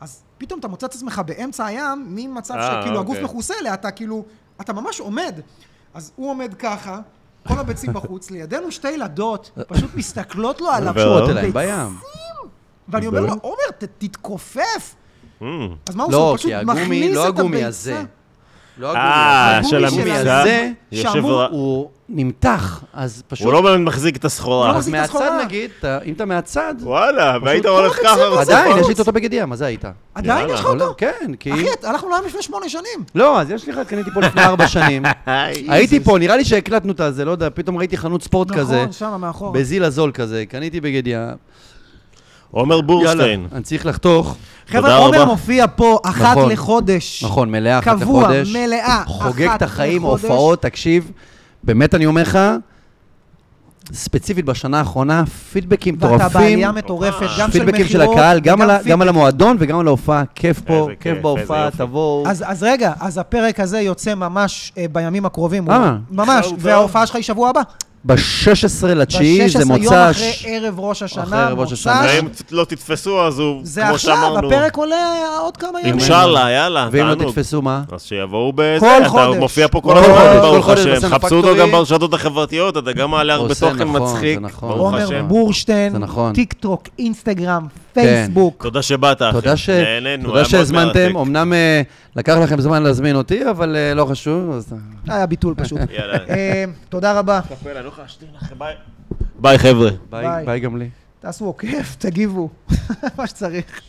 Speaker 1: אז פתאום אתה מוצא את עצמך באמצע הים, ממצב
Speaker 3: אה,
Speaker 1: שכאילו הגוף
Speaker 3: אוקיי.
Speaker 1: מכוסה אליה, אתה כאילו, אתה ממש עומד. אז הוא עומד ככה, כל הביצים [LAUGHS] בחוץ, לידינו שתי ילדות, פשוט מסתכלות
Speaker 2: [LAUGHS]
Speaker 1: לו עליו.
Speaker 3: ועוד
Speaker 2: קשורות אליי,
Speaker 1: ביצ-
Speaker 2: בים.
Speaker 1: ואני אומר לו,
Speaker 3: באמת?
Speaker 1: עומר, ת- תתכופף.
Speaker 3: אמ,
Speaker 1: אז מה הוא עושה?
Speaker 2: לא,
Speaker 1: הוא פשוט
Speaker 2: כי הגומי,
Speaker 1: מכניס את
Speaker 2: לא הגומי
Speaker 1: הביצה.
Speaker 2: הזה. לא
Speaker 3: אה,
Speaker 2: הגומי
Speaker 1: של
Speaker 2: הזה. הגומי
Speaker 1: המסעדה?
Speaker 2: הזה,
Speaker 3: יושב
Speaker 1: שאמור-
Speaker 3: ר-
Speaker 2: הוא נמתח, אז פשוט...
Speaker 3: לא- הוא לא באמת מחזיק את
Speaker 1: הוא
Speaker 3: הסחורה.
Speaker 1: לא
Speaker 2: אז
Speaker 1: מחזיק את
Speaker 2: מהצד
Speaker 1: הסחורה.
Speaker 2: נגיד, אתה- אם אתה מהצד,
Speaker 3: וואלה, והיית
Speaker 1: כל
Speaker 3: הולך
Speaker 1: הביצים
Speaker 3: ככה...
Speaker 1: בחוץ.
Speaker 3: בסוף.
Speaker 2: עדיין,
Speaker 1: בחוץ.
Speaker 2: יש לי לא את אותו בגד ים, אז זה היית.
Speaker 1: עדיין
Speaker 3: יאללה.
Speaker 1: יש לך אותו?
Speaker 2: כן, כי...
Speaker 1: אחי, הלכנו לים לפני שמונה שנים.
Speaker 2: לא, אז יש לי אחד, קניתי פה לפני ארבע שנים.
Speaker 3: היי.
Speaker 2: הייתי פה, נראה לי שהקלטנו את הזה, לא יודע, פתאום ראיתי חנות ספורט כזה,
Speaker 1: נכון, שמה מאחורה.
Speaker 2: בזיל הזול כזה, קניתי בגד ים.
Speaker 3: עומר
Speaker 2: יאללה,
Speaker 3: בורשטיין.
Speaker 2: אני צריך לחתוך.
Speaker 1: חבר'ה,
Speaker 3: תודה
Speaker 1: עומר
Speaker 3: רבה.
Speaker 1: מופיע פה אחת
Speaker 2: נכון.
Speaker 1: לחודש.
Speaker 2: נכון, מלאה אחת לחודש.
Speaker 1: קבוע, מלאה,
Speaker 2: חוגג
Speaker 1: אחת
Speaker 2: את החיים,
Speaker 1: לחודש.
Speaker 2: הופעות, תקשיב, באמת אני אומר לך, ספציפית בשנה האחרונה, פידבקים
Speaker 1: ואתה
Speaker 2: מטורפים,
Speaker 1: בעלייה מטורפת,
Speaker 3: אה,
Speaker 1: גם של מכירות.
Speaker 2: פידבקים של הקהל, גם
Speaker 1: וגם
Speaker 2: על ה-
Speaker 1: פיד-
Speaker 2: גם על המועדון וגם על ההופעה, כיף פה,
Speaker 3: איזה כיף,
Speaker 2: כיף בהופעה,
Speaker 3: איזה יופי.
Speaker 2: תבואו.
Speaker 1: אז, אז רגע, אז הפרק הזה יוצא ממש אה, בימים הקרובים.
Speaker 2: אה.
Speaker 1: הוא- ממש,
Speaker 3: עכשיו הוא
Speaker 1: וההופעה שלך היא שבוע הבא.
Speaker 2: ב-16 לתשיעי,
Speaker 1: ב-16
Speaker 2: זה
Speaker 1: יום אחרי
Speaker 2: מוצ"ש.
Speaker 1: ערב ראש
Speaker 2: אחרי
Speaker 1: השנה,
Speaker 2: ערב ראש
Speaker 1: מוצ"ש.
Speaker 2: השנה.
Speaker 3: ואם לא תתפסו, אז הוא,
Speaker 1: זה
Speaker 3: כמו
Speaker 1: עכשיו,
Speaker 3: שאמרנו...
Speaker 1: הפרק עולה עוד כמה ימים.
Speaker 3: אינשאללה, יאללה,
Speaker 2: ואם לא
Speaker 3: תענוג.
Speaker 2: תתפסו
Speaker 3: [LAUGHS]
Speaker 2: מה?
Speaker 3: אז שיבואו בזה,
Speaker 1: כל
Speaker 3: אתה
Speaker 1: חודש.
Speaker 3: מופיע פה כל
Speaker 2: כל
Speaker 3: הזמן,
Speaker 2: חודש,
Speaker 3: ברוך
Speaker 2: כל חודש
Speaker 3: השם,
Speaker 2: בסצנה
Speaker 3: חפשו אותו
Speaker 2: פקטורי.
Speaker 3: גם ברשתות החברתיות, אתה גם מעלה הרבה
Speaker 2: עושה,
Speaker 3: תוכן
Speaker 2: נכון, זה
Speaker 3: מצחיק,
Speaker 2: נכון.
Speaker 3: ברוך
Speaker 1: עומר
Speaker 3: השם.
Speaker 1: בורשטיין,
Speaker 2: זה נכון. כן.
Speaker 1: טיק טוק, אינסטגרם, פייסבוק.
Speaker 3: תודה שבאת, אחי.
Speaker 2: תודה, ש...
Speaker 3: נהנינו,
Speaker 2: תודה
Speaker 3: היה מאוד
Speaker 2: שהזמנתם,
Speaker 3: מרתק.
Speaker 2: אמנם אה, לקח לכם זמן להזמין אותי, אבל אה, לא חשוב. אז...
Speaker 1: היה ביטול פשוט.
Speaker 3: [LAUGHS] יאללה. לא
Speaker 1: אה, תודה רבה.
Speaker 3: ביי. ביי, חבר'ה.
Speaker 2: ביי,
Speaker 1: ביי.
Speaker 2: ביי גם לי.
Speaker 1: [LAUGHS] תעשו עוקף, תגיבו, מה שצריך.